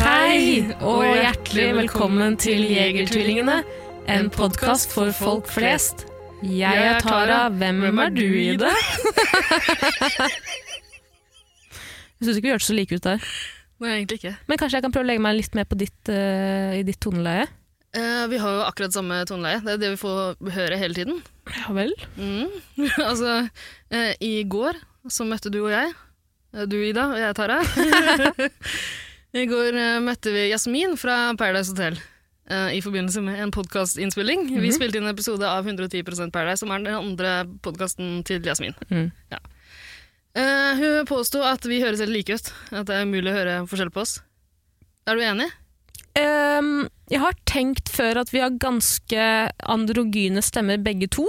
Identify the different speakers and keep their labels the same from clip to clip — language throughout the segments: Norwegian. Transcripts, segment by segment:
Speaker 1: Hei, og hjertelig velkommen til Jegertvillingene, en podkast for folk flest. Jeg er Tara, hvem er du i det? Jeg syns ikke vi hørtes så like ut der.
Speaker 2: Nei, egentlig ikke.
Speaker 1: Men kanskje jeg kan prøve å legge meg litt mer på ditt, eh, i ditt toneleie?
Speaker 2: Eh, vi har jo akkurat samme toneleie. Det er det vi får høre hele tiden.
Speaker 1: Ja vel.
Speaker 2: Mm. altså, eh, i går så møtte du og jeg. eh, Du, Ida, og jeg, Tara. I går eh, møtte vi Jasmin fra Paradise Hotel. eh, I forbindelse med en podkastinnspilling. Vi spilte inn en episode av 110 Paradise, som er den andre podkasten til Jasmin.
Speaker 1: Mhm.
Speaker 2: Ja. Eh, hun påsto at vi høres helt like ut. At det er umulig å høre forskjell på oss. Er du enig?
Speaker 1: Ehm, jeg har tenkt før at vi har ganske androgyne stemmer begge to.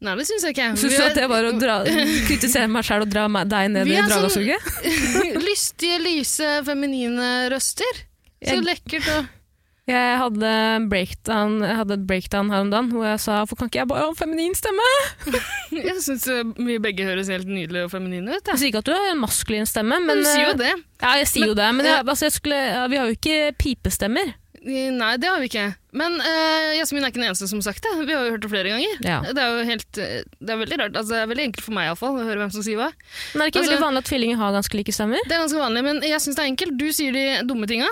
Speaker 2: Nei, det syns jeg ikke.
Speaker 1: Syns
Speaker 2: Vi
Speaker 1: du
Speaker 2: er-
Speaker 1: at det var å dra, kritisere meg sjæl og dra meg, deg ned
Speaker 2: Vi
Speaker 1: i
Speaker 2: er sånn-
Speaker 1: dragasuget?
Speaker 2: Lystige, lyse, feminine røster. Så
Speaker 1: Jeg-
Speaker 2: lekkert og
Speaker 1: Jeg hadde, en breakdown, jeg hadde et breakdown her om dagen hvor jeg sa hvorfor kan ikke jeg bare ha en feminin stemme?
Speaker 2: Jeg syns vi begge høres helt nydelige og feminine ut.
Speaker 1: Jeg sier ikke at du har en maskulin stemme, men
Speaker 2: Men, du sier jo
Speaker 1: eh,
Speaker 2: det.
Speaker 1: Ja, jeg sier jo det, men jeg, altså, jeg skulle, ja, vi har jo ikke pipestemmer.
Speaker 2: Nei, det har vi ikke. Men eh, Jasmin er ikke den eneste som har sagt det. Vi har jo hørt det flere ganger.
Speaker 1: Ja.
Speaker 2: Det er jo helt eh, Det er veldig rart. Altså, det er veldig enkelt for meg i hvert fall, å høre hvem som sier hva.
Speaker 1: Men er det ikke
Speaker 2: Altså-
Speaker 1: veldig vanlig at tvillinger har ganske like stemmer?
Speaker 2: Det er ganske vanlig, men jeg syns det er enkelt. Du sier de dumme tinga.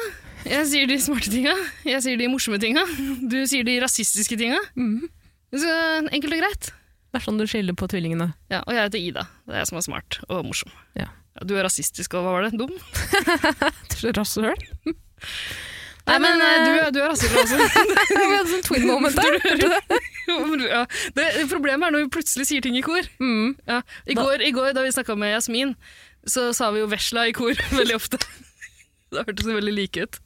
Speaker 2: Jeg sier de smarte tinga. Jeg sier de morsomme tinga. Du sier de rasistiske tinga.
Speaker 1: Mhm.
Speaker 2: Så enkelt og greit.
Speaker 1: Det er sånn du skiller på tvillingene.
Speaker 2: Ja, og jeg heter Ida. Det er jeg som er smart og morsom.
Speaker 1: Ja.
Speaker 2: du er rasistisk og hva var det? Dum?
Speaker 1: Til rasshøl.
Speaker 2: Nei, men eh, du,
Speaker 1: eh,
Speaker 2: er- altså. du er rasistisk også.
Speaker 1: Vi hadde sånn twin moment der. hørte du det?
Speaker 2: ja, det, problemet er når vi plutselig sier ting i kor.
Speaker 1: Mm.
Speaker 2: Ja. I,
Speaker 1: Da-
Speaker 2: går, I går da vi snakka med Jasmin, så sa vi jo vesla i kor veldig ofte. Det hørtes veldig like ut.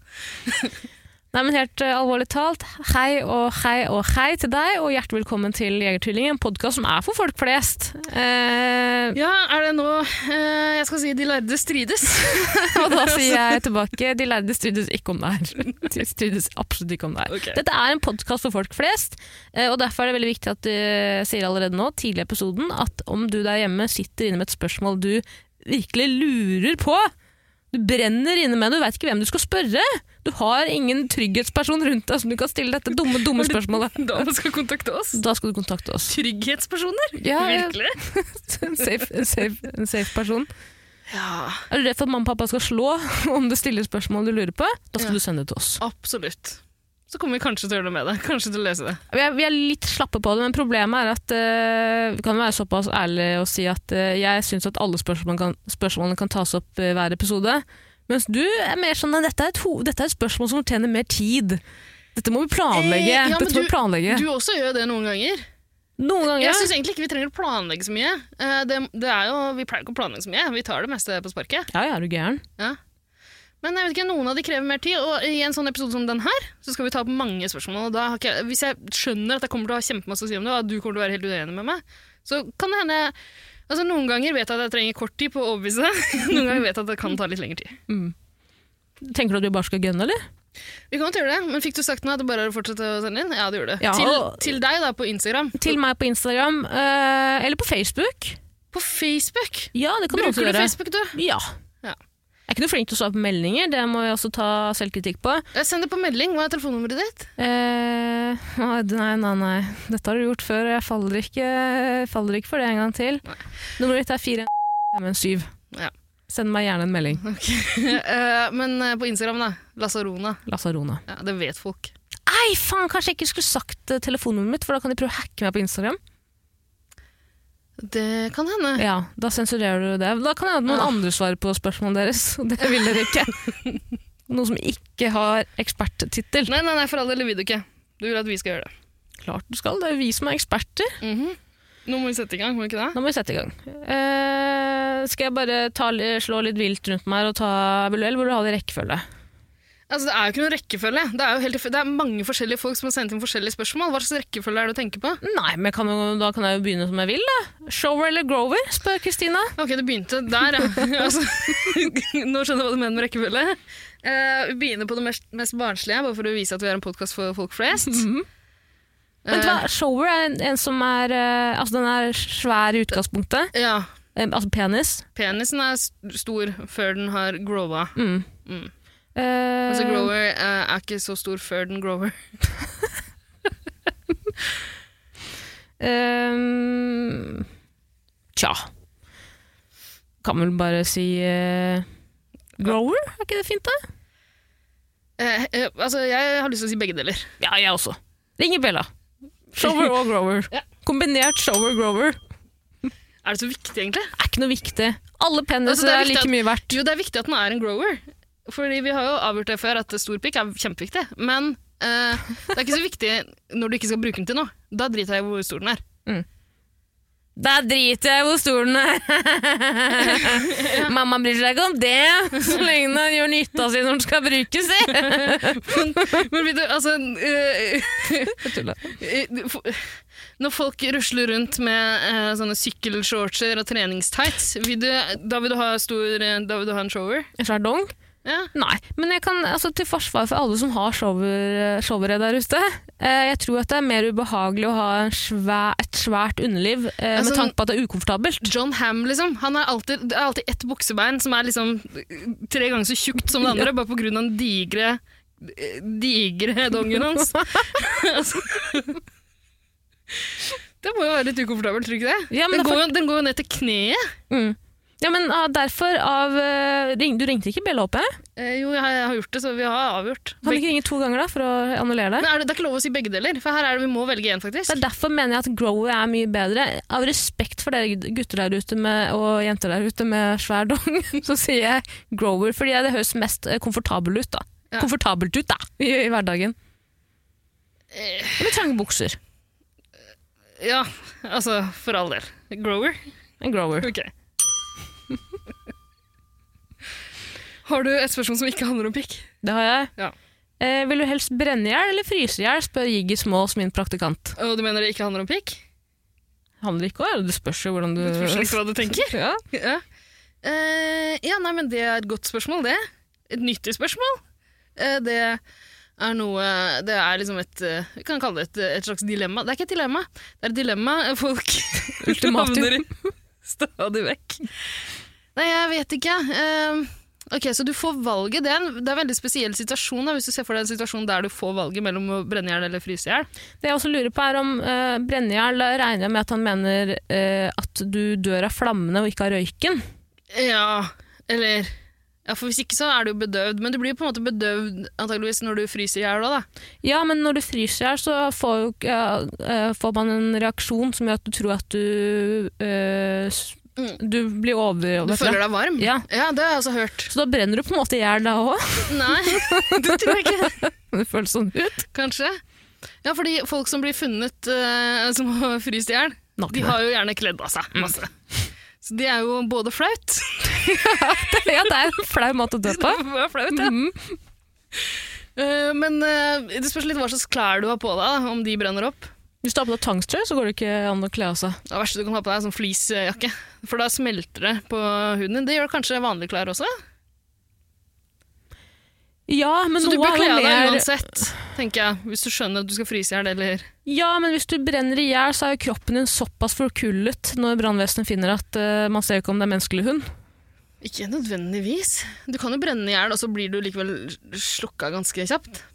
Speaker 1: Nei, men helt eh, alvorlig talt, hei og hei og hei til deg, og hjertelig velkommen til Jegertvillingen, en podkast som er for folk flest. Eh,
Speaker 2: Ja, er det nå eh, jeg skal si de lærde strides?
Speaker 1: og da sier jeg tilbake, de lærde strides ikke om det her. De strides absolutt ikke om det her.
Speaker 2: Ok.
Speaker 1: Dette er en podkast for folk flest, eh, og derfor er det veldig viktig at du sier allerede nå, tidlig i episoden, at om du der hjemme sitter inne med et spørsmål du virkelig lurer på, du brenner inne med, du veit ikke hvem du skal spørre, du har ingen trygghetsperson rundt deg som du kan stille dette dumme, dumme spørsmålet.
Speaker 2: Da man skal kontakte oss?
Speaker 1: Da skal du kontakte oss.
Speaker 2: Trygghetspersoner?
Speaker 1: Ja, ja.
Speaker 2: Virkelig?
Speaker 1: en, safe, en, safe, en safe person.
Speaker 2: Ja,
Speaker 1: Er du redd for at mamma og pappa skal slå om du stiller spørsmål du lurer på? Da skal
Speaker 2: Ja.
Speaker 1: du sende det til oss.
Speaker 2: absolutt. Så kommer vi kanskje til å gjøre noe med det. Kanskje til å lese det.
Speaker 1: Vi er, vi er litt slappe på det, men problemet er at eh, vi kan være såpass ærlige og si at eh, jeg syns at alle spørsmålene kan, spørsmålene kan tas opp i hver episode. Mens du er mer sånn at dette er, et ho dette er et spørsmål som fortjener mer tid. Dette må vi planlegge.
Speaker 2: Eh, ja, men
Speaker 1: dette må
Speaker 2: du-
Speaker 1: vi planlegge.
Speaker 2: Du også gjør jo det noen ganger.
Speaker 1: Noen ganger
Speaker 2: Jeg syns egentlig ikke vi trenger å planlegge så mye. Eh, Det, det er jo, vi pleier ikke å planlegge så mye. Vi tar det meste på sparket.
Speaker 1: Ja, ja, er du gæren?
Speaker 2: Men jeg vet ikke, noen av de krever mer tid, og i en sånn episode som den her, så skal vi ta opp mange spørsmål. Og da har ikke jeg, hvis jeg skjønner at jeg kommer til å ha kjempemasse å si om det, og at du kommer til å være helt uenig med meg, så kan det hende Altså, Noen ganger vet jeg at jeg trenger kort tid på å overbevise deg. Noen ganger vet jeg at det kan ta litt lengre tid.
Speaker 1: Tenker du at du bare skal gønne, eller?
Speaker 2: Vi kan godt gjøre det, men Fikk du sagt nå at det bare er å fortsette å sende inn? Ja, det gjorde du.
Speaker 1: Ja,
Speaker 2: til,
Speaker 1: og-
Speaker 2: til deg, da, på Instagram.
Speaker 1: Til meg på Instagram, eh, eller på Facebook.
Speaker 2: På Facebook!
Speaker 1: Ja, det kan du også
Speaker 2: Bruker du
Speaker 1: gjøre.
Speaker 2: Facebook, du?
Speaker 1: Ja.
Speaker 2: Ja.
Speaker 1: Jeg er ikke noe flink til å svare på meldinger, det må jeg også ta selvkritikk på.
Speaker 2: Eh, Send det på melding. Hva er telefonnummeret ditt?
Speaker 1: Eh, nei, nei, nei, nei. Dette har du gjort før, og jeg faller ikke, faller ikke for det en gang til.
Speaker 2: Nei.
Speaker 1: Nummeret ditt er 417.
Speaker 2: Ja.
Speaker 1: Send meg gjerne en melding.
Speaker 2: Eh, men eh, på Instagram, da. Lasarona.
Speaker 1: Lasarona.
Speaker 2: Ja, det vet folk.
Speaker 1: Nei, faen, kanskje jeg ikke skulle sagt eh, telefonnummeret mitt, for da kan de prøve å hacke meg på Instagram.
Speaker 2: Det kan hende.
Speaker 1: Ja, Da sensurerer du det. Da kan jeg ha noen
Speaker 2: Ja.
Speaker 1: andre svar på spørsmålene deres, og det vil dere ikke. Noen som ikke har eksperttittel.
Speaker 2: Nei, nei, nei, for all del det vil du ikke. Du vil at vi skal gjøre det.
Speaker 1: Klart du skal, det er jo vi som er eksperter.
Speaker 2: Mhm. Nå må vi sette i gang, må vi ikke det?
Speaker 1: Nå må vi sette i gang. Eh, skal jeg bare ta, slå litt vilt rundt meg her og ta Vil du, eller vil du ha det i rekkefølge?
Speaker 2: Altså, det er jo ikke noen rekkefølge. Det er jo helt, det er mange forskjellige folk som har sendt inn forskjellige spørsmål. Hva slags rekkefølge er det du tenker på?
Speaker 1: Nei, men jeg kan jo, da kan jeg jo begynne som jeg vil, da. Shower eller Grover, spør Kristina.
Speaker 2: Ok, det begynte der, ja. altså, nå skjønner jeg hva du mener med rekkefølge. Eh, vi begynner på det mest, mest barnslige, bare for å vise at vi er en podkast for folk flest.
Speaker 1: Vet du Mhm. hva, Shower er en, en som er eh, Altså, den er svær i utgangspunktet.
Speaker 2: Ja,
Speaker 1: Eh, altså penis.
Speaker 2: penisen er s- stor før den har growa.
Speaker 1: Mm.
Speaker 2: Mm.
Speaker 1: Eh,
Speaker 2: Altså, grower eh, er ikke så stor før den grower.
Speaker 1: eh, tja. Kan vel bare si eh, Grower, er ikke det fint, da?
Speaker 2: Eh, eh, altså, jeg har lyst til å si begge deler.
Speaker 1: Ja, jeg også. Ringer Bella. Shower og Grover.
Speaker 2: Ja.
Speaker 1: Kombinert Shower-Grover
Speaker 2: Er det så viktig, egentlig?
Speaker 1: er ikke noe viktig. Alle peniser
Speaker 2: Altså, det er
Speaker 1: er,
Speaker 2: viktig
Speaker 1: like
Speaker 2: at-
Speaker 1: mye verdt.
Speaker 2: Jo, det er viktig at den er en grower. Fordi vi har jo avgjort det før at stor pikk er kjempeviktig. Men eh, det er ikke så viktig når du ikke skal bruke den til noe. Da driter jeg i hvor stor den er.
Speaker 1: Da driter jeg i hvor stor den er. Mamma bryr seg ikke om det, så lenge den gjør nytta si når den skal brukes. si.
Speaker 2: Men vet du, altså eh, eh, for- Når folk rusler rundt med eh, sånne sykkelshortser og treningstights, vil du, da, vil du ha stor, eh, da vil du ha en shower?
Speaker 1: En svær dong?
Speaker 2: Ja.
Speaker 1: Nei. Men jeg kan, altså, til forsvar for alle som har shower- showere der ute, eh, jeg tror at det er mer ubehagelig å ha en svær, et svært underliv eh,
Speaker 2: Altså,
Speaker 1: med tanke på at det er ukomfortabelt.
Speaker 2: John Ham, liksom. Han er alltid, det er alltid ett buksebein som er liksom eh, tre ganger så tjukt som det andre, bare på grunn av den digre, eh, digre dongen hans. Altså. det må jo være litt ukomfortabelt, tror du ikke det?
Speaker 1: Ja, men det
Speaker 2: den, går jo, den går jo ned til kneet.
Speaker 1: Mm. Ja, men ah, derfor av eh, ring, Du ringte ikke Bella opp, jeg?
Speaker 2: Eh, jo, jeg har, jeg har gjort det, så vi har avgjort.
Speaker 1: Kan du
Speaker 2: Begge-
Speaker 1: ikke ringe to ganger da, for å annullere det?
Speaker 2: Men er det, det er ikke lov å si begge deler, for her er det vi må velge én,
Speaker 1: Det
Speaker 2: faktisk.
Speaker 1: er derfor mener jeg at grower er mye bedre. Av respekt for dere gutter der ute med, og jenter der ute med svær dong, så sier jeg grower, fordi det høres mest eh, komfortabel ut, da.
Speaker 2: Ja.
Speaker 1: Komfortabelt ut, da, i, i hverdagen.
Speaker 2: Eh,
Speaker 1: Eller trange bukser.
Speaker 2: Ja, altså, for all del. Grower.
Speaker 1: En grower.
Speaker 2: Ok. Har du et spørsmål som ikke handler om pikk?
Speaker 1: Det har jeg.
Speaker 2: Ja.
Speaker 1: Eh, vil du helst brenne i hjel eller fryse i hjel, spør Jiggy Smalls, min praktikant.
Speaker 2: Og du mener det ikke handler om pikk?
Speaker 1: Handler ikke om det spørs jo hvordan du
Speaker 2: Det spørs litt hva du tenker.
Speaker 1: ja.
Speaker 2: Mm. Ja. Eh, ja, nei, men det er et godt spørsmål, det. Et nyttig spørsmål. Eh, det er noe Det er liksom et eh, Vi kan kalle det et, et slags dilemma. Det er ikke et dilemma, det er et dilemma folk
Speaker 1: Ultimatum.
Speaker 2: havner i stadig vekk. Nei, jeg vet ikke. Eh, ok, Så du får valget. Det er en, det er en veldig spesiell situasjon da, hvis du ser for deg en situasjon der du får valget mellom å brenne i hjel eller fryse i hjel.
Speaker 1: Det jeg også lurer på er om uh, brennejern regner jeg med at han mener eh, at du dør av flammene og ikke av røyken.
Speaker 2: Ja, eller ja, for Hvis ikke så er du jo bedøvd, men du blir jo på en måte bedøvd antageligvis når du fryser i hjel. da, da.
Speaker 1: Ja, men når du fryser her, så får, jo ikke- eh, får man en reaksjon som gjør at du tror at du eh, s-
Speaker 2: Mm.
Speaker 1: Du blir over...
Speaker 2: Du føler deg varm.
Speaker 1: Ja.
Speaker 2: det har jeg også hørt.
Speaker 1: Så da brenner du på en måte i hjel da òg?
Speaker 2: Nei, det tror jeg ikke.
Speaker 1: Det føles sånn ut.
Speaker 2: Kanskje. Ja, fordi folk som blir funnet eh, som har fryst i hjel, de har jo gjerne kledd av seg masse. Så det er jo både flaut
Speaker 1: Ja, det er en flau måte å dø på.
Speaker 2: Det var flaut, ja.
Speaker 1: Mhm.
Speaker 2: Eh, Men eh, det spørs litt hva slags klær du har på deg, da, om de brenner opp.
Speaker 1: Hvis du har på deg tangstrøye, så går det ikke an å kle av seg.
Speaker 2: Det verste du kan ha på deg, er sånn fleecejakke. For da smelter det på huden din. Det gjør kanskje vanlige klær også?
Speaker 1: Ja, men
Speaker 2: Så du
Speaker 1: noe
Speaker 2: bør
Speaker 1: er
Speaker 2: kle
Speaker 1: jo
Speaker 2: av deg
Speaker 1: mer
Speaker 2: uansett, tenker jeg. Hvis du skjønner at du skal fryse i hjel, eller
Speaker 1: Ja, men hvis du brenner i hjel, så er jo kroppen din såpass forkullet når brannvesenet finner at eh, man ser jo ikke om det er menneske eller hund.
Speaker 2: Ikke nødvendigvis. Du kan jo brenne i hjel, og så blir du likevel slukka ganske kjapt.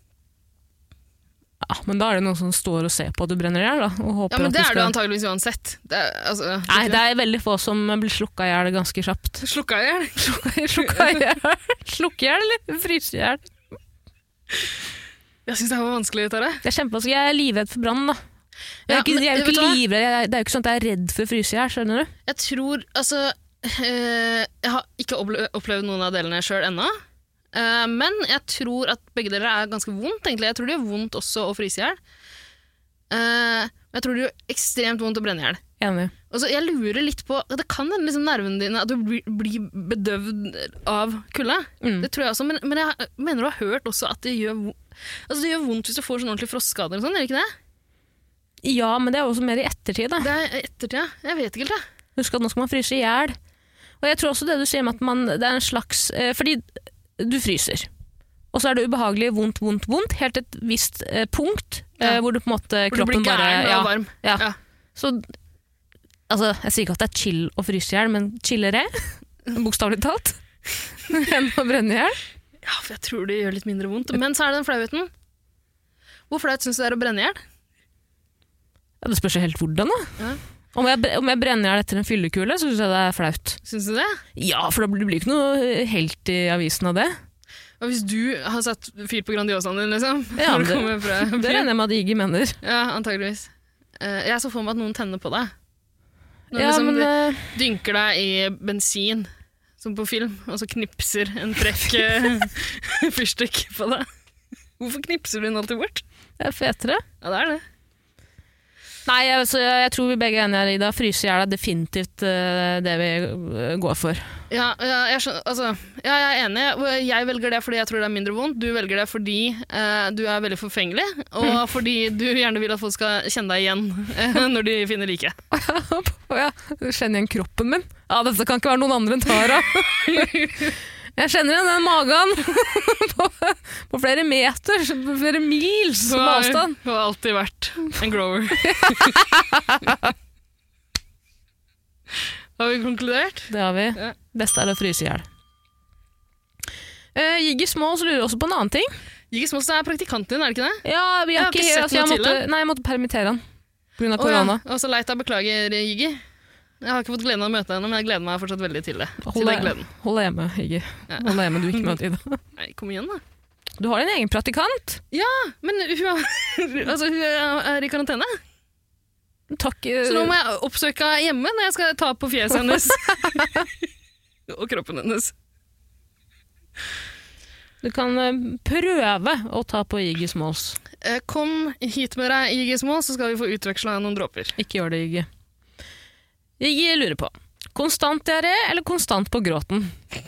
Speaker 1: Ja, men da er det noen som står og ser på at du brenner i hjel, da. Og håper
Speaker 2: Ja, men
Speaker 1: at
Speaker 2: det er
Speaker 1: skal...
Speaker 2: du antageligvis uansett. Det er, altså, det er
Speaker 1: Nei,
Speaker 2: ikke
Speaker 1: det er veldig få som blir slukka i hjel ganske kjapt.
Speaker 2: det. Slukka i hjel?
Speaker 1: Slukka i hjel? Slukke i hjel, eller fryse i hjel?
Speaker 2: Jeg syns det her var vanskelig, Tare.
Speaker 1: Det er kjempevanskelig. Jeg er livredd for brann, da. Jeg er
Speaker 2: Ja,
Speaker 1: jo ikke,
Speaker 2: men
Speaker 1: jeg er jo
Speaker 2: vet du
Speaker 1: ikke
Speaker 2: hva?
Speaker 1: livredd, jeg, det er jo ikke sånn at jeg er redd for å fryse i hjel, skjønner du?
Speaker 2: Jeg tror Altså, eh, jeg har ikke ople- opplevd noen av delene sjøl ennå. Eh, men jeg tror at begge deler er ganske vondt, egentlig. Jeg tror det gjør vondt også å fryse i hjel. Eh, Jeg tror det gjør ekstremt vondt å brenne i hjel.
Speaker 1: Enig.
Speaker 2: Altså, jeg lurer litt på Det kan hende liksom nervene dine At du blir, blir bedøvd av kulde.
Speaker 1: Mm.
Speaker 2: Det tror jeg også, men, men jeg mener du har hørt også at det gjør, vo- altså, det gjør vondt hvis du får sånn ordentlig frostskader og sånn, gjør det ikke det?
Speaker 1: Ja, men det er også mer i ettertid. Da.
Speaker 2: Det er ettertida. Jeg vet ikke helt, jeg.
Speaker 1: Husk at nå skal man fryse i hjel. Og jeg tror også det du sier med at man, det er en slags eh, Fordi du fryser. Og så er det ubehagelig vondt, vondt, vondt, helt et visst eh, punkt eh,
Speaker 2: Ja.
Speaker 1: hvor du på en måte
Speaker 2: For du blir
Speaker 1: kroppen bare
Speaker 2: gæren
Speaker 1: ja,
Speaker 2: og varm.
Speaker 1: ja.
Speaker 2: Ja.
Speaker 1: Så altså, jeg sier ikke at det er chill å fryse i hjel, men chillere, bokstavelig talt, enn å brenne i hjel.
Speaker 2: Ja, for jeg tror det gjør litt mindre vondt. Men så er det den flauheten. Hvor flaut syns du det er å brenne i hjel?
Speaker 1: Ja, det spørs jo helt hvordan, da.
Speaker 2: Ja.
Speaker 1: Om jeg, bre- om jeg brenner i hjel etter en fyllekule, så syns jeg det er flaut.
Speaker 2: Syns du det?
Speaker 1: Ja, for da blir det blir ikke noe eh, helt i avisen av det.
Speaker 2: Og hvis du har satt fyr på Grandiosaen din, liksom?
Speaker 1: Ja,
Speaker 2: når du
Speaker 1: det-
Speaker 2: kommer fra
Speaker 1: Det regner jeg med at Iggy mener.
Speaker 2: Ja, antageligvis. Eh, jeg så for meg at noen tenner på deg. Når
Speaker 1: Ja,
Speaker 2: liksom,
Speaker 1: men...
Speaker 2: de
Speaker 1: eh,
Speaker 2: dynker deg i bensin, som på film, og så knipser en frekk eh, fyrstikk på deg. Hvorfor knipser du den alltid bort?
Speaker 1: Det er fetere.
Speaker 2: Ja, det er det.
Speaker 1: Nei, jeg, så jeg, jeg tror vi begge er enige her, Ida. Fryse i hjel er definitivt eh, det vi eh, går for.
Speaker 2: Ja, ja, jeg, skjønner, altså, ja, jeg er enig. Og Jeg velger det fordi jeg tror det er mindre vondt. Du velger det fordi eh, du er veldig forfengelig, og fordi du gjerne vil at folk skal kjenne deg igjen eh, når de finner liket.
Speaker 1: Å ja, du kjenner igjen kroppen min. Ja, dette kan ikke være noen andre enn Tara. Jeg kjenner igjen den magen på, på flere meter, på flere mils
Speaker 2: Du har-
Speaker 1: avstand.
Speaker 2: eh, Du har alltid vært en grower. har vi konkludert?
Speaker 1: Det har vi.
Speaker 2: Ja.
Speaker 1: Beste er å fryse i hjel. Uh, Jiggy Smalls lurer også på en annen ting.
Speaker 2: Gikk som er praktikanten din, er det ikke det?
Speaker 1: Ja, vi
Speaker 2: Jeg
Speaker 1: har
Speaker 2: har
Speaker 1: ikke,
Speaker 2: ikke sett
Speaker 1: altså, jeg
Speaker 2: noe til
Speaker 1: måtte, Nei, jeg måtte permittere han pga.
Speaker 2: Å, ja.
Speaker 1: korona.
Speaker 2: Og så leit jeg beklager, Jiggy. Jeg har ikke fått gleden av å møte henne, men jeg gleder meg fortsatt veldig til det. Til
Speaker 1: Hold
Speaker 2: den
Speaker 1: deg-
Speaker 2: gleden.
Speaker 1: Hold deg hjemme, Jiggy.
Speaker 2: Ja.
Speaker 1: Hold deg hjemme, du ikke møter Ida.
Speaker 2: Nei, kom igjen, da.
Speaker 1: Du har din egen praktikant.
Speaker 2: Men hun, er- altså, hun er i karantene.
Speaker 1: Takk. eh,
Speaker 2: Så nå må jeg oppsøke henne hjemme når jeg skal ta på fjeset hennes. og kroppen hennes.
Speaker 1: Du kan eh, prøve å ta på Jiggy Smalls.
Speaker 2: Eh, Kom hit med deg, Jiggy Små, så skal vi få utveksla noen dråper.
Speaker 1: Ikke gjør det, Jiggy. Jiggy lurer på konstant diaré eller konstant på gråten?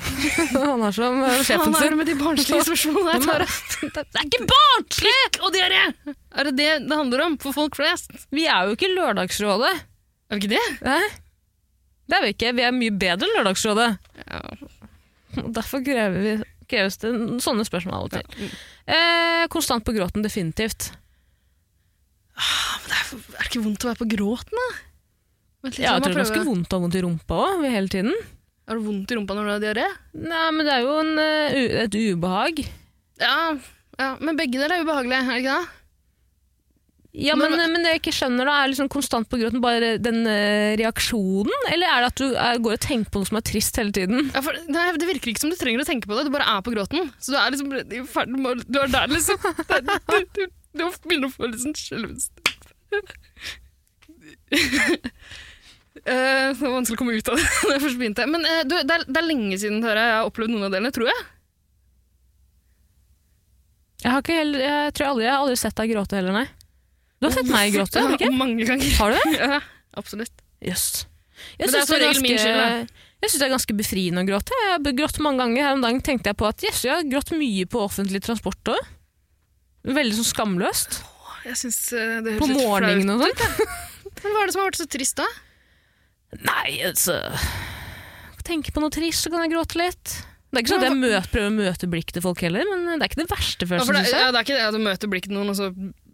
Speaker 1: Han er som eh, sjefen
Speaker 2: Hva er
Speaker 1: sin.
Speaker 2: det med de barnslige spørsmålene her, Tara?
Speaker 1: Det er ikke barnslig!
Speaker 2: Og diaré! Er det det det handler om for folk flest?
Speaker 1: Vi er jo ikke Lørdagsrådet.
Speaker 2: Er det ikke det?
Speaker 1: Hæ? Det er vi ikke. Vi er mye bedre enn Lørdagsrådet.
Speaker 2: Ja.
Speaker 1: Derfor krever vi, kreves det sånne spørsmål av og til. Eh, konstant på gråten, definitivt.
Speaker 2: Men det er, er det ikke vondt å være på gråten, da? Vent litt,
Speaker 1: Ja,
Speaker 2: la
Speaker 1: jeg
Speaker 2: meg
Speaker 1: tror det er ganske
Speaker 2: prøve.
Speaker 1: vondt å ha vondt i rumpa òg, hele tiden.
Speaker 2: Har du vondt i rumpa når du har diaré?
Speaker 1: Nei, men det er jo en, eh, u- et ubehag.
Speaker 2: Ja, ja, men begge deler er ubehagelig, er det ikke det?
Speaker 1: Ja, men,
Speaker 2: Men-
Speaker 1: men det jeg ikke skjønner da, er liksom konstant på gråten bare den eh, reaksjonen? Eller er det at du er, går og tenker på noe som er trist hele tiden?
Speaker 2: Ja, for, nei, det virker ikke som du trenger å tenke på det, du bare er på gråten. Så du er liksom i ferd med å- Du er der, liksom. Det er- Du, du, du begynner å få litt sånn skjelvest. Eh, det var vanskelig å komme ut av det da jeg først begynte. Men eh, du, det, er, det er lenge siden Tara, jeg har opplevd noen av delene, tror jeg.
Speaker 1: Jeg, har ikke heller, jeg tror aldri jeg har aldri sett deg gråte heller, nei. Du har sett meg gråte, har du ikke?
Speaker 2: Mange ganger.
Speaker 1: Har du det?
Speaker 2: Ja, absolutt.
Speaker 1: Jøss. Jeg
Speaker 2: Men
Speaker 1: syns
Speaker 2: det er
Speaker 1: det,
Speaker 2: som
Speaker 1: er
Speaker 2: regel min skyld,
Speaker 1: ganske- jeg synes det er ganske befriende å gråte. Jeg har grått mange ganger her om dagen. tenkte jeg på at jøss, jeg har grått mye på offentlig transport òg. Veldig sånn skamløst.
Speaker 2: Jeg syns eh, det
Speaker 1: På
Speaker 2: høres litt flaut
Speaker 1: morgenen og sånn? sånt.
Speaker 2: Men Hva er det som har vært så trist, da?
Speaker 1: Nei, altså Tenke på noe trist, så kan jeg gråte litt. Det er ikke sånn at jeg møt, prøver å møte blikket til folk heller, men det er ikke den verste
Speaker 2: Ja, for
Speaker 1: følelsen.
Speaker 2: det,
Speaker 1: synes jeg.
Speaker 2: ja, det er ikke det at du møter blikket til noen, og så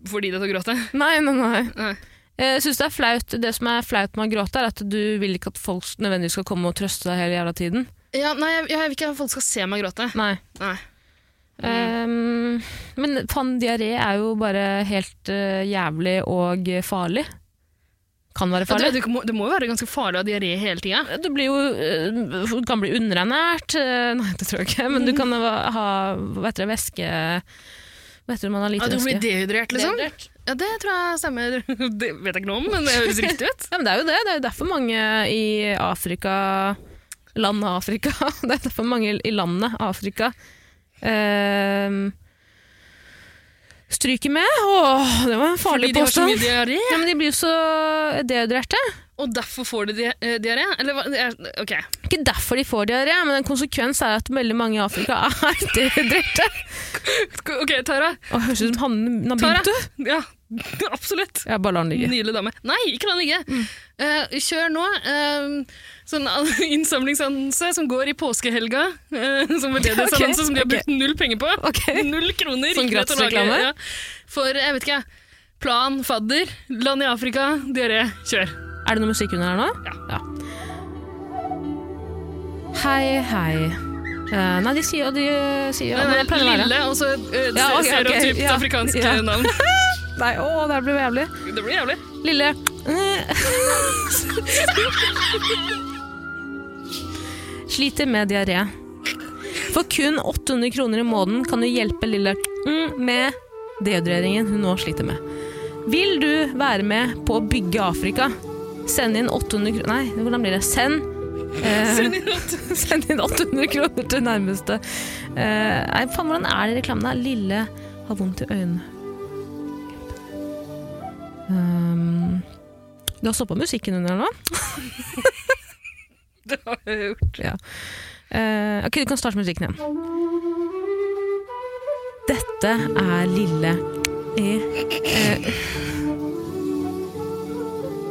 Speaker 2: får de deg til å gråte.
Speaker 1: Nei, nei, nei.
Speaker 2: Nei.
Speaker 1: Jeg Eh, synes det er flaut. Det som er flaut med å gråte, er at du vil ikke at folk nødvendigvis skal komme og trøste deg hele jævla tiden.
Speaker 2: Ja, nei, jeg, jeg vil ikke at folk skal se meg gråte.
Speaker 1: Nei.
Speaker 2: Nei.
Speaker 1: Ehm, men faen, diaré er jo bare helt eh, jævlig og farlig. Kan være
Speaker 2: Ja,
Speaker 1: farlig.
Speaker 2: det, det, må, det må jo være ganske farlig å ha diaré hele tida.
Speaker 1: Du blir jo, eh, du kan bli underernært, eh, nei det tror jeg ikke, men du kan ha- ha hva heter det, væske Hva heter det man har lite
Speaker 2: Ja, du blir
Speaker 1: væske?
Speaker 2: dehydrert, liksom? Ja, Det tror jeg stemmer. Det vet jeg ikke noe om, men det høres riktig ut.
Speaker 1: Ja, men det er jo det. Det er jo derfor mange i Afrika Landet Afrika. Det er derfor mange i landet Afrika eh, ehm, stryker med. Åh, det var en farlig
Speaker 2: Fordi de har så mye
Speaker 1: påstand.
Speaker 2: diaré,
Speaker 1: Ja, men de blir jo så dehydrerte.
Speaker 2: og derfor får de di- eh, diaré? Eller hva? det er- Ok.
Speaker 1: Ikke derfor de får diaré, men en konsekvens er at veldig mange i Afrika er dehydrerte.
Speaker 2: Ok, Tara.
Speaker 1: Å, Høres ut som Hanne
Speaker 2: Tara.
Speaker 1: Nabintu.
Speaker 2: Ja, absolutt.
Speaker 1: Jeg bare lar den ligge.
Speaker 2: Nydelig dame. Nei, ikke la den ligge!
Speaker 1: Mm.
Speaker 2: Eh, kjør nå. eh, sånn eh, innsamlingsannonse som går i påskehelga. eh, som
Speaker 1: Ja, ok,
Speaker 2: veldedighetsannonse som de har
Speaker 1: ok.
Speaker 2: brukt null penger på.
Speaker 1: Ok.
Speaker 2: Null kroner.
Speaker 1: Sånn
Speaker 2: gikk det til å lage,
Speaker 1: gratisreklame?
Speaker 2: Ja. For jeg vet ikke, plan, fadder, land i Afrika, diaré, kjør.
Speaker 1: Er det noe musikk under her nå? Ja. Hei, hei. Eh, nei, de sier jo de eh, sier jo
Speaker 2: Den
Speaker 1: det
Speaker 2: er
Speaker 1: pleier å være.
Speaker 2: lille og så eh,
Speaker 1: Ja, ok, ok,
Speaker 2: stereotypt
Speaker 1: ja.
Speaker 2: afrikansk
Speaker 1: Ja.
Speaker 2: eh, navn.
Speaker 1: Nei, å, det her blir jævlig.
Speaker 2: Det blir jævlig.
Speaker 1: Lille eh, Sliter med diaré. For kun 800 kroner i måneden kan du hjelpe lille mm, med dehydreringen hun nå sliter med. Vil du være med på å bygge Afrika? Send inn 800 kroner Nei, hvordan blir det? Send eh,
Speaker 2: Send inn at-
Speaker 1: Send inn 800 kroner til nærmeste. Eh, nei, faen, hvordan er det i reklamen? der? Lille har vondt i øynene. Um, du har stoppa musikken under her nå?
Speaker 2: Det har jeg gjort.
Speaker 1: Eh, ok, du kan starte musikken igjen. Dette er lille E. Eh,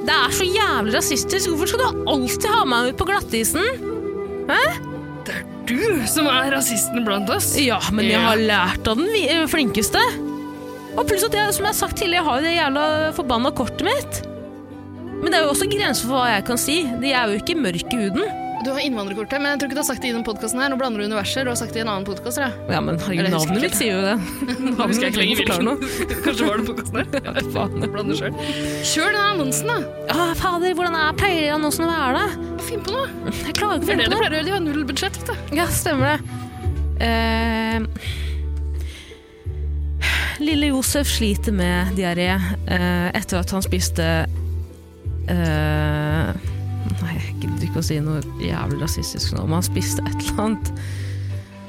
Speaker 1: det er så jævlig rasistisk! Hvorfor skal du alltid ha meg ut på glattisen?
Speaker 2: Du som er rasisten blant oss.
Speaker 1: Ja, men jeg
Speaker 2: Ja.
Speaker 1: har lært av den vi- eh, flinkeste. Og pluss at jeg, som jeg har sagt tidligere, jeg har jo det jævla forbanna kortet mitt. Men det er jo også grenser for hva jeg kan si. De er jo ikke mørk i huden.
Speaker 2: Du har innvandrerkortet, men jeg tror ikke du har sagt det i denne podkasten her. Nå blander du universer. Du har sagt det i en annen podkast, tror jeg.
Speaker 1: Ja, men herregud,
Speaker 2: Eller jeg husker
Speaker 1: navnet
Speaker 2: ikke
Speaker 1: mitt sier jo det.
Speaker 2: Nå husker jeg
Speaker 1: Navnet mitt
Speaker 2: ikke lenger
Speaker 1: forklarer noe.
Speaker 2: hvilken. Kanskje var det på kassen her.
Speaker 1: Ja, faen.
Speaker 2: Blander selv. Kjør den annonsen, da.
Speaker 1: Ah, fader, hvordan er pleier annonsen å være, da?
Speaker 2: Finn på noe.
Speaker 1: Jeg klarer ikke å
Speaker 2: Det er det
Speaker 1: finne
Speaker 2: de
Speaker 1: på det.
Speaker 2: pleier å gjøre. De har null budsjett. vet du.
Speaker 1: Ja, stemmer det. Eh, lille Josef sliter med diaré eh, etter at han spiste eh, Nei, jeg gidder ikke å si noe jævlig rasistisk nå, men han spiste et eller annet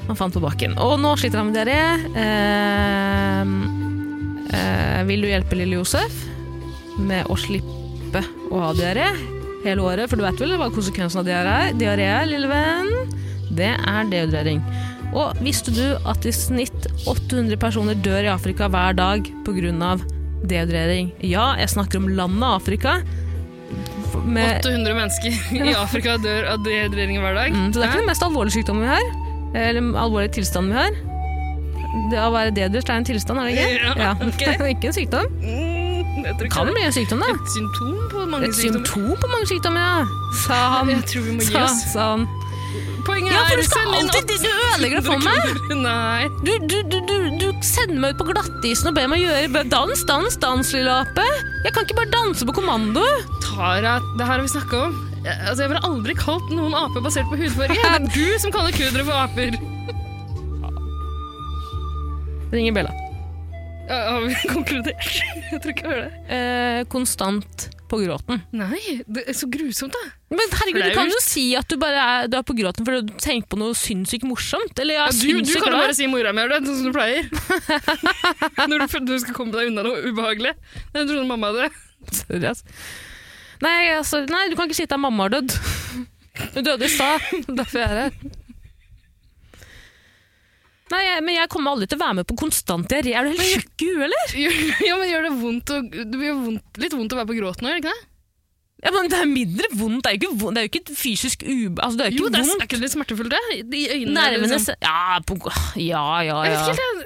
Speaker 1: han fant på bakken. Og nå sliter han med diaré. Eh, eh, vil du hjelpe lille Josef med å slippe å ha diaré hele året? For du vet vel hva konsekvensen av diaré er, diaré er, lille venn? Det er dehydrering. Og visste du at i snitt 800 personer dør i Afrika hver dag pga. dehydrering? Ja, jeg snakker om landet Afrika. Med,
Speaker 2: 800 mennesker i Afrika dør av dehydrering hver dag.
Speaker 1: mm, så det er ikke den mest alvorlige sykdommen vi har. Eller den alvorlige tilstanden vi har. Det å være dehydrert er en tilstand, er det ikke?
Speaker 2: Ja, ok.
Speaker 1: ikke en sykdom.
Speaker 2: Mm, jeg tror ikke
Speaker 1: Kan
Speaker 2: det.
Speaker 1: bli en sykdom, da.
Speaker 2: Et symptom på mange
Speaker 1: Et
Speaker 2: sykdommer.
Speaker 1: symptom på mange sykdommer, ja. sånn. Sa han.
Speaker 2: Jeg tror vi må gi
Speaker 1: Sa,
Speaker 2: oss.
Speaker 1: sa han.
Speaker 2: Poenget
Speaker 1: Ja, for du
Speaker 2: er
Speaker 1: skal
Speaker 2: send inn
Speaker 1: alltid Du ødelegger det for meg!
Speaker 2: 800 kroner. Nei.
Speaker 1: Du, du, du, du, du sender meg ut på glattisen og ber meg gjøre dans, dans, dans, lille ape. Jeg kan ikke bare danse på kommando.
Speaker 2: Tara, det her har vi snakka om. Jeg- Altså, jeg ville aldri kalt noen ape basert på hudfarge. Det er du som kaller kurdere for aper.
Speaker 1: Ringer Bella.
Speaker 2: Ja, Har vi konkludert? Jeg tror ikke jeg hører det.
Speaker 1: Eh, konstant på gråten.
Speaker 2: Nei, det er så grusomt, da.
Speaker 1: Men herregud, du kan jo
Speaker 2: Flaut.
Speaker 1: si at du bare er, du er på gråten fordi du tenker på noe sinnssykt morsomt. Eller ja,
Speaker 2: Ja, du, du
Speaker 1: sinnssykt
Speaker 2: kan jo
Speaker 1: glad.
Speaker 2: bare si mora mi gjør det, sånn som du pleier. Når du føler du skal komme deg unna noe ubehagelig. Det er sånn mamma hadde.
Speaker 1: Sorry, ass. Nei, altså, nei, du kan ikke si at det er mamma har dødd. Hun døde i stad, derfor jeg er her. Nei, jeg, men jeg kommer aldri til å være med på konstant diaré. Er du helt tjukk i huet, eller?
Speaker 2: Gjør- Ja, men gjør det vondt å, det blir jo vondt, litt vondt å være på gråten nå, gjør det ikke det?
Speaker 1: Ja, men det er mindre vondt. Det er jo ikke, vondt. Det er jo ikke et fysisk ube... Altså, det er jo
Speaker 2: Jo,
Speaker 1: ikke
Speaker 2: det er,
Speaker 1: vondt.
Speaker 2: er ikke det litt smertefullt, det? I øynene eller
Speaker 1: Nervene
Speaker 2: sånn.
Speaker 1: se- ja, på, ja, ja, ja.
Speaker 2: Jeg vet ikke helt,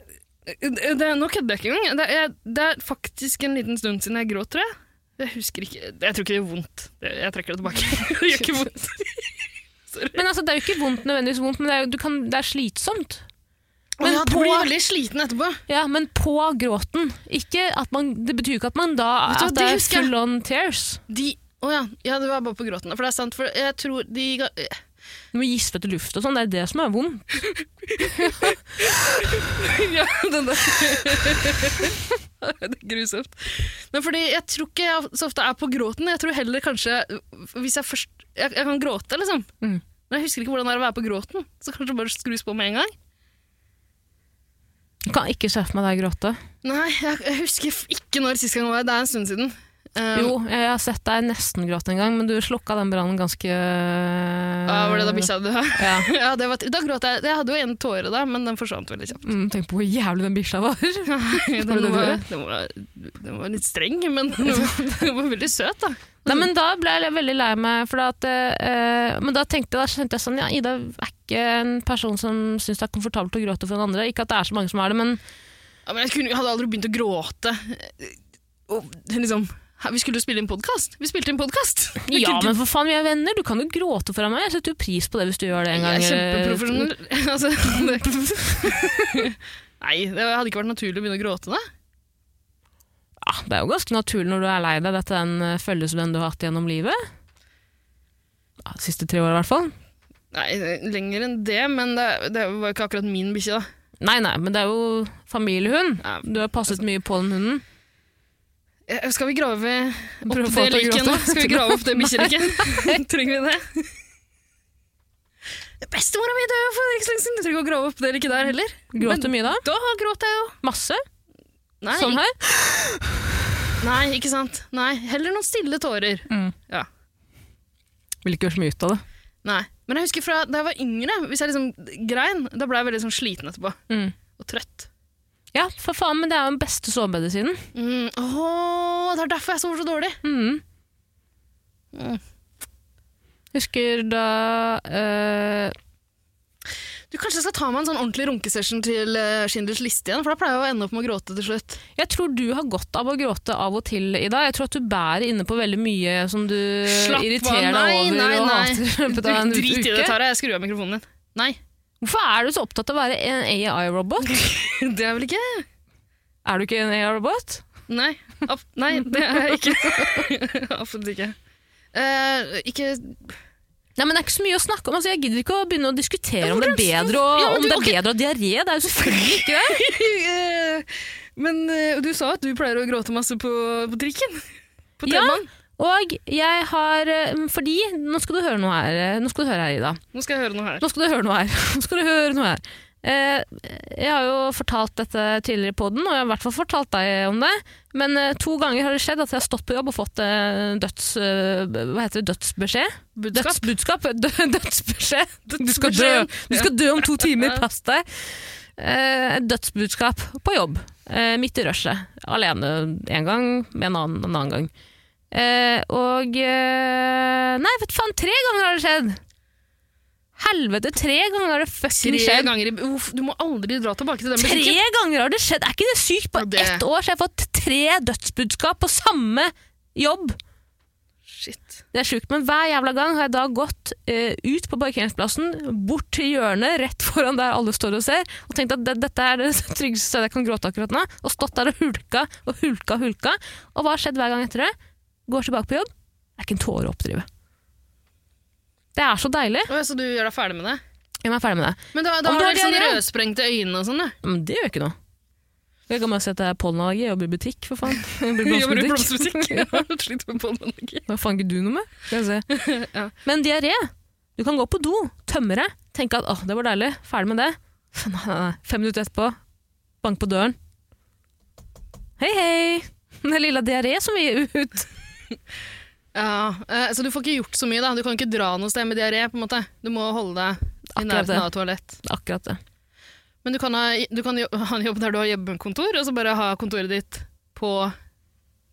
Speaker 2: jeg, det, det, Nå kødder jeg ikke engang. Det er, det er faktisk en liten stund siden jeg gråt, tror jeg. Jeg husker ikke Jeg tror ikke det gjør vondt. Jeg, jeg trekker det tilbake. Det gjør ikke vondt.
Speaker 1: Men altså, det er jo ikke vondt nødvendigvis vondt, men det er, jo- du kan, det er slitsomt. Men
Speaker 2: Ja, du
Speaker 1: på-
Speaker 2: blir veldig sliten etterpå.
Speaker 1: Ja, men på gråten. Ikke at man, det betyr jo ikke at man da
Speaker 2: Vet du hva,
Speaker 1: at
Speaker 2: det
Speaker 1: det er
Speaker 2: husker jeg.
Speaker 1: full on tears.
Speaker 2: De Å ja. ja, det var bare på gråten. For det er sant, for jeg tror de ga-
Speaker 1: Du må gispe etter luft og sånn. Det er det som er vondt.
Speaker 2: Ja, den der. det er grusomt. Men fordi jeg tror ikke jeg så ofte er på gråten. Jeg tror heller kanskje Hvis jeg først Jeg, jeg kan gråte, liksom.
Speaker 1: Mm.
Speaker 2: Men jeg husker ikke hvordan det er å være på gråten. Så kanskje bare skrus på med en gang.
Speaker 1: Jeg kan ikke se for meg deg gråte.
Speaker 2: Nei, jeg, jeg husker f- ikke når sist gang var. Det er en stund siden. Eh,
Speaker 1: Jo, jeg har sett deg nesten gråte en gang, men du slukka den brannen ganske
Speaker 2: ja, var det da bikkja døde?
Speaker 1: Ja.
Speaker 2: ja, det var, da gråt jeg. Jeg hadde jo en tåre da, men den forsvant veldig kjapt.
Speaker 1: Mm, tenk på hvor jævlig den bikkja var.
Speaker 2: Den
Speaker 1: Var det
Speaker 2: var,
Speaker 1: det du gjorde?
Speaker 2: den, var, den var litt streng, men den var, den var veldig søt, da.
Speaker 1: Nei, men da ble jeg veldig lei meg, for at, eh, men da tenkte jeg, da skjønte jeg sånn, ja, Ida er ikke en person som syns det er komfortabelt å gråte for den andre. Ikke at det er så mange som er det, men
Speaker 2: Ja, men jeg kunne, jeg hadde aldri begynt å gråte. Og, liksom, her- vi skulle jo spille inn podkast. Vi spilte inn podkast!
Speaker 1: ja, men for faen, vi er venner, du kan jo gråte foran meg. Jeg setter jo pris på det hvis du gjør det en gang. eh,
Speaker 2: Jeg er
Speaker 1: eller-
Speaker 2: kjempeprofesjonell. Altså, det- Nei, det hadde ikke vært naturlig å begynne å gråte da.
Speaker 1: Ja, Ah, det er jo ganske naturlig når du er lei deg, dette er en eh, følgesvenn du har hatt gjennom livet. Ja, de siste tre åra, i hvert fall.
Speaker 2: Nei, lenger enn det, men det, det var jo ikke akkurat min bikkje, da.
Speaker 1: Nei, nei, men det er jo familiehund.
Speaker 2: Ja,
Speaker 1: Du har passet mye på den hunden.
Speaker 2: Eh, Skal vi grave
Speaker 1: Prøv å
Speaker 2: opp
Speaker 1: få til
Speaker 2: det
Speaker 1: å
Speaker 2: liket
Speaker 1: gråte.
Speaker 2: nå? Skal vi grave opp det bikkjeliket? Trenger vi det? Bestemora mi døde for ikke så lenge siden. Jeg trenger ikke å grave opp det liket der heller.
Speaker 1: Gråter du mye da?
Speaker 2: Da gråter jeg jo.
Speaker 1: Masse?
Speaker 2: Nei,
Speaker 1: sånn her?
Speaker 2: nei, ikke sant. Nei, heller noen stille tårer.
Speaker 1: Mm.
Speaker 2: Ja.
Speaker 1: Vil ikke gjøre så mye ut av det.
Speaker 2: Nei. Men jeg husker fra da jeg var yngre, hvis jeg liksom grein, da ble jeg veldig sånn sliten etterpå.
Speaker 1: Mm.
Speaker 2: Og trøtt.
Speaker 1: Ja, for faen, men det er jo den beste sovemedisinen.
Speaker 2: Mm. Åh, det er derfor jeg sover så dårlig.
Speaker 1: Mm.
Speaker 2: Mm.
Speaker 1: Husker da eh,
Speaker 2: Du Kanskje jeg skal ta meg en sånn ordentlig runkesession til eh, Schindlers liste igjen, for da pleier jeg å ende opp med å gråte til slutt.
Speaker 1: Jeg tror du har godt av å gråte av og til, Ida. Jeg tror at du bærer inne på veldig mye som du
Speaker 2: Slapp av,
Speaker 1: irriterer
Speaker 2: nei,
Speaker 1: deg over
Speaker 2: nei,
Speaker 1: og
Speaker 2: nei.
Speaker 1: hater i løpet av en
Speaker 2: Drit i det,
Speaker 1: uke.
Speaker 2: Tara. Jeg skrur av mikrofonen din. Nei,
Speaker 1: Hvorfor er du så opptatt av å være en AI-robot?
Speaker 2: det er vel ikke
Speaker 1: Er du ikke en AI-robot?
Speaker 2: Nei, ab nei det er jeg ikke. Absolutt ikke. Eh, ikke
Speaker 1: Nei, men Det er ikke så mye å snakke om. Altså, jeg gidder ikke å begynne å diskutere om det er bedre å,
Speaker 2: Ja, men
Speaker 1: om
Speaker 2: du-
Speaker 1: det er
Speaker 2: ok.
Speaker 1: bedre å ha diaré. Det er jo selvfølgelig ikke det.
Speaker 2: Eh, Men eh, du sa at du pleier å gråte masse på, på trikken. På
Speaker 1: Ja.
Speaker 2: T-banen.
Speaker 1: Og jeg har eh, Fordi Nå skal du høre noe her, eh, nå skal du høre her Ida.
Speaker 2: Nå skal jeg høre noe her.
Speaker 1: Nå skal du høre noe her. Nå skal du høre noe her. Eh, jeg har jo fortalt dette tidligere på den, og jeg har i hvert fall fortalt deg om det. Men eh, to ganger har det skjedd at jeg har stått på jobb og fått eh, døds... eh, hva heter det? Dødsbeskjed?
Speaker 2: Budskap.
Speaker 1: Dødsbudskap? Dø, dødsbeskjed! Du skal dø!
Speaker 2: Dødsbeskjeden.
Speaker 1: Du skal dø om to timer, pass deg! Eh, et dødsbudskap på jobb, eh, midt i rushet. Alene én gang, med en annen en annen gang. Eh, og eh, Nei, vet faen, tre ganger har det skjedd! Helvete, tre ganger har det fucking
Speaker 2: Tre
Speaker 1: skjedd!
Speaker 2: ganger i Uff, Du må aldri dra tilbake til den butikken.
Speaker 1: Tre ganger har det skjedd! Er ikke det sykt? På
Speaker 2: Ja, det-
Speaker 1: ett år så har jeg fått tre dødsbudskap på samme jobb!
Speaker 2: Shit.
Speaker 1: Det er sjukt, men hver jævla gang har jeg da gått eh, ut på parkeringsplassen, bort til hjørnet, rett foran der alle står og ser, og tenkt at det, dette er det tryggeste stedet jeg kan gråte akkurat nå, og stått der og hulka og hulka og hulka. Og hva har skjedd hver gang etter det? Går tilbake på jobb, er ikke en tåre å oppdrive. Det er så deilig.
Speaker 2: Å, ja, så du gjør deg ferdig med det?
Speaker 1: Jeg må være ferdig med det.
Speaker 2: Men da, da
Speaker 1: Om du
Speaker 2: har du
Speaker 1: har
Speaker 2: helt sånn
Speaker 1: diaré?
Speaker 2: rødsprengte øyne og sånn, da.
Speaker 1: Men det gjør ikke noe. Jeg kan bare si at det er pollenallergi, jeg jobber i butikk, for faen. Jeg jobber i
Speaker 2: Jobber i
Speaker 1: blomsterbutikk.
Speaker 2: blomsterbutikk. Ja, Slitt med pollenallergi.
Speaker 1: Hva faen ikke du noe med? Skal jeg se.
Speaker 2: Ja.
Speaker 1: Men diaré. Du kan gå på do, tømme deg, tenke at åh, det var deilig, ferdig med det. Nei, nei, nei. Fem minutter etterpå, bank på døren. Hei, hei! Den lilla diaré som vi gir ut.
Speaker 2: Ja, eh, så du får ikke gjort så mye, da. Du kan ikke dra noe sted med diaré. på en måte. Du må holde deg i
Speaker 1: Akkurat det.
Speaker 2: nærheten av toalett.
Speaker 1: Akkurat det.
Speaker 2: Men du kan, ha, du kan jo- ha en jobb der du har hjemmekontor, og så bare ha kontoret ditt på,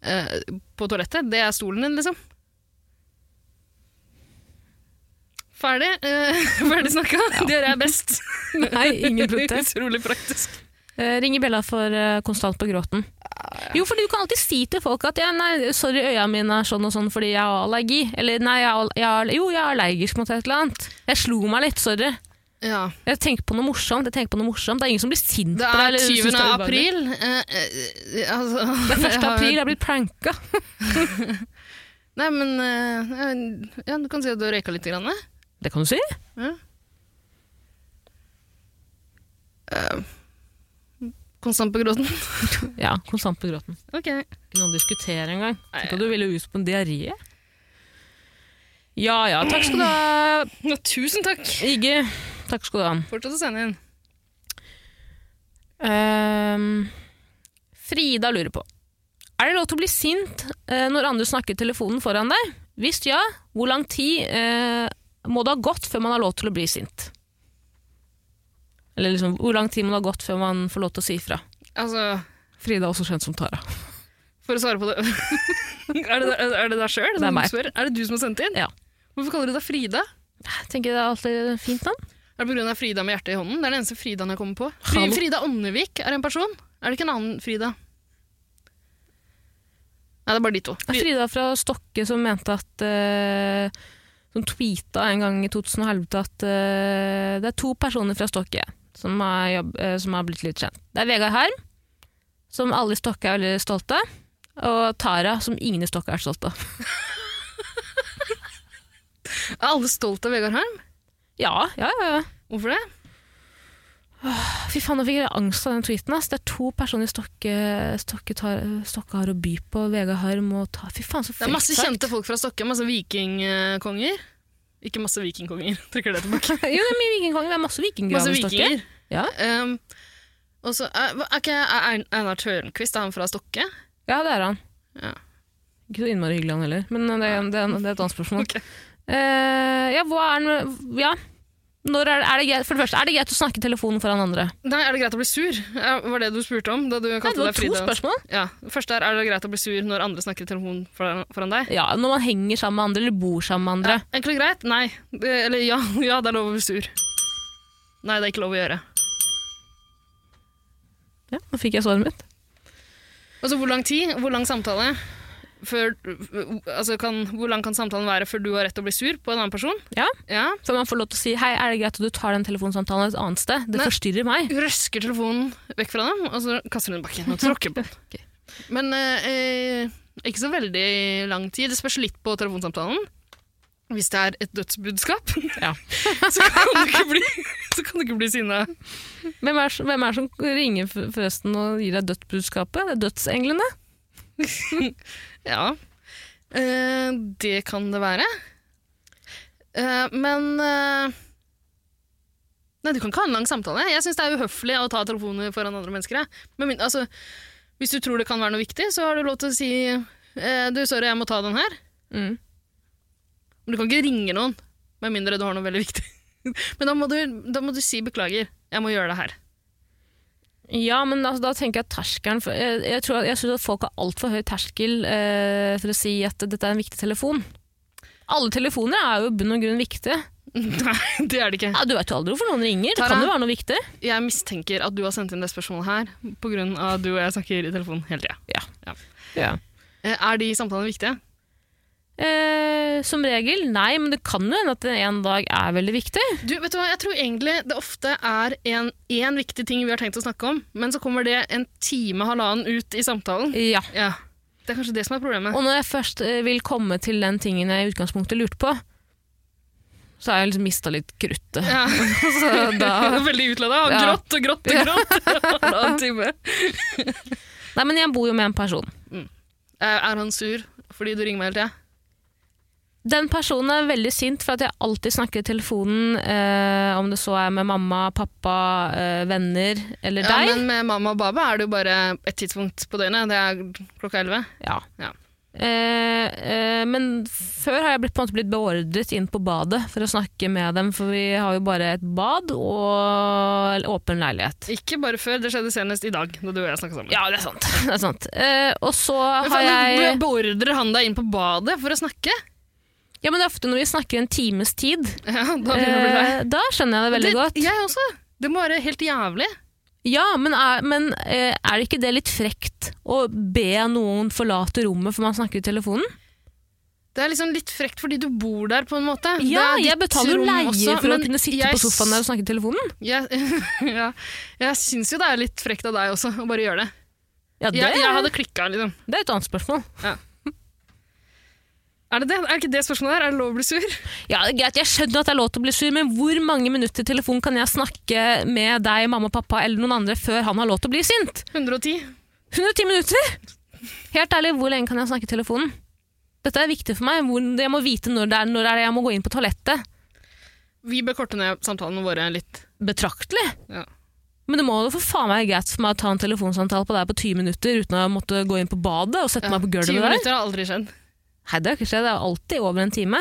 Speaker 2: eh, på toalettet. Det er stolen din, liksom. Ferdig. Eh, ferdig snakka. Dere er best.
Speaker 1: Nei, ingen protest.
Speaker 2: Utrolig praktisk.
Speaker 1: Eh, ringer Bella for eh, konstant på gråten. Jo, fordi du kan alltid si til folk at ja, nei, 'sorry, øya mine er sånn og sånn fordi jeg har allergi'. Eller 'nei, jeg, har- jeg, har- jo, jeg er allergisk mot et eller annet'. Jeg slo meg litt, sorry.
Speaker 2: Ja.
Speaker 1: Jeg tenker på noe morsomt. jeg tenker på noe morsomt. Det er ingen som blir sint
Speaker 2: Det
Speaker 1: på deg.
Speaker 2: er
Speaker 1: eller synes
Speaker 2: 20.
Speaker 1: ubehagelig.
Speaker 2: april. Eh, eh, altså,
Speaker 1: Det er 1. april, jeg
Speaker 2: har-
Speaker 1: har blitt pranka.
Speaker 2: Nei, men eh, ja, Du kan si at du har røyka litt. Grann, eh.
Speaker 1: Det kan du si.
Speaker 2: Konstant på gråten.
Speaker 1: Ja, konstant på gråten.
Speaker 2: Ok.
Speaker 1: Ikke noe å diskutere engang.
Speaker 2: Nei.
Speaker 1: Tenk at du ville ut på en diaré. Ja ja, takk skal du ha,
Speaker 2: Ja, tusen takk.
Speaker 1: Iggy. Takk skal du ha.
Speaker 2: Fortsett å sende inn.
Speaker 1: Ehm, Frida lurer på Er det lov til å bli sint eh, når andre snakker i telefonen foran deg? Hvis ja, hvor lang tid eh, må det ha gått før man har lov til å bli sint? Eller liksom, hvor lang tid må det ha gått før man får lov til å si ifra?
Speaker 2: Altså,
Speaker 1: Frida er også kjent som Tara.
Speaker 2: for å svare på det Er det er det deg sjøl?
Speaker 1: Det er meg.
Speaker 2: Er det du som har sendt inn?
Speaker 1: Ja.
Speaker 2: Hvorfor kaller du deg Frida?
Speaker 1: Jeg tenker det er alltid fint navn.
Speaker 2: Er det pga. Frida med hjertet i hånden? Det er den eneste Fridaen jeg kommer på. Fri
Speaker 1: Hallo.
Speaker 2: Frida Åndevik er en person. Er det ikke en annen Frida? Nei, det er bare de to.
Speaker 1: Det er
Speaker 2: Fri-
Speaker 1: Frida fra Stokke som mente at eh, Som tweeta en gang i 2011 at eh, det er to personer fra Stokke som har, jobb, eh, som har blitt litt kjent. Det er Vegard Harm, som alle i Stokke er veldig stolte av. Og Tara, som ingen i Stokke er stolte av.
Speaker 2: Er alle stolt av Vegard Harm?
Speaker 1: Ja, ja, ja. ja.
Speaker 2: Hvorfor det?
Speaker 1: Fy faen, nå fikk jeg angst av den tweeten. Ass. Det er to personer i Stokke, Stokke, tar, Stokke har å by på. Vegard Harm og Tara. Fy faen, så
Speaker 2: Det er masse
Speaker 1: frekt sagt.
Speaker 2: kjente folk fra Stokke. Masse vikingkonger. Ikke masse vikingkonger, trekker det tilbake.
Speaker 1: jo, det er mye vikingkonger. Det er masse
Speaker 2: Masse
Speaker 1: vikinggraver i Stokke.
Speaker 2: vikinger.
Speaker 1: Ja.
Speaker 2: Um, og så er, er ikke er Ein- Einar Tørnquist er han fra Stokke?
Speaker 1: Ja, det er han.
Speaker 2: Ja.
Speaker 1: Ikke så innmari hyggelig han heller, men det er, det er, det er et annet spørsmål.
Speaker 2: Ok.
Speaker 1: Eh, ja, hva er den Ja. Når er, det- er det greit, for det første, er det greit å snakke i telefonen foran andre?
Speaker 2: Nei, er det greit å bli sur? Er- Var det du spurte om da du
Speaker 1: Nei, det
Speaker 2: kalte
Speaker 1: var
Speaker 2: deg
Speaker 1: to
Speaker 2: Frida?
Speaker 1: spørsmål.
Speaker 2: Ja. Først er, er det greit å bli sur når andre snakker i telefonen foran, foran deg?
Speaker 1: Ja, Når man henger sammen med andre eller bor sammen med andre.
Speaker 2: Ja, enkelt og greit? Nei. Det, eller ja, ja, det er lov å bli sur. Nei, det er ikke lov å gjøre.
Speaker 1: Ja, Nå fikk jeg svaret mitt.
Speaker 2: Og så Altså, hvor lang tid, hvor lang samtale før, altså kan, Hvor lang kan samtalen være før du har rett til å bli sur på en annen person?
Speaker 1: Ja.
Speaker 2: Ja.
Speaker 1: Så man får lov til å si hei, er det greit at du tar den telefonsamtalen et annet sted? Det
Speaker 2: Nei.
Speaker 1: forstyrrer meg.
Speaker 2: Du røsker telefonen vekk fra dem, og så kaster du den i bakken og tråkker på den.
Speaker 1: Ok.
Speaker 2: Men eh, eh, ikke så veldig lang tid. Det spørs litt på telefonsamtalen. Hvis det er et dødsbudskap,
Speaker 1: Ja.
Speaker 2: så kan du ikke bli, så kan du ikke bli sinna.
Speaker 1: Hvem er, hvem er det som ringer for- forresten og gir deg dødsbudskapet? Det er dødsenglene.
Speaker 2: Ja. Eh, det kan det være. Eh, men eh, Nei, du kan ikke ha en lang samtale. Jeg syns det er uhøflig å ta telefoner foran andre mennesker. jeg. Men, min- altså, hvis du tror det kan være noe viktig, så har du lov til å si eh, Du, sorry, jeg må ta den her.
Speaker 1: Mm.
Speaker 2: Men du kan ikke ringe noen, med mindre du har noe veldig viktig. Men da må du, da må du si beklager. Jeg må gjøre det her.
Speaker 1: Ja, men altså, da tenker jeg at terskelen for, Jeg, jeg, tror at- jeg syns at folk har altfor høy terskel eh, for å si at dette er en viktig telefon. Alle telefoner er jo i bunn og grunn viktige.
Speaker 2: Nei, det er det ikke.
Speaker 1: Ja, du vet jo aldri hvorfor noen ringer. Det
Speaker 2: Tara.
Speaker 1: kan jo være noe viktig.
Speaker 2: Jeg mistenker at du har sendt inn det spørsmålet her pga. at du og jeg snakker i telefonen hele tida. Eh, Er de samtalene viktige?
Speaker 1: Eh, som regel, nei, men det kan jo hende at det en dag er veldig viktig.
Speaker 2: Du, vet du hva, Jeg tror egentlig det ofte er en- én viktig ting vi har tenkt å snakke om, men så kommer det en time, halvannen ut i samtalen.
Speaker 1: Ja.
Speaker 2: Ja, Det er kanskje det som er problemet.
Speaker 1: Og når jeg først eh, vil komme til den tingen jeg i utgangspunktet lurte på, så har jeg liksom mista litt kruttet.
Speaker 2: Ja.
Speaker 1: Så da
Speaker 2: Veldig utlada og
Speaker 1: Ja.
Speaker 2: grått og grått og grått. Halvannen time.
Speaker 1: Nei, men jeg bor jo med en person.
Speaker 2: Eh, Er han sur fordi du ringer meg hele tida?
Speaker 1: Den personen er veldig sint for at jeg alltid snakker i telefonen, eh, om det så er med mamma, pappa, eh, venner eller
Speaker 2: Ja,
Speaker 1: deg.
Speaker 2: men med mamma og baba er det jo bare et tidspunkt på døgnet. Det er klokka elleve.
Speaker 1: Ja.
Speaker 2: Ja.
Speaker 1: Eh, eh, men før har jeg blitt, på en måte blitt beordret inn på badet for å snakke med dem, for vi har jo bare et bad og åpen leilighet.
Speaker 2: Ikke bare før, det skjedde senest i dag, da du og jeg snakka sammen.
Speaker 1: Ja, det er sant. Det er sant. Eh, og så
Speaker 2: Men
Speaker 1: har
Speaker 2: faen,
Speaker 1: jeg
Speaker 2: Beordrer han deg inn på badet for å snakke?
Speaker 1: Ja, men det er ofte når vi snakker en times tid,
Speaker 2: Ja, da begynner du å bli lei.
Speaker 1: eh, da skjønner jeg det veldig
Speaker 2: Det-
Speaker 1: godt.
Speaker 2: Jeg også. Det må være helt jævlig.
Speaker 1: Ja, men, er, men eh, er det ikke det litt frekt å be noen forlate rommet for man snakker i telefonen?
Speaker 2: Det er liksom litt frekt fordi du bor der, på en måte.
Speaker 1: Ja,
Speaker 2: Det er
Speaker 1: jeg
Speaker 2: ditt
Speaker 1: betaler jo
Speaker 2: rom
Speaker 1: leie
Speaker 2: også,
Speaker 1: for å
Speaker 2: men
Speaker 1: kunne sitte
Speaker 2: jeg
Speaker 1: på sofaen der og snakke i telefonen.
Speaker 2: Jeg, ja, jeg syns jo det er litt frekt av deg også, å bare gjøre det.
Speaker 1: Ja, det,
Speaker 2: Jeg, jeg hadde klikka, liksom.
Speaker 1: det er et annet spørsmål.
Speaker 2: Er det det? Er det ikke det spørsmålet her? Er det lov å bli sur?
Speaker 1: Ja, det er greit, Jeg skjønner at det er lov til å bli sur, men hvor mange minutter i telefon kan jeg snakke med deg, mamma, pappa eller noen andre før han har lov til å bli sint?
Speaker 2: 110.
Speaker 1: 110 minutter! Helt ærlig, hvor lenge kan jeg snakke i telefonen? Dette er viktig for meg. Hvor, jeg må vite når det er, når er det jeg må gå inn på toalettet.
Speaker 2: Vi bør korte ned samtalene våre litt.
Speaker 1: Betraktelig.
Speaker 2: Ja.
Speaker 1: Men det må jo for faen meg greit for meg å ta en telefonsamtale på deg på 20 minutter uten å måtte gå inn på badet og sette meg på
Speaker 2: 20
Speaker 1: gulvet der.
Speaker 2: minutter har aldri skjedd.
Speaker 1: Nei, det har ikke skjedd. Det er alltid over en time.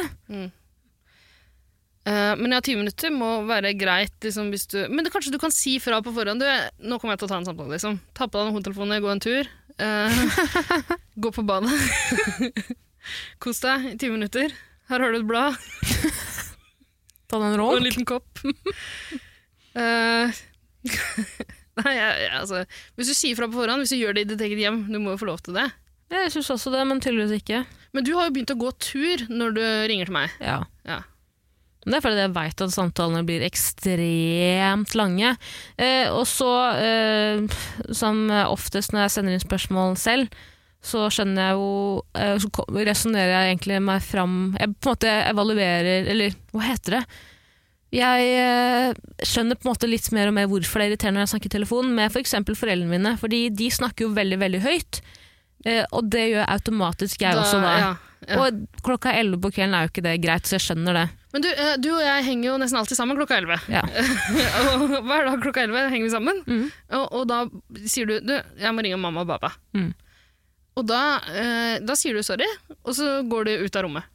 Speaker 2: Eh, men ja, 20 minutter må være greit. Liksom, hvis du, men det, kanskje du kan si fra på forhånd. Du, jeg- nå kommer jeg til å ta en samtale. Liksom. Ta på deg noen hodetelefoner, gå en tur. eh, gå på badet. Kos deg i 20 minutter. Her har du et blad
Speaker 1: Ta den
Speaker 2: og en
Speaker 1: rollen.
Speaker 2: liten kopp. Eh, nei, jeg, jeg, altså, hvis du sier fra på forhånd, hvis du gjør det i ditt eget hjem, du må jo få lov til det.
Speaker 1: Jeg syns også det, men tydeligvis ikke.
Speaker 2: Men du har jo begynt å gå tur når du ringer til meg.
Speaker 1: Ja.
Speaker 2: Ja.
Speaker 1: Men Det er fordi jeg veit at samtalene blir ekstremt lange. Eh, og så, eh, som oftest når jeg sender inn spørsmål selv, så skjønner jeg jo eh, Så ko- resonnerer jeg egentlig meg fram Jeg på en måte evaluerer Eller hva heter det? Jeg eh, skjønner på en måte litt mer og mer hvorfor det er irriterende når jeg snakker i telefon med f.eks. For foreldrene mine, fordi de snakker jo veldig, veldig høyt. Eh, og det gjør automatisk jeg også da.
Speaker 2: Ja, ja.
Speaker 1: Og klokka 11 på kvelden er jo ikke det greit, så jeg skjønner det.
Speaker 2: Men du, eh, du og jeg henger jo nesten alltid sammen klokka 11.
Speaker 1: Ja.
Speaker 2: og hver dag klokka 11 henger vi sammen.
Speaker 1: Mm.
Speaker 2: Og, og da sier du, du jeg må ringe mamma og pappa.
Speaker 1: Mm.
Speaker 2: Og da, eh, da sier du sorry, og så går du ut av rommet.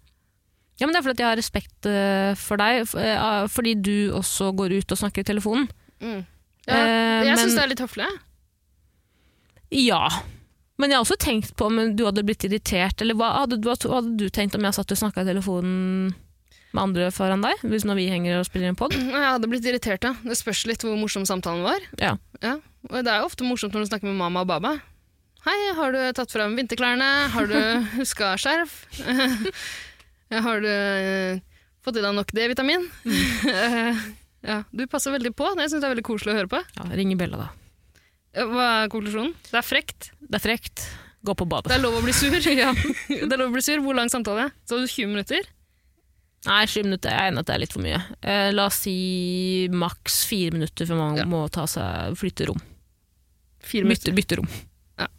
Speaker 1: Ja, men Det er fordi at jeg har respekt eh, for deg, f- eh, ah, fordi du også går ut og snakker i telefonen.
Speaker 2: Mm. Ja,
Speaker 1: Eh,
Speaker 2: jeg
Speaker 1: men-
Speaker 2: syns det er litt høflig. jeg.
Speaker 1: Ja. Men jeg har også tenkt på om du hadde blitt irritert, eller hva hadde, hva hadde du tenkt om jeg satt og snakka i telefonen med andre foran deg, hvis når vi henger og spiller en pod?
Speaker 2: Jeg hadde blitt irritert, ja. Det spørs litt hvor morsom samtalen var.
Speaker 1: Ja.
Speaker 2: Ja. Og det er jo ofte morsomt når du snakker med mamma og baba. Hei, har du tatt frem vinterklærne? Har du huska skjerf? har du eh, fått i deg nok D-vitamin? ja, du passer veldig på. Det syns jeg er veldig koselig å høre på.
Speaker 1: ja ring i bjella, da.
Speaker 2: Eh, Hva er konklusjonen? Det er frekt.
Speaker 1: Det er frekt. Gå på
Speaker 2: Det
Speaker 1: badet.
Speaker 2: er lov å bli sur. ja. Det er lov å bli sur. Hvor lang samtale? Så 20 minutter?
Speaker 1: Nei, sju minutter. Jeg er enig at det er litt for mye. Eh, la oss si maks fire minutter før man
Speaker 2: Ja.
Speaker 1: må ta seg, flytte rom.
Speaker 2: Fire
Speaker 1: Bytte, bytte rom.
Speaker 2: Ja.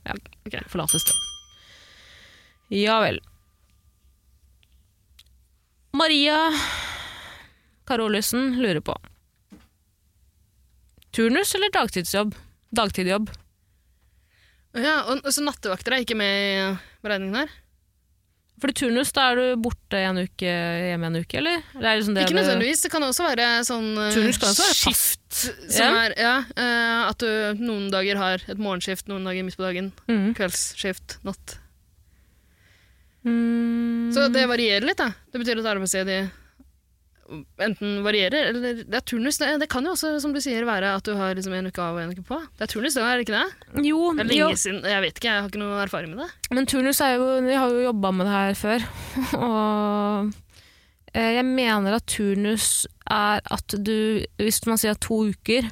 Speaker 2: Ok.
Speaker 1: Forlate sted. Ja vel. Maria Karolussen lurer på. Turnus eller dagtidsjobb? Dagtidjobb.
Speaker 2: Ja, og, og så nattevakter er ikke med i beregningen her?
Speaker 1: Fordi turnus, da er du borte en uke, hjemme en uke, eller? Det er liksom det
Speaker 2: Ikke
Speaker 1: det-
Speaker 2: nødvendigvis. Det kan også være sånn eh,
Speaker 1: Turnus kan også være fast.
Speaker 2: Som er, ja, eh, at du noen dager har et morgenskift, noen dager midt på dagen,
Speaker 1: Mm.
Speaker 2: kveldsskift, natt.
Speaker 1: Mm.
Speaker 2: Så det varierer litt, da. Det betyr at arbeidsstedet enten varierer, eller det er turnus. Det, det kan jo også, som du sier, være at du har liksom en uke av og en uke på. Det er turnus, det er det ikke det?
Speaker 1: Jo,
Speaker 2: Det er
Speaker 1: jo.
Speaker 2: lenge siden, jeg vet ikke, jeg har ikke noe erfaring med det.
Speaker 1: Men turnus er jo Vi har jo jobba med det her før. Og eh, jeg mener at turnus er at du Hvis man sier to uker,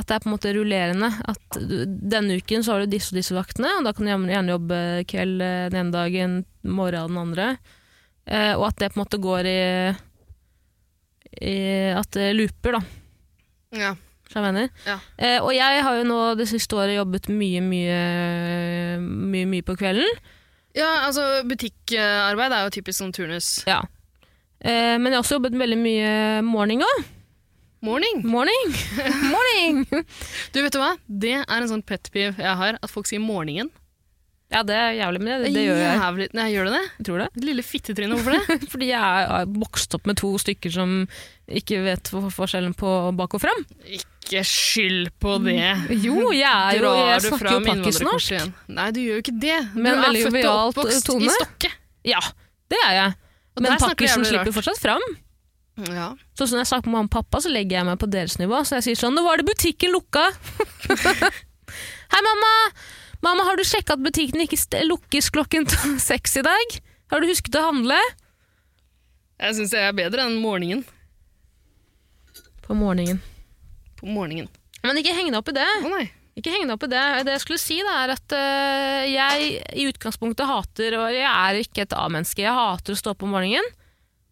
Speaker 1: at det er på en måte rullerende. At du, denne uken så har du disse og disse vaktene, og da kan du gjerne- gjerne jobbe kveld eh, den ene dagen, morgen den andre. Eh, og at det på en måte går i, i At det looper, da.
Speaker 2: Ja.
Speaker 1: Skjønner du hva jeg mener?
Speaker 2: Ja.
Speaker 1: Eh, og jeg har jo nå det siste året jobbet mye, mye, mye, mye på kvelden.
Speaker 2: altså butikkarbeid er jo typisk sånn turnus.
Speaker 1: Ja. Eh, men jeg har også jobbet veldig mye morning òg.
Speaker 2: Morning!
Speaker 1: Morning! morning!
Speaker 2: Du, vet du hva? Det er en sånn pet peeve jeg har, at folk sier morgenen.
Speaker 1: Ja, det er jævlig, men det, det gjør jeg.
Speaker 2: Jævlig- Nei, gjør du det?
Speaker 1: jeg tror det.
Speaker 2: Lille fittetryne, hvorfor det?
Speaker 1: Fordi jeg er er vokst opp med to stykker som ikke vet for- forskjellen på bak og fram.
Speaker 2: ikke skyld på det.
Speaker 1: Jo, jeg, er jo, jeg snakker jo pakkisnorsk.
Speaker 2: igjen? Nei, du gjør jo ikke det. Du
Speaker 1: Men
Speaker 2: er
Speaker 1: veldig
Speaker 2: født og
Speaker 1: jovialt,
Speaker 2: oppvokst
Speaker 1: tone.
Speaker 2: i Stokke.
Speaker 1: Ja, det er jeg.
Speaker 2: Og
Speaker 1: Men
Speaker 2: der snakker jeg
Speaker 1: pakkisen
Speaker 2: jævlig
Speaker 1: slipper
Speaker 2: rart.
Speaker 1: fortsatt fram.
Speaker 2: Ja.
Speaker 1: Så når jeg snakker med mamma og pappa, så legger jeg meg på deres nivå. Så jeg sier sånn, nå var det butikken lukka. Hei mamma! Mamma, har du sjekket at butikken ikke st- lukkes klokken t- seks i dag? Har du husket å handle?
Speaker 2: Jeg syns det er bedre enn morgenen.
Speaker 1: På morgenen.
Speaker 2: På morgenen.
Speaker 1: Men ikke heng deg opp i det.
Speaker 2: Å nei.
Speaker 1: Ikke heng deg opp i det. Det jeg skulle si da, er at øh, jeg i utgangspunktet hater, og jeg er ikke et A-menneske, jeg hater å stå opp om morgenen.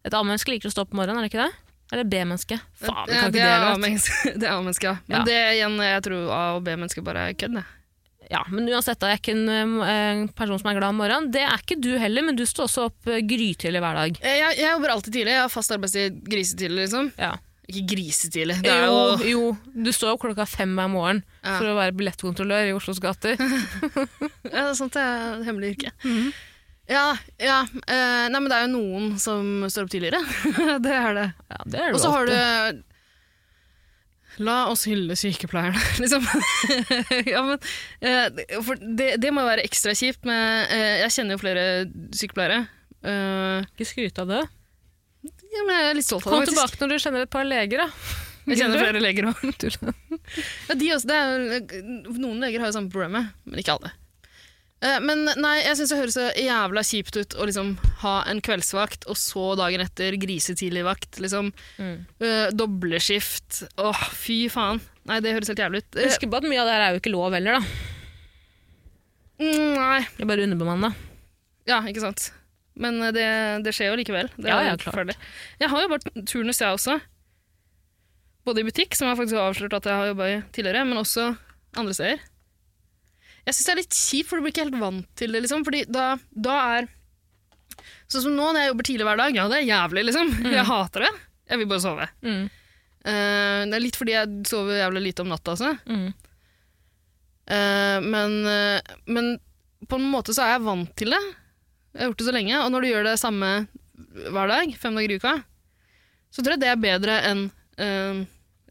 Speaker 1: Et A-menneske liker å stå opp om morgenen, er det ikke det? Eller B-menneske? Faen, vi
Speaker 2: Ja,
Speaker 1: kan
Speaker 2: det
Speaker 1: ikke
Speaker 2: er
Speaker 1: dele. vet du.
Speaker 2: A-menneske. Det er A-menneske, ja. Men
Speaker 1: Ja.
Speaker 2: det igjen, jeg tror A- og B-mennesker bare er kødd. det.
Speaker 1: Ja, men uansett, da, jeg er ikke en eh, en person som er glad om morgenen. Det er ikke du heller, men du står også opp eh, grytidlig hver dag.
Speaker 2: Eh, Jeg, jeg jobber alltid tidlig. Jeg har fast arbeidstid grisetidlig, liksom.
Speaker 1: Ja.
Speaker 2: Ikke grisetidlig. Det er jo
Speaker 1: jo, du står opp klokka fem hver morgen
Speaker 2: Ja.
Speaker 1: for å være billettkontrollør i Oslos gater.
Speaker 2: ja, det er sant, det er et hemmelig yrke.
Speaker 1: Mhm.
Speaker 2: Ja, ja. eh, nei, men det er jo noen som står opp tidligere. det er det.
Speaker 1: Ja, det er
Speaker 2: Og så har
Speaker 1: alltid.
Speaker 2: du La oss hylle sykepleierne, liksom. ja, men, eh, for det, det må jo være ekstra kjipt, men eh, jeg kjenner jo flere sykepleiere. Eh,
Speaker 1: Ikke skryt av det.
Speaker 2: ja, men jeg er litt stolt av
Speaker 1: Kom
Speaker 2: det, faktisk.
Speaker 1: tilbake når du kjenner et par leger, da.
Speaker 2: Jeg kjenner flere leger òg.
Speaker 1: Tull.
Speaker 2: Ja, de også, det er, jo- noen leger har jo samme problemet, men ikke alle. Eh, Men nei, jeg syns det høres så jævla kjipt ut å liksom ha en kveldsvakt, og så dagen etter grisetidlig vakt. liksom.
Speaker 1: Mm.
Speaker 2: Eh, Dobleskift. Åh, fy faen. Nei, det høres helt jævlig ut. Eh,
Speaker 1: Husk på at mye av det her er jo ikke lov heller, da.
Speaker 2: mm, nei.
Speaker 1: Det er bare underbemanna.
Speaker 2: Ja, ikke sant. Men eh, det, det skjer jo likevel. Det
Speaker 1: Ja,
Speaker 2: er jo
Speaker 1: ja, klart.
Speaker 2: forferdelig. Jeg har jo vært turnus, jeg også. Både i butikk, som jeg faktisk har avslørt at jeg har jobba i tidligere, men også andre steder. Jeg syns det er litt kjipt, for du blir ikke helt vant til det, liksom. Fordi da, da er Sånn som nå, når jeg jobber tidlig hver dag. Ja, det er jævlig, liksom. Jeg hater det. Jeg vil bare sove.
Speaker 1: Mm.
Speaker 2: Eh, det er litt fordi jeg sover jævlig lite om natta, altså.
Speaker 1: Mm.
Speaker 2: Eh, men, eh, men på en måte så er jeg vant til det. Jeg har gjort det så lenge, og når du gjør det samme hver dag, fem dager i uka, så tror jeg det er bedre enn eh,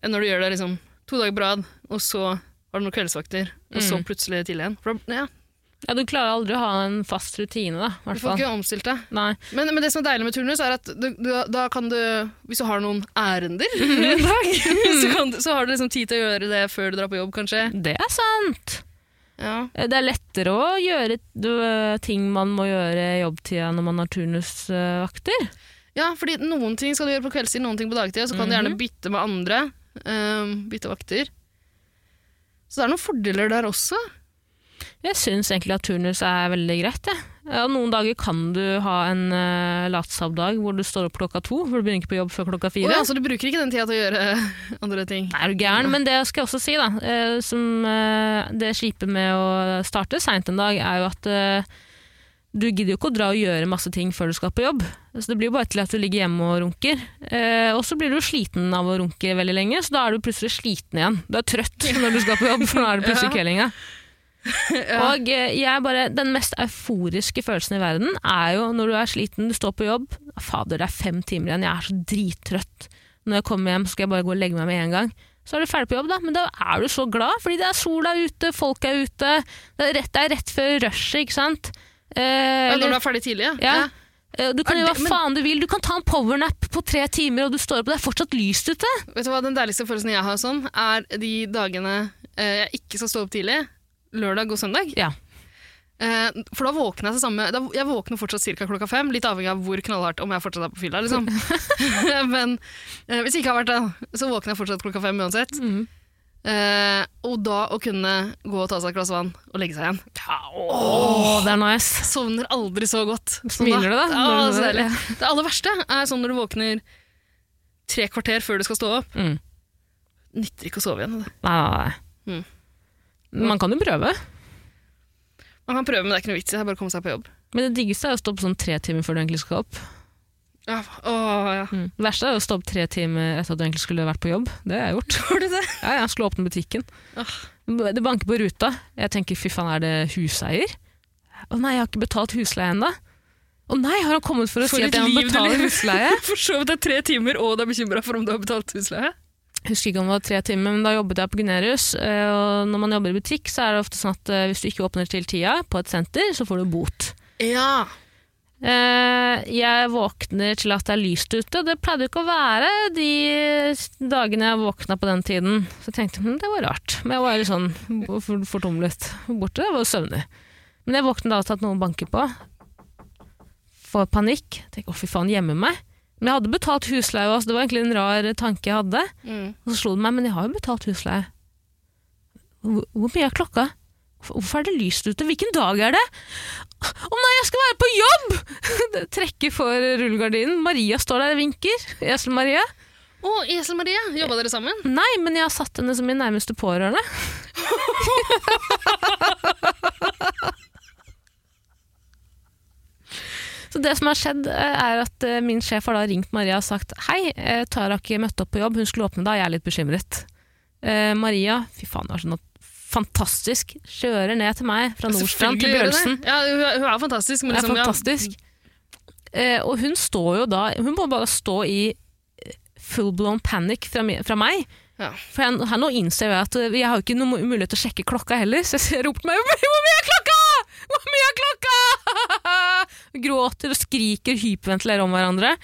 Speaker 2: enn når du gjør det liksom to dager på rad, og så har du noen kveldsvakter, og så
Speaker 1: Mm.
Speaker 2: plutselig til igjen. For da, ja,
Speaker 1: Ja, du klarer aldri å ha en fast rutine, da. i
Speaker 2: du
Speaker 1: Hvert
Speaker 2: får
Speaker 1: fall.
Speaker 2: ikke omstilt deg.
Speaker 1: Nei.
Speaker 2: Men, men det som er deilig med turnus, er at du, du, da kan du, hvis du har noen ærender en dag, så, kan, du- så har du liksom tid til å gjøre det før du drar på jobb, kanskje.
Speaker 1: Det er sant.
Speaker 2: Ja.
Speaker 1: Eh, Det er lettere å gjøre du, eh, ting man må gjøre i jobbtida når man har turnusvakter.
Speaker 2: Ja, fordi noen ting skal du gjøre på kveldstid, noen ting på dagtid, så kan du
Speaker 1: Mhm.
Speaker 2: gjerne bytte med andre, ehm, bytte vakter. Så det er noen fordeler der også.
Speaker 1: Jeg syns egentlig at turnus er veldig greit. jeg. Ja, noen dager kan du ha en uh, latsabdag hvor du står opp klokka to, for du begynner ikke på jobb før klokka
Speaker 2: Og
Speaker 1: fire.
Speaker 2: ja, så du bruker ikke den tida til å gjøre andre ting.
Speaker 1: Nei, er du gæren? Men det skal jeg også si, da. eh, Som eh, det kjipe med å starte seint en dag, er jo at eh, du gidder jo ikke å dra og gjøre masse ting før du skal på jobb. Så det blir jo bare til at du ligger hjemme og runker. Eh, og så blir du sliten av å runke veldig lenge, så da er du plutselig sliten igjen. Du er trøtt når du skal på jobb, for nå er det plutselig kveldinga. Og eh, jeg bare, Den mest euforiske følelsen i verden er jo når du er sliten, du står på jobb. Fader, det er fem timer igjen, jeg er så drittrøtt. Når jeg kommer hjem, skal jeg bare gå og legge meg med en gang. Så er du ferdig på jobb, da. Men da er du så glad, fordi det er sol der ute, folk er ute. Det er rett, det er rett før rushet, ikke sant. Eh,
Speaker 2: Ja,
Speaker 1: eller-
Speaker 2: når du er ferdig tidlig,
Speaker 1: ja. Eh, Du kan
Speaker 2: Er
Speaker 1: gjøre
Speaker 2: det-
Speaker 1: hva
Speaker 2: men-
Speaker 1: faen du vil. Du kan ta en powernap på tre timer, og du står opp, og det er fortsatt lyst ute.
Speaker 2: Vet du hva, Den deiligste følelsen jeg har sånn, er de dagene eh, jeg ikke skal stå opp tidlig. Lørdag og søndag.
Speaker 1: Ja.
Speaker 2: Eh, for da våkner jeg til samme da, Jeg våkner fortsatt ca. klokka fem, litt avhengig av hvor knallhardt om jeg fortsatt er på fylla. Liksom. Men eh, hvis jeg ikke har vært det, så våkner jeg fortsatt klokka fem uansett.
Speaker 1: Mhm.
Speaker 2: Eh, og da å kunne gå og ta seg et glass vann og legge seg igjen.
Speaker 1: Åh, det er nice.
Speaker 2: Sovner aldri så godt. som
Speaker 1: Smiler du da?
Speaker 2: Sånn Ja, så deilig. Det aller verste er sånn når du våkner tre kvarter før du skal stå opp.
Speaker 1: Mm.
Speaker 2: Nytter ikke å sove
Speaker 1: Nei,
Speaker 2: igjen.
Speaker 1: nei, nei.
Speaker 2: Mm.
Speaker 1: Man kan jo prøve.
Speaker 2: Man kan prøve, men det er ikke noe vits i. Det er bare å komme seg på jobb.
Speaker 1: Men det diggeste er å stå opp sånn tre timer før du egentlig skal opp.
Speaker 2: Ja, åh, ja.
Speaker 1: Mm. Det verste er å stå opp tre timer etter at du egentlig skulle vært på jobb. Det har jeg gjort.
Speaker 2: Har du det?
Speaker 1: Ja, jeg skulle åpne butikken.
Speaker 2: Åh.
Speaker 1: Det banker på ruta. Jeg tenker fy faen, er det huseier? Å nei, jeg har ikke betalt husleie ennå. Å nei, har han kommet for å
Speaker 2: For
Speaker 1: si at
Speaker 2: et
Speaker 1: jeg må
Speaker 2: liv du
Speaker 1: betale
Speaker 2: lever.
Speaker 1: husleie?
Speaker 2: For så vidt det er tre timer, og du er bekymra for om du har betalt husleie.
Speaker 1: husker ikke om det var tre timer, men da jobbet jeg på Gunerius. eh, Og når man jobber i butikk, så er det ofte sånn at eh, hvis du ikke åpner til tida på et senter, så får du bot.
Speaker 2: Ja.
Speaker 1: Eh, Jeg våkner til at det er lyst ute. Det pleide jo ikke å være de dagene jeg våkna på den tiden. Så jeg tenkte hm, det var rart. Men jeg var litt sånn for- fortumlet borte. Jeg var søvnig. Men jeg våkner da til at noen banker på. Får panikk. Tenker å, fy faen, gjemmer meg. Men jeg hadde betalt husleie også. Det var egentlig en rar tanke jeg hadde.
Speaker 2: Mm.
Speaker 1: Og så slo det meg, men jeg har jo betalt husleie. Hvor, hvor mye er klokka? Hvorfor- Hvorfor er det lyst ute? Hvilken dag er det? Å nei, jeg skal være på jobb! Det Trekker for rullegardinen. Maria står der og vinker. Esel-Maria.
Speaker 2: Å, Esel Marie, jobba dere sammen?
Speaker 1: Nei, men jeg har satt henne som min nærmeste pårørende. Så det det som har skjedd, eh, er at eh, min sjef har da ringt Maria og sagt Hei, eh, Tara har ikke møtt opp på jobb, hun skulle åpne da, jeg er litt bekymret. Eh, Maria, fy faen, det var sånn at fantastisk, kjører ned til meg fra Nordstrand til
Speaker 2: Selvfølgelig gjør det
Speaker 1: Bjølsen.
Speaker 2: det. Ja, hun, er- hun er fantastisk, men
Speaker 1: Det er
Speaker 2: liksom, ja,
Speaker 1: fantastisk. Eh, og hun står jo da Hun må bare stå i eh, full-blown panic fra, mi- fra meg.
Speaker 2: Ja.
Speaker 1: For jeg, her nå innser jeg at eh, jeg har jo ikke noen mu- mulighet til å sjekke klokka heller, så jeg roper meg Hvor mye er klokka?! Hvor mye er klokka?! Gråter og skriker, hyperventilerer om hverandre.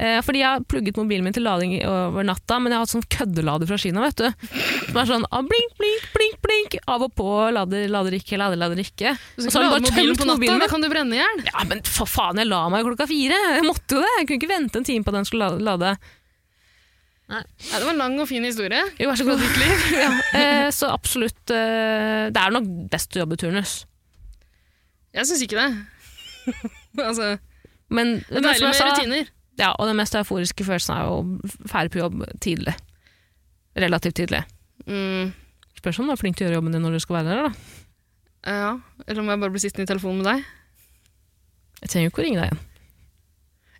Speaker 1: Eh, fordi jeg har plugget mobilen min til lading i- over natta, men jeg har hatt sånn køddelader fra Kina, vet du. Som er sånn ah, blink, blink, blink, blink, av og på, lader, lader ikke, lader, lader ikke.
Speaker 2: Hvis
Speaker 1: Og
Speaker 2: du
Speaker 1: så
Speaker 2: ikke
Speaker 1: har
Speaker 2: lader
Speaker 1: den bare
Speaker 2: mobilen
Speaker 1: tømt
Speaker 2: på natta,
Speaker 1: mobilen
Speaker 2: da kan du brenne i hjel.
Speaker 1: ja, men for faen, jeg la meg klokka fire. Jeg måtte jo det. Jeg kunne ikke vente en time på at den skulle la- lade.
Speaker 2: Ja, det var en lang og fin historie.
Speaker 1: Jo, vær så god. Ditt liv. ja. eh, så absolutt. Eh, det er nok best å jobbe turnus.
Speaker 2: Jeg syns ikke det. altså,
Speaker 1: Men,
Speaker 2: det er
Speaker 1: men
Speaker 2: deilig
Speaker 1: som jeg
Speaker 2: med
Speaker 1: sa,
Speaker 2: rutiner.
Speaker 1: ja, og den mest euforiske følelsen er jo ferdig på jobb tidlig. Relativt tidlig.
Speaker 2: Mm,
Speaker 1: Spørs om du er flink til å gjøre jobben din når du skal være der. da.
Speaker 2: ja, eller om jeg bare blir sittende i telefonen med deg.
Speaker 1: Jeg trenger jo ikke å ringe deg igjen.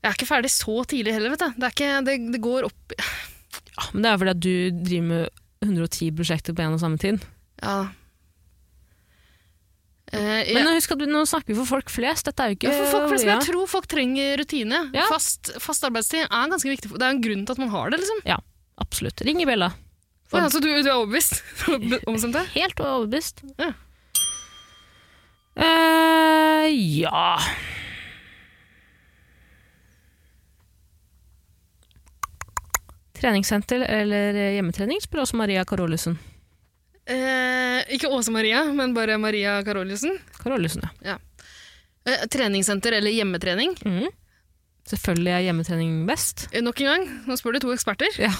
Speaker 2: Jeg er ikke ferdig så tidlig heller, vet du. Det, er ikke, det, det går opp
Speaker 1: Ja, Ah, men det er fordi at du driver med 110 prosjekter på en og samme tid.
Speaker 2: Ja. Eh, jeg,
Speaker 1: Men husk at vi- nå snakker vi for folk flest. Dette er jo ikke
Speaker 2: ja, for folk flest, men
Speaker 1: Ja.
Speaker 2: jeg tror folk trenger rutine.
Speaker 1: Ja.
Speaker 2: Fast, fast arbeidstid er ganske viktig. Det er en grunn til at man har det, liksom.
Speaker 1: Absolutt. Ring i bjella. For-
Speaker 2: Å ja, så du, du er overbevist? Omstemt deg?
Speaker 1: Helt overbevist.
Speaker 2: Ja.
Speaker 1: Eh, ja Treningssenter eller hjemmetrening, spør også Maria Karolisen.
Speaker 2: Eh, ikke Åse Maria, men bare Maria Karoliussen.
Speaker 1: Karolisen, ja.
Speaker 2: Eh, treningssenter eller hjemmetrening?
Speaker 1: Mhm. Selvfølgelig er hjemmetrening best.
Speaker 2: Eh, nok en gang, nå spør du to eksperter.
Speaker 1: Ja.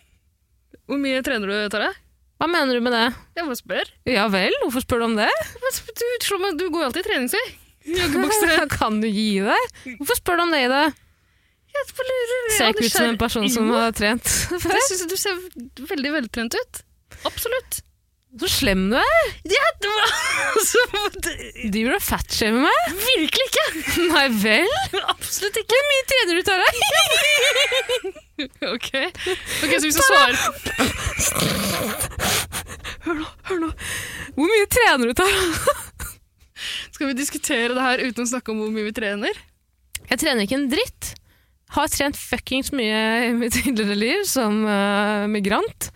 Speaker 2: Hvor mye trener du, Tara?
Speaker 1: Hva mener du med det?
Speaker 2: Jeg bare spør.
Speaker 1: Ja vel, hvorfor spør du om det?
Speaker 2: Men sp- Du, slår meg- du går jo alltid i treningstøy. Joggebukse.
Speaker 1: kan du gi deg? Hvorfor spør du om det i det?
Speaker 2: Jeg bare lurer. Jeg
Speaker 1: Ser
Speaker 2: er
Speaker 1: jeg ikke ut som en
Speaker 2: nysgjerrig.
Speaker 1: person som
Speaker 2: Jo,
Speaker 1: har trent før?
Speaker 2: Jeg syns du ser veldig veltrent ut. Absolutt.
Speaker 1: Så slem du er!
Speaker 2: Det var, altså, det,
Speaker 1: Driver du og fatshamer meg?
Speaker 2: virkelig ikke!
Speaker 1: Nei vel?
Speaker 2: Absolutt ikke.
Speaker 1: Hvor mye trener du, Tara?
Speaker 2: Ok, Ok, så hvis du svarer
Speaker 1: Hvor mye trener du, Tara?
Speaker 2: Skal vi diskutere det her uten å snakke om hvor mye vi trener?
Speaker 1: Jeg trener ikke en dritt. Har trent fuckings mye i mitt tidligere liv som eh, migrant.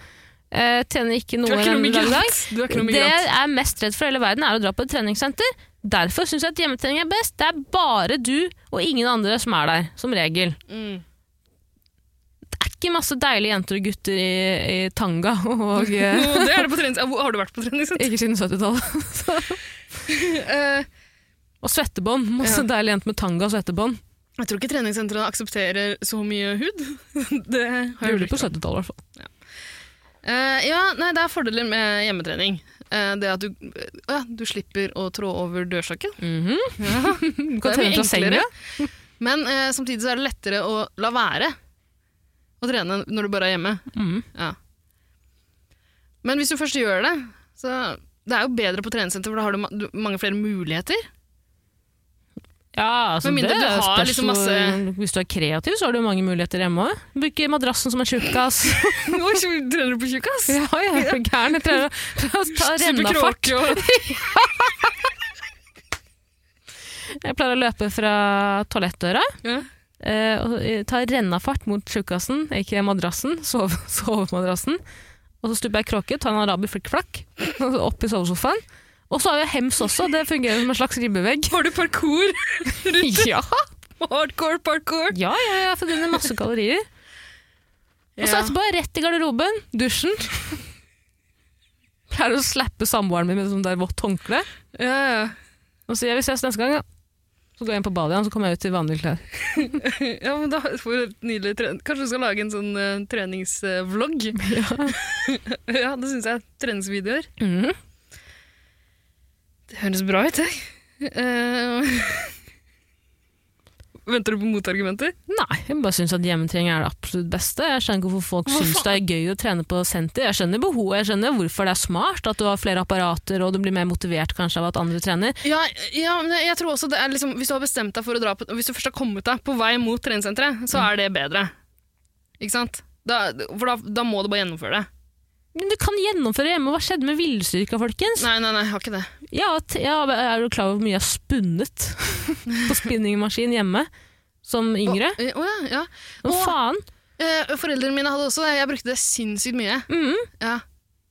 Speaker 1: Eh, trener ikke noe
Speaker 2: Du er ikke
Speaker 1: en
Speaker 2: noe
Speaker 1: dag i dag.
Speaker 2: migrant. Du er ikke noe
Speaker 1: Det jeg
Speaker 2: migrant.
Speaker 1: er mest redd for i hele verden, er å dra på et treningssenter. Derfor syns jeg at hjemmetrening er best. Det er bare du og ingen andre som er der, som regel.
Speaker 2: Mm.
Speaker 1: Det er ikke masse deilige jenter og gutter i, i tanga og eh,
Speaker 2: Nå, det er det på trenings... Ja, hvor- Har du vært på treningssenter?
Speaker 1: Ikke siden 70-tallet.
Speaker 2: Eh,
Speaker 1: Og svettebånd. Masse
Speaker 2: Ja.
Speaker 1: deilige jenter med tanga og svettebånd.
Speaker 2: jeg tror ikke treningssentrene aksepterer så mye hud. Det har jeg
Speaker 1: Gjorde det
Speaker 2: hørt.
Speaker 1: på 70-tallet, i hvert fall.
Speaker 2: Eh, ja, nei, det er fordeler med hjemmetrening. Eh, det at du, Å ja, du slipper å trå over dørstokken.
Speaker 1: Mhm.
Speaker 2: Ja.
Speaker 1: Du kan
Speaker 2: Det er mye
Speaker 1: trene fra senga.
Speaker 2: enklere. Men eh, samtidig så er det lettere å la være å trene når du bare er hjemme.
Speaker 1: Mhm.
Speaker 2: Ja. Men hvis du først gjør det, så det er jo bedre på treningssenter, for da har du, ma du mange flere muligheter.
Speaker 1: Ja, altså
Speaker 2: Med mindre
Speaker 1: det
Speaker 2: du har
Speaker 1: spørs
Speaker 2: liksom
Speaker 1: hvor-
Speaker 2: masse-
Speaker 1: Hvis du er kreativ, så har du mange muligheter hjemme òg. Bruke madrassen som en tjukkas.
Speaker 2: Oi, så trener du på tjukkas?
Speaker 1: ja, jeg er så gæren. Jeg prøver å prøver å ta rennafart.
Speaker 2: Superkråke og
Speaker 1: Jeg pleier å løpe fra toalettdøra.
Speaker 2: ja.
Speaker 1: eh, og eh, ta rennafart mot tjukkasen, ikke madrassen, sove, sovemadrassen. Og så stuper jeg kråke, tar en arabisk flikkflakk og så opp i sovesofaen. Og så har vi hems også, det fungerer som en slags ribbevegg.
Speaker 2: Har du parkour?
Speaker 1: Ja,
Speaker 2: Hardcore parkour?
Speaker 1: ja, ja, jeg forbruker masse kalorier. Og så etterpå rett i garderoben, dusjen. Pleier å slappe samboeren min med sånn der vått håndkle.
Speaker 2: Ja, ja.
Speaker 1: Og sier jeg vi ses neste gang, ja. Så går jeg inn på badet igjen, så kommer jeg ut i vanlige klær.
Speaker 2: Ja, men da får du et nydelig trening. Kanskje du skal lage en sånn eh, treningsvlogg? Ja. det syns jeg. Treningsvideoer.
Speaker 1: Mhm.
Speaker 2: Det høres bra ut, jeg. Eh, Venter du på motargumenter?
Speaker 1: Nei, jeg bare syns at hjemmetrening er det absolutt beste. Jeg skjønner ikke hvorfor folk syns det er gøy å trene på senter. Jeg skjønner behovet, jeg skjønner hvorfor det er smart at du har flere apparater og du blir mer motivert kanskje av at andre trener.
Speaker 2: Ja, ja, men jeg tror også det er liksom Hvis du har bestemt deg for å dra på Hvis du først har kommet deg på vei mot treningssenteret, så er det bedre. Ikke sant? Da, for da, da må du bare gjennomføre det.
Speaker 1: Men du kan gjennomføre hjemme. Hva skjedde med villstyrka, folkens?
Speaker 2: Nei, nei, nei, jeg har ikke det.
Speaker 1: Ja, t- ja, er du klar over hvor mye jeg har spunnet på spinningmaskin hjemme som yngre?
Speaker 2: Å eh, å ja, ja.
Speaker 1: Hva
Speaker 2: Å,
Speaker 1: faen?
Speaker 2: eh, foreldrene mine hadde også det. Jeg brukte det sinnssykt mye.
Speaker 1: Mhm.
Speaker 2: Ja.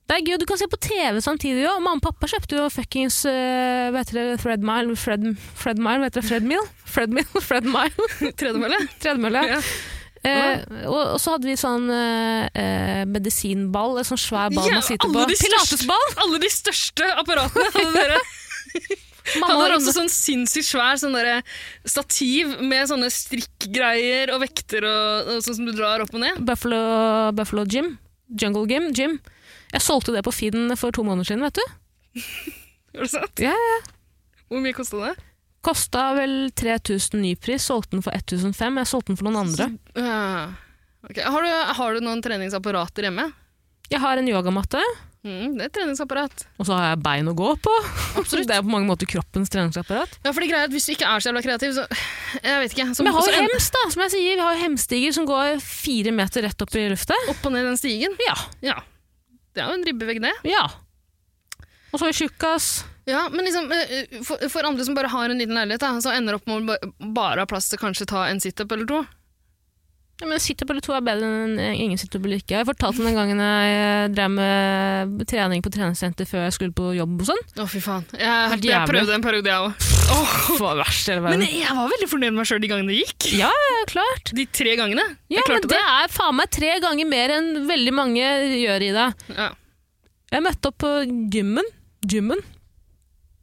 Speaker 1: Det er gøy, du kan se på TV samtidig òg. Mamma og pappa kjøpte jo fuckings uh, Hva heter det? Threadmile? Fred, Fredmile? Hva heter det? Fredmil? Fredmil? Fredmile?
Speaker 2: Tredemølle?
Speaker 1: Tredemølle.
Speaker 2: Ja.
Speaker 1: Eh, og, og så hadde vi sånn eh, eh, medisinball, en sånn svær ball
Speaker 2: Ja,
Speaker 1: man sitter
Speaker 2: alle
Speaker 1: på.
Speaker 2: de største-
Speaker 1: Pilatesball!
Speaker 2: Alle de største apparatene hadde dere. Han
Speaker 1: Mamma
Speaker 2: har
Speaker 1: var
Speaker 2: også
Speaker 1: inne.
Speaker 2: sånn sinnssykt svær sånn derre stativ med sånne strikkgreier og vekter og, og sånn som du drar opp og ned.
Speaker 1: Buffalo, Buffalo Gym. Jungle Gym. Gym. Jeg solgte det på Finn for to måneder siden, vet du.
Speaker 2: Har du sett?
Speaker 1: Ja,
Speaker 2: Hvor mye kosta det?
Speaker 1: Kosta vel 3000 nypris, solgte den for 1005. Jeg solgte den for noen andre.
Speaker 2: Ja. Ok. Har, du, har du noen treningsapparater hjemme?
Speaker 1: Jeg har en yogamatte,
Speaker 2: Mm, det er et treningsapparat.
Speaker 1: og så har jeg bein å gå på. Absolutt. Det er på mange måter kroppens treningsapparat.
Speaker 2: Ja, for det greia er at Hvis du ikke er så jævla kreativ, så Jeg vet ikke. Så,
Speaker 1: Men jeg har
Speaker 2: så
Speaker 1: jo
Speaker 2: en-
Speaker 1: hems, da, som jeg sier. Vi har jo hemstiger som går fire meter rett opp i lufta.
Speaker 2: opp og ned den stigen.
Speaker 1: Ja.
Speaker 2: Ja. Det er jo en ribbevegg, det.
Speaker 1: ja. Og så har vi tjukkas.
Speaker 2: Ja, men liksom, eh, for, for andre som bare har en liten leilighet, da, så ender opp med å ba- bare ha plass til kanskje ta en situp eller to.
Speaker 1: Ja, men Situp eller to er bedre enn ingen situp eller ikke. Jeg fortalte om den gangen jeg drev med trening på treningssenter før jeg skulle på jobb og sånn.
Speaker 2: Å, fy faen. Jeg,
Speaker 1: Helt
Speaker 2: jeg
Speaker 1: jævlig.
Speaker 2: prøvde en periode, jeg òg.
Speaker 1: Det var verst i hele
Speaker 2: Men
Speaker 1: verden.
Speaker 2: jeg var veldig fornøyd med meg sjøl de gangene det gikk.
Speaker 1: Ja, ja, klart.
Speaker 2: De tre gangene.
Speaker 1: Ja,
Speaker 2: jeg
Speaker 1: men
Speaker 2: klarte
Speaker 1: det er faen meg tre ganger mer enn veldig mange gjør i det.
Speaker 2: det. Ja.
Speaker 1: Jeg møtte opp på gymmen. gymmen.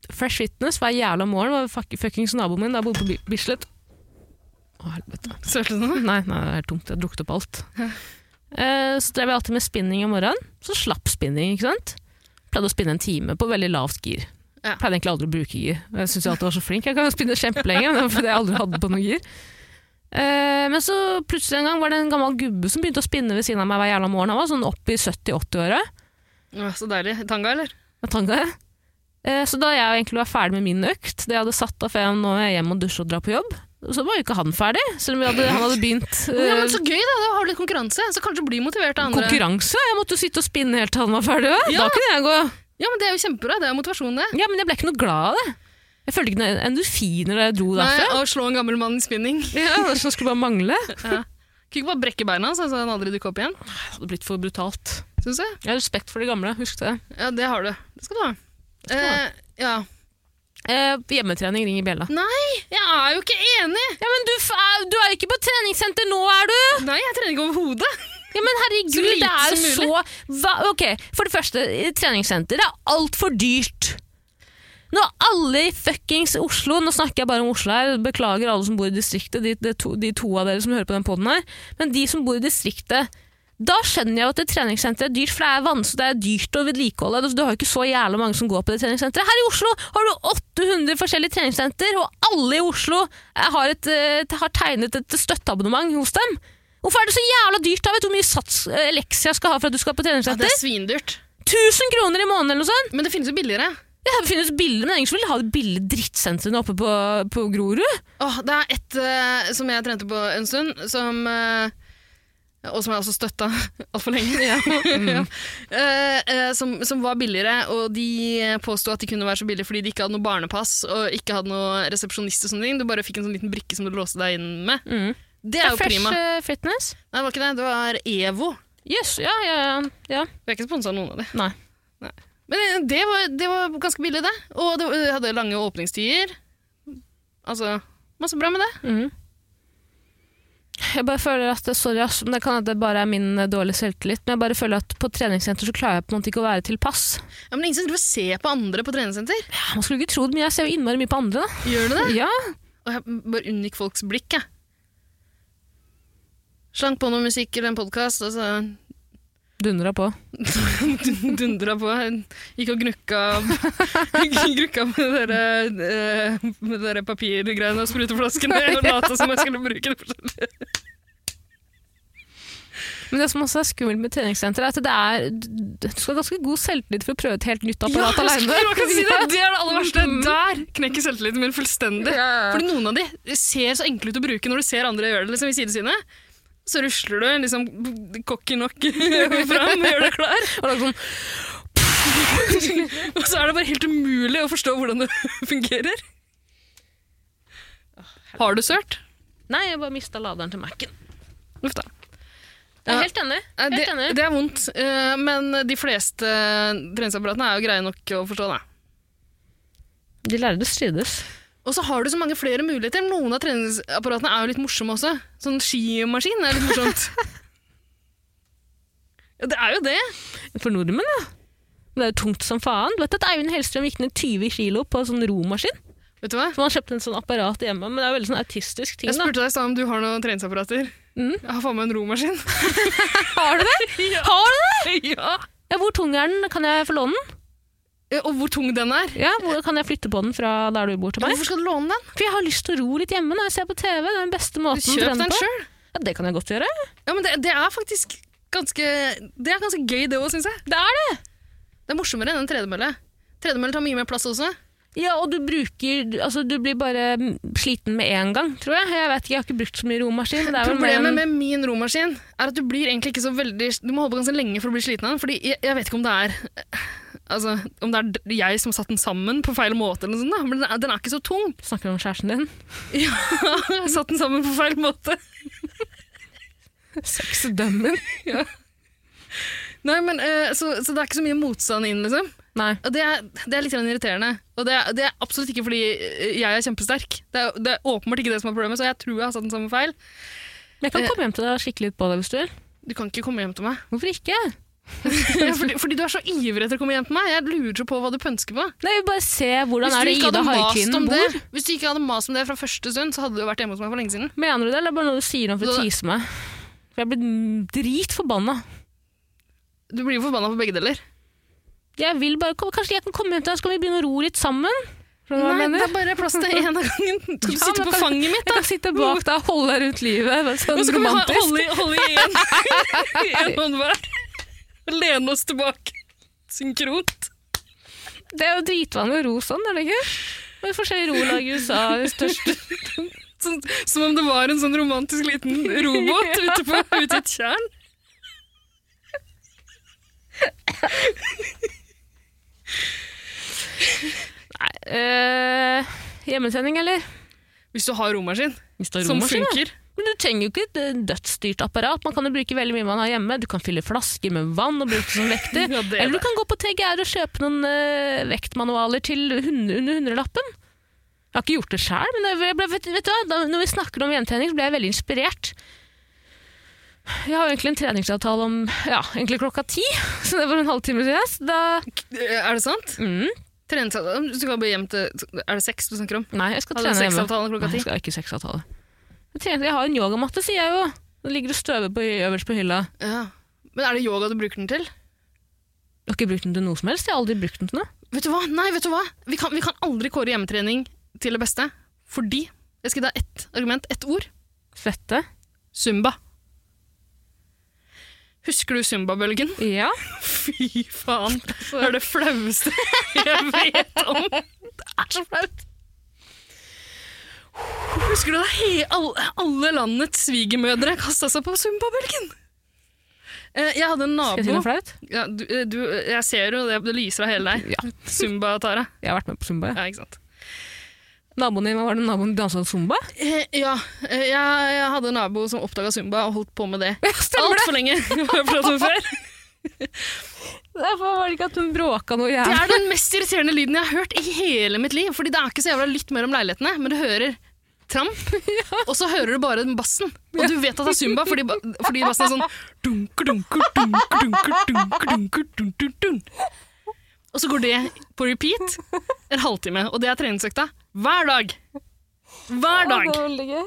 Speaker 1: Fresh Fitness hver jævla morgen. var fuck- Fuckings naboen min da jeg bodde på Bi- Bislett. Å, helvete.
Speaker 2: Sølte du noe?
Speaker 1: Nei, nei, det er tomt. Jeg har drukket opp alt. Eh, Så drev jeg alltid med spinning om morgenen. Så slapp spinning, ikke sant? Pleide å spinne en time på veldig lavt gir.
Speaker 2: Ja.
Speaker 1: Pleide egentlig aldri å bruke gir. Jeg syns jeg alltid var så flink. Jeg kan jo spinne kjempelenge, men det var fordi jeg aldri hadde på noe gir. Eh, Men så plutselig en gang var det en gammel gubbe som begynte å spinne ved siden av meg hver jævla morgen. Han var sånn opp i 70-80-åra.
Speaker 2: Ja, så deilig. Tanga, eller?
Speaker 1: med tanga. Eh, Så da jeg egentlig var ferdig med min økt, det jeg hadde satt av før jeg nå er hjemme og dusje og dra på jobb, så var jo ikke han ferdig, selv om vi hadde, han hadde begynt eh,
Speaker 2: Ja, men Så gøy, da! Da har du litt konkurranse. Så kanskje du blir motivert av andre.
Speaker 1: konkurranse. Jeg måtte jo sitte og spinne helt til han var ferdig. også.
Speaker 2: Ja.
Speaker 1: Da kunne jeg gå.
Speaker 2: ja, men Det er jo kjempebra. Det er motivasjon, det.
Speaker 1: Ja, men jeg ble ikke noe glad av det. Jeg følte ikke noen endorfiner da jeg dro
Speaker 2: Nei,
Speaker 1: derfra.
Speaker 2: Å slå en gammel mann i spinning.
Speaker 1: Ja, det skulle bare mangle.
Speaker 2: Kunne ikke bare brekke beina så så han aldri dukker opp igjen.
Speaker 1: Det hadde blitt for brutalt.
Speaker 2: Synes jeg.
Speaker 1: Jeg har respekt for det gamle, husk det.
Speaker 2: Ja, det har du. Det skal du ha.
Speaker 1: skal du ha.
Speaker 2: Eh, ja.
Speaker 1: Eh, hjemmetrening ringer bjella.
Speaker 2: Jeg er jo ikke enig!
Speaker 1: Ja, men du, f- er- du er jo ikke på treningssenter nå, er du?
Speaker 2: Nei, jeg trener ikke overhodet.
Speaker 1: Ja, men herregud,
Speaker 2: Så lite
Speaker 1: det er jo
Speaker 2: som
Speaker 1: så Hva, Ok, For det første, treningssenter er altfor dyrt. Nå er alle i fuckings Oslo Nå snakker jeg bare om Oslo her, beklager alle som bor i distriktet, de, de, to, de to av dere som hører på den poden her, men de som bor i distriktet da skjønner jeg jo at det treningssenteret er dyrt, for det er vanskelig, det er dyrt å vedlikeholde. Altså, Du har jo ikke så jævla mange som går på det treningssenteret. Her i Oslo har du 800 forskjellige treningssenter, og alle i Oslo eh, har, et, eh, har tegnet et støtteabonnement hos dem. Hvorfor er det så jævla dyrt? da? Vet du hvor mye sats eh, Lexia skal ha for at du skal på treningssenter?
Speaker 2: er svindyrt.
Speaker 1: 1000 kroner i måneden eller noe sånt!
Speaker 2: Men det finnes jo billigere.
Speaker 1: Ja, det finnes billig, men ingen som vil ha de billige drittsentrene oppe på, på Grorud.
Speaker 2: Åh, det er ett eh, som jeg trente på en stund, som eh, Og som jeg også støtta altfor lenge. Ja.
Speaker 1: Mm.
Speaker 2: Ja. Eh, eh, som, som var billigere, og de påsto at de kunne være så billige fordi de ikke hadde noe barnepass og ikke hadde noe resepsjonist. og sånne ting. Du bare fikk en sånn liten brikke som du låste deg inn med.
Speaker 1: Mm.
Speaker 2: Det er jo
Speaker 1: Fresh
Speaker 2: prima.
Speaker 1: eh, Fitness.
Speaker 2: Nei, det var ikke det. Det var EVO.
Speaker 1: Yes, ja, ja, ja. ja.
Speaker 2: Vi har ikke sponsa noen av de.
Speaker 1: Nei.
Speaker 2: Men eh, det var, det var ganske billig, det. Og det var- hadde lange åpningstider. Altså Masse bra med det.
Speaker 1: Mhm. Jeg bare føler at, sorry ass, men det kan at det bare er min eh, dårlige selvtillit, men jeg bare føler at på treningssenter så klarer jeg på en måte ikke å være tilpass.
Speaker 2: Ja, men Ingen som driver og ser på andre på treningssenter.
Speaker 1: Ja, man skulle ikke tro det, men jeg ser jo innmari mye på andre da.
Speaker 2: Gjør du det?
Speaker 1: Ja,
Speaker 2: Og jeg bare unngikk folks blikk, jeg. Slang på noe musikk eller en podkast, og så
Speaker 1: Dundra på.
Speaker 2: dundra på. Gikk og gnukka Gnukka med dere, eh, med dere papirgreiene og spruteflaskene og lata som jeg skulle bruke det. for-
Speaker 1: Men det som også er skummelt med treningssenter, er at det er, du skal ha ganske god selvtillit for å prøve et helt nytt
Speaker 2: Ja,
Speaker 1: apparat
Speaker 2: jeg
Speaker 1: alene.
Speaker 2: skulle akkurat si det! Det er det aller verste.
Speaker 1: Mm.
Speaker 2: Der knekker selvtilliten min fullstendig.
Speaker 1: Ja.
Speaker 2: Fordi noen av de ser så enkle ut å bruke når du ser andre gjøre det liksom, i sidesynet. Så rusler du liksom cocky nok fram og gjør deg klar.
Speaker 1: Og det er sånn,
Speaker 2: Og så er det bare helt umulig å forstå hvordan det fungerer. Har du sølt?
Speaker 1: Nei, jeg bare mista laderen til Mac-en.
Speaker 2: Uff da.
Speaker 1: Jeg
Speaker 2: Ja.
Speaker 1: er helt enig.
Speaker 2: Eh,
Speaker 1: Helt
Speaker 2: Det,
Speaker 1: enig.
Speaker 2: det er vondt, eh, men de fleste treningsapparatene er jo greie nok å forstå. Da.
Speaker 1: De lærde strides.
Speaker 2: Og så har du så mange flere muligheter. Noen av treningsapparatene er jo litt morsomme også. Sånn skimaskin er litt morsomt. ja, det er jo det.
Speaker 1: For nordmenn, ja. Det er jo tungt som faen. Du vet at Eivind Hellstrøm gikk ned 20 kilo på en sånn romaskin?
Speaker 2: Vet du hva?
Speaker 1: For han kjøpte en sånn apparat hjemme, men det er jo veldig sånn autistisk ting.
Speaker 2: Jeg spurte deg i stad om du har noen treningsapparater.
Speaker 1: Mm.
Speaker 2: Jeg har faen meg en romaskin.
Speaker 1: da. Har du det? Har du det?
Speaker 2: ja.
Speaker 1: Ja, hvor tung er den? Kan jeg få låne den?
Speaker 2: Eh, Og hvor tung den er.
Speaker 1: Ja, hvor Kan jeg flytte på den fra der du bor til meg?
Speaker 2: Hvorfor skal du låne den?
Speaker 1: For jeg har lyst til å ro litt hjemme når jeg ser på TV. Det er den beste måten å
Speaker 2: Kjøp
Speaker 1: trene
Speaker 2: den
Speaker 1: på.
Speaker 2: sjøl.
Speaker 1: Ja, det kan jeg godt gjøre.
Speaker 2: Ja, men det, det er faktisk ganske, det er ganske gøy, det òg, syns jeg.
Speaker 1: Det er det!
Speaker 2: Det er morsommere enn en tredemølle. Tredemølle tar mye mer plass også.
Speaker 1: Ja, og du bruker du- Altså, du blir bare mm, sliten med en gang, tror jeg. Jeg vet ikke, jeg har ikke brukt så mye romaskin. men Det er vel mer
Speaker 2: Problemet
Speaker 1: enn-
Speaker 2: med min romaskin er at du blir egentlig ikke så veldig Du må holde på ganske lenge for å bli sliten av den, fordi jeg, jeg vet ikke om det er Altså, om det er d- jeg som har satt den sammen på feil måte, eller noe sånt, da. men den er, den er ikke så tung.
Speaker 1: Snakker du om kjæresten din?
Speaker 2: Ja, jeg har satt den sammen på feil måte.
Speaker 1: Sexdømmen?
Speaker 2: Nei, men, eh, så, så det er ikke så mye motstand inn, liksom.
Speaker 1: Nei.
Speaker 2: Og det er, det er litt grann irriterende. Og det er, det er absolutt ikke fordi eh, jeg er kjempesterk. Det er, det er åpenbart ikke det som er problemet, så jeg tror jeg har satt den sammen feil.
Speaker 1: Men
Speaker 2: Eh.
Speaker 1: jeg kan komme hjem til deg og skikke litt på deg hvis du vil.
Speaker 2: Du kan ikke komme hjem til meg.
Speaker 1: Hvorfor ikke?
Speaker 2: fordi, fordi du er så ivrig etter å komme hjem til meg. Jeg lurer så på hva du pønsker på.
Speaker 1: Nei, vi bare se hvordan
Speaker 2: Hvis
Speaker 1: er
Speaker 2: du
Speaker 1: det
Speaker 2: ikke
Speaker 1: Ida
Speaker 2: hadde mast om
Speaker 1: Haikvinen
Speaker 2: det,
Speaker 1: bor.
Speaker 2: Hvis du ikke hadde mast om det fra første stund, så hadde du vært hjemme hos meg for lenge siden.
Speaker 1: Mener du det, eller er det bare noe du sier nå for å
Speaker 2: Så-
Speaker 1: tease meg? For jeg er blitt mm, dritforbanna.
Speaker 2: Du blir jo forbanna på begge deler.
Speaker 1: Jeg vil bare, kom- Kanskje jeg kan komme hjem til deg, så kan vi begynne å ro litt sammen? Skjønner du hva jeg
Speaker 2: Nei, det
Speaker 1: mener?
Speaker 2: er bare plass til én av gangen. Skal du
Speaker 1: Ja,
Speaker 2: sitte
Speaker 1: men
Speaker 2: på
Speaker 1: kan-
Speaker 2: fanget mitt,
Speaker 1: Jeg kan sitte bak deg og holde deg rundt livet. bare Sånn
Speaker 2: og så kan vi ha,
Speaker 1: romantisk.
Speaker 2: holde, i- holde i én en hånd hver. Lene oss tilbake. Synkront.
Speaker 1: Det er jo dritvanlig å ro sånn, er det ikke? Med forskjellige rolag i USA, det største
Speaker 2: Sånn, som om det var en sånn romantisk liten robåt ute, på, ute i et tjern.
Speaker 1: Nei, øh, hjemmesending, eller?
Speaker 2: Hvis du har romaskin, som
Speaker 1: Som funker.
Speaker 2: funker.
Speaker 1: Men du trenger jo ikke et øh, dødsstyrt apparat. Man kan jo bruke veldig mye man har hjemme. Du kan fylle flasker med vann og bruke det som vekter.
Speaker 2: Ja, det er
Speaker 1: eller
Speaker 2: det.
Speaker 1: du kan gå på TGR og kjøpe noen øh, vektmanualer til hund- under hundrelappen. Jeg har ikke gjort det sjøl, men jeg ble, vet, vet du hva? Da, når vi snakker om hjemmetrening, så ble jeg veldig inspirert. Jeg har jo egentlig en treningsavtale om ja, egentlig klokka ti, så det var en halvtime siden. så Da,
Speaker 2: Er det sant?
Speaker 1: mm,
Speaker 2: Treningsavtale Du skal bare hjem til Er det sex du snakker om?
Speaker 1: Nei, jeg skal
Speaker 2: Hadde
Speaker 1: trene hjemme.
Speaker 2: sexavtale klokka
Speaker 1: Nei,
Speaker 2: ti?
Speaker 1: jeg skal ikke sexavtale. Jeg, trener, jeg har en yogamatte, sier jeg jo. Den ligger og støver på, øverst på hylla.
Speaker 2: Ja. Men er det yoga du bruker den til?
Speaker 1: Jeg har ikke brukt den til noe som helst. Jeg har aldri brukt den til noe.
Speaker 2: Vet du hva? Nei, vet du hva? Vi kan, vi kan aldri kåre hjemmetrening til det beste. Fordi Jeg skal gi deg ett argument, ett ord.
Speaker 1: Svette.
Speaker 2: Zumba. Husker du zumbabølgen?
Speaker 1: Ja.
Speaker 2: Fy faen. Det er det flaueste jeg vet om. Det er så flaut. Husker du da he alle, alle landets svigermødre kasta seg på zumbabølgen? Eh, Jeg hadde en
Speaker 1: Skal jeg si
Speaker 2: nabo
Speaker 1: noe flaut?
Speaker 2: Ja, du, eh, du, jeg ser jo det, det lyser av hele deg.
Speaker 1: Ja.
Speaker 2: Zumba, Tara.
Speaker 1: Jeg har vært med på Zumba. Ja.
Speaker 2: Ja, ikke sant?
Speaker 1: Naboen din, hva var det naboen dansa Zumba?
Speaker 2: Eh, Ja, eh, jeg, jeg hadde en nabo som oppdaga Zumba og holdt på med det altfor lenge. Har jeg pratet om før.
Speaker 1: Derfor var det ikke at hun bråka noe
Speaker 2: Det
Speaker 1: jævlig.
Speaker 2: er den mest irriterende lyden jeg har hørt i hele mitt liv. Fordi det er ikke så jævla lytt mer om leilighetene, men du hører tramp, og så hører du bare den bassen. Og du vet at det er Zumba, fordi, ba- fordi bassen er sånn dunker, dunker, dunker, dunker, dunker, dunker, dunker, dunker. Og så går det på repeat en halvtime, og det er treningsøkta hver dag. Hver dag.
Speaker 1: veldig gøy.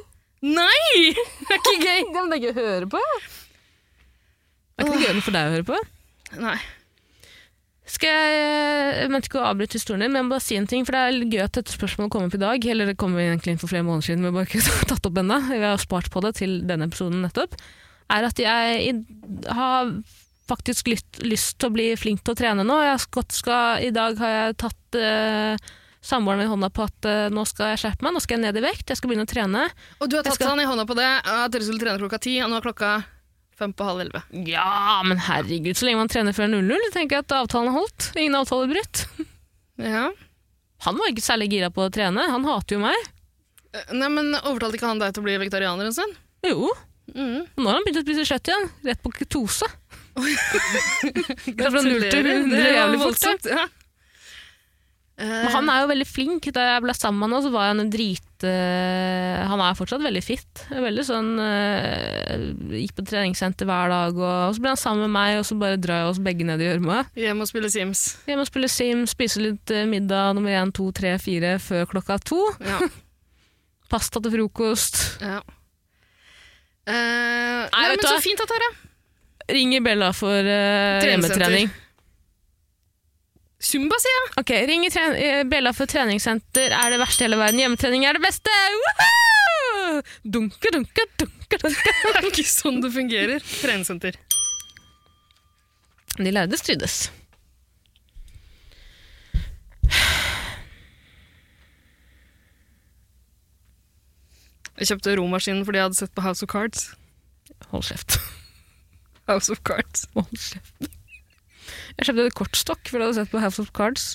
Speaker 2: Nei! Det er ikke gøy.
Speaker 1: Det er gøy å høre på. Det er ikke noe gøy for deg å høre på.
Speaker 2: Nei.
Speaker 1: Skal jeg, jeg mente ikke å avbryte historien din, men jeg må bare si en ting, for det er litt gøy at dette spørsmålet kom opp i dag, eller det kom egentlig inn for flere måneder siden, men vi har bare ikke tatt opp ennå, vi har spart på det til denne episoden nettopp, er at jeg i- har faktisk lyst, lyst til å bli flink til å trene nå. Jeg har gått, skal, I dag har jeg tatt eh, samboeren min i hånda på at eh, nå skal jeg skjerpe meg, nå skal jeg ned i vekt, jeg skal begynne å trene.
Speaker 2: Og du har tatt
Speaker 1: Jeg skal-
Speaker 2: han i hånda på det, at dere skulle trene klokka ti, og nå er klokka fem på halv elleve.
Speaker 1: Ja, men herregud, så lenge man trener før 0-0, tenker jeg at avtalen er holdt. Ingen avtale brutt.
Speaker 2: Ja.
Speaker 1: Han var ikke særlig gira på å trene, han hater jo meg.
Speaker 2: Eh, Nei, men overtalte ikke han deg til å bli vegetarianer en stund?
Speaker 1: Jo,
Speaker 2: Mm.
Speaker 1: Nå har han begynt å spise kjøtt igjen. Rett på ketose. fra null til
Speaker 2: Gratulerer,
Speaker 1: hundre
Speaker 2: det var
Speaker 1: jævlig fort, da.
Speaker 2: voldsomt, Eh, Ja.
Speaker 1: Men han er jo veldig flink. Da jeg ble sammen med han, nå, så var han en drit... eh, han er fortsatt veldig fit. Veldig sånn eh, Gikk på treningssenter hver dag, og, og så ble han sammen med meg, og så bare drar jeg oss begge ned i gjørma.
Speaker 2: Hjem og spille Sims.
Speaker 1: Hjemme og spille Sim, spise litt eh, middag nummer én, to, tre, fire før klokka to.
Speaker 2: Ja.
Speaker 1: Pasta til frokost.
Speaker 2: ja. Eh, nei,
Speaker 1: vet
Speaker 2: men
Speaker 1: du
Speaker 2: så
Speaker 1: hva?
Speaker 2: fint, da, Tara.
Speaker 1: Ringer Bella for eh,
Speaker 2: Treningssenter.
Speaker 1: hjemmetrening.
Speaker 2: Zumba, sier jeg.
Speaker 1: Ok, ring i tren- eh, Bella for treningssenter er det verste i hele verden. Hjemmetrening er det beste! Woohoo! Dunke, dunke, dunke, dunke.
Speaker 2: Det er ikke sånn det fungerer. Treningssenter.
Speaker 1: De lærde strides.
Speaker 2: Jeg kjøpte romaskinen fordi jeg hadde sett på House of Cards.
Speaker 1: Hold kjeft.
Speaker 2: House of Cards.
Speaker 1: Hold kjeft. Jeg kjøpte en kortstokk, for du hadde sett på House of Cards.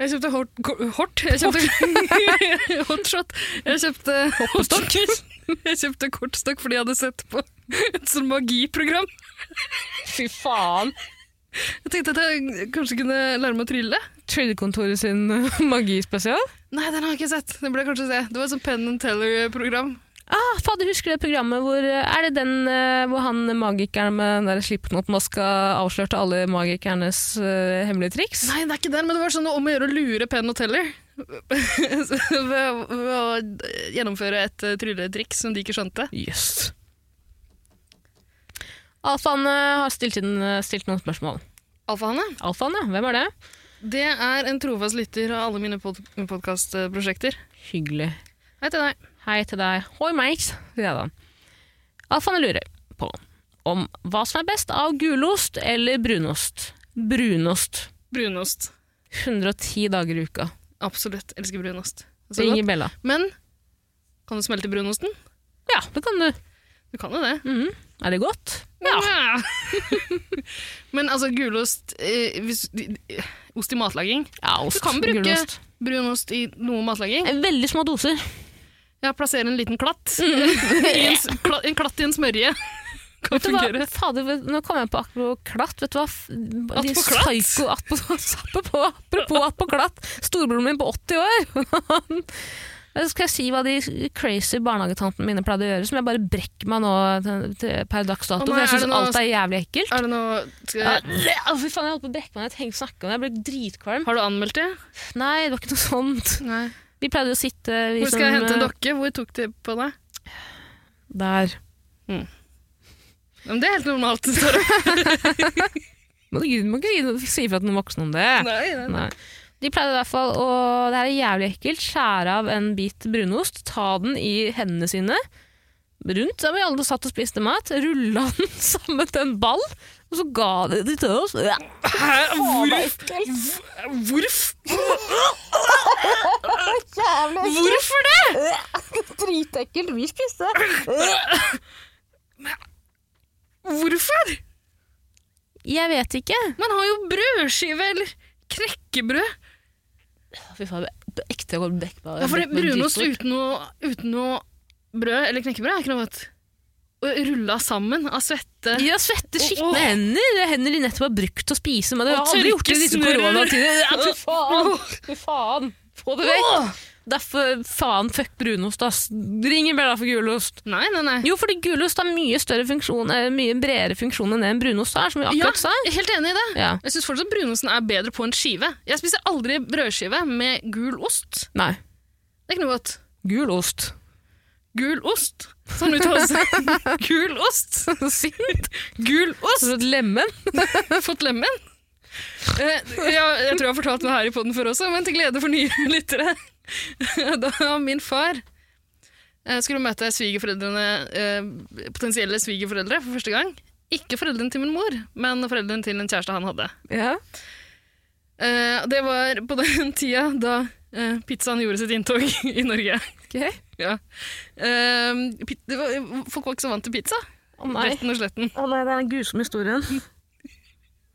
Speaker 2: Jeg kjøpte hort, ko- hort. Jeg kjøpte hotshot. Jeg kjøpte
Speaker 1: Hoppestokk.
Speaker 2: Jeg kjøpte kortstokk fordi jeg hadde sett på et sånt magiprogram.
Speaker 1: Fy faen!
Speaker 2: Jeg tenkte at jeg kanskje kunne lære meg å trylle.
Speaker 1: Tryllekontoret sin eh, magispesial.
Speaker 2: Nei, den har jeg ikke sett. Den burde jeg kanskje se. Det var et sånt Penn and Teller-program.
Speaker 1: Ah, fader, husker du det programmet hvor eh, Er det den eh, hvor han magikeren med den der slipknot-maska avslørte alle magikernes eh, hemmelige triks?
Speaker 2: Nei, det er ikke den, men det var sånn om å gjøre å lure Penn og Teller. ved, ved å gjennomføre et eh, trylletriks som de ikke skjønte.
Speaker 1: Jøss. Alfaen eh, har stilt, inn, eh, stilt noen spørsmål.
Speaker 2: Alfahanne,
Speaker 1: Alfaen, ja. Hvem er det?
Speaker 2: det er en trofast lytter av alle mine pod podkastprosjekter.
Speaker 1: Hyggelig.
Speaker 2: Hei til deg.
Speaker 1: Hei til deg. Hoi, Max. Ja da. Alfaen lurer på om hva som er best av gulost eller brunost. Brunost.
Speaker 2: Brunost.
Speaker 1: 110 dager i uka.
Speaker 2: Absolutt. Elsker brunost. Så
Speaker 1: Ring
Speaker 2: godt.
Speaker 1: Bella.
Speaker 2: Men kan du smelte brunosten?
Speaker 1: Ja, det kan du.
Speaker 2: Du kan jo det.
Speaker 1: Mhm. Er det godt? Ja.
Speaker 2: Men altså, gulost eh, hvis, Ost i matlaging.
Speaker 1: ja ost.
Speaker 2: eh, Du kan bruke-
Speaker 1: gulost.
Speaker 2: Brunost i noe matlaging.
Speaker 1: Veldig små doser.
Speaker 2: Ja, plassere en liten klatt. I en, s- kla, en klatt i en smørje. Kan
Speaker 1: Vet du hva,
Speaker 2: fungere.
Speaker 1: fader, vet- nå kom jeg på apropos klatt. Vet du hva? F- De
Speaker 2: på klatt?
Speaker 1: psyko- apropos- apropos- apropos apropos klatt. Storebroren min på 80 år. Han- Skal jeg si hva de crazy barnehagetantene mine pleide å gjøre, som jeg bare brekker meg nå til, til, per dags dato,
Speaker 2: Å
Speaker 1: for
Speaker 2: nei,
Speaker 1: jeg
Speaker 2: er det
Speaker 1: syns
Speaker 2: noe-
Speaker 1: alt er jævlig ekkelt.
Speaker 2: Er det noe skal,
Speaker 1: Ja, å, fy faen, jeg holdt på å brekke meg når jeg tenkte snakke om det. Jeg ble dritkvalm.
Speaker 2: Har du anmeldt det?
Speaker 1: Nei, det var ikke noe sånt.
Speaker 2: Nei.
Speaker 1: Vi pleide å sitte vi
Speaker 2: Hvor skal jeg
Speaker 1: som,
Speaker 2: hente en
Speaker 1: eh,
Speaker 2: dokke? Hvor tok de på deg?
Speaker 1: Der.
Speaker 2: Men det er helt normalt. Sara.
Speaker 1: Må du må ikke si ifra til noen voksne om det.
Speaker 2: Nei, nei.
Speaker 1: Nei. De pleide i hvert fall å Det her er jævlig ekkelt. Skjære av en bit brunost, ta den i hendene sine, rundt der vi alle satt og spiste mat, rulla den sammen til en ball, og så ga de det til oss. Ja,
Speaker 2: Hæ? Hvorfor? Hvorfor? Hvorfor det?
Speaker 1: Dritekkelt. Vi spiste.
Speaker 2: Hvorfor?
Speaker 1: Jeg vet ikke.
Speaker 2: Man har jo brødskive eller knekkebrød.
Speaker 1: Fy faen, jeg ble ekte jeg går vekk på
Speaker 2: Ja, for det- Brunost uten noe, uten noe brød eller knekkebrød er ikke noe godt. Og Rulla sammen av svette.
Speaker 1: Ja, svette, skitne
Speaker 2: Åh.
Speaker 1: hender. Det er Hender de nettopp har brukt til å spise med. Det har
Speaker 2: Og
Speaker 1: jeg aldri gjort i disse
Speaker 2: tørkesnurrer.
Speaker 1: koronatider. Ja, fy faen! Fy faen! Få det vekk!
Speaker 2: Åh!
Speaker 1: Derfor, faen, fuck brunost, ass. Ring en bjella for gulost.
Speaker 2: Nei, nei, nei.
Speaker 1: Jo, fordi gulost har mye større funksjon, eh, mye bredere funksjon enn det en brunost har, som vi akkurat sa.
Speaker 2: jeg er helt enig i det.
Speaker 1: Ja.
Speaker 2: Jeg syns fortsatt brunosten er bedre på en skive. Jeg spiser aldri brødskive med gul ost.
Speaker 1: Nei.
Speaker 2: Det er ikke noe godt.
Speaker 1: Gulost.
Speaker 2: Gul ost! Sånn uttaler seg. Gul ost! Sint. Gul ost!
Speaker 1: Sånn et lemen.
Speaker 2: Fått lemmen? Eh, ja, jeg tror jeg har fortalt det her i poden før også, men til glede for nye lyttere. da min far eh, skulle møte svigerforeldrene, eh, potensielle svigerforeldre for første gang Ikke foreldrene til min mor, men foreldrene til en kjæreste han hadde.
Speaker 1: Ja.
Speaker 2: Eh, og det var på den tida da eh, pizzaen gjorde sitt inntog i Norge.
Speaker 1: Okay.
Speaker 2: ja. Eh, pi- det var, folk var ikke så vant til pizza.
Speaker 1: Å nei.
Speaker 2: Retten og sletten.
Speaker 1: Å nei, det er den grusomme historien.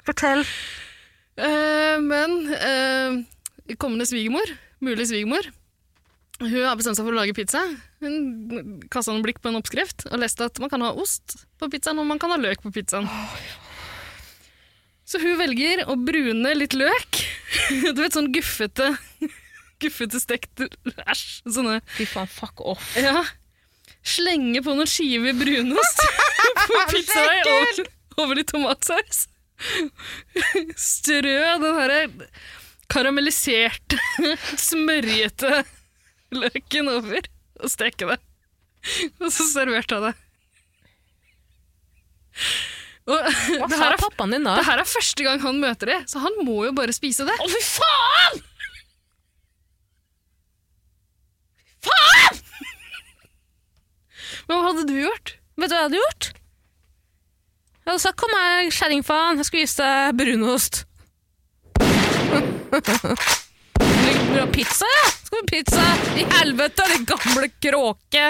Speaker 1: Fortell.
Speaker 2: Eh, men eh, kommende svigermor, mulig svigermor, hun har bestemt seg for å lage pizza. Hun kasta en blikk på en oppskrift og leste at man kan ha ost på pizzaen og man kan ha løk på pizzaen. Så hun velger å brune litt løk. Du vet, sånn guffete, guffete stekt Æsj! Sånne
Speaker 1: Fy faen, fuck off.
Speaker 2: ja. Slenge på noen skiver brunost på pizzaen over, over litt tomatsaus. Strø den herre karamelliserte, smørjete løken over og steke det. Og så serverte jeg det. Og
Speaker 1: Hva
Speaker 2: det
Speaker 1: sa
Speaker 2: her, er,
Speaker 1: pappaen din da?
Speaker 2: det her er første gang han møter det, så han må jo bare spise det.
Speaker 1: Å, fy faen!
Speaker 2: Men hva hadde du gjort?
Speaker 1: Vet du hva jeg hadde gjort? Jeg hadde sagt 'kom her, kjerringfaen, jeg skulle vise deg brunost'. Vil du ha pizza, ja? Skal vi ha pizza? I helvete, din gamle kråke!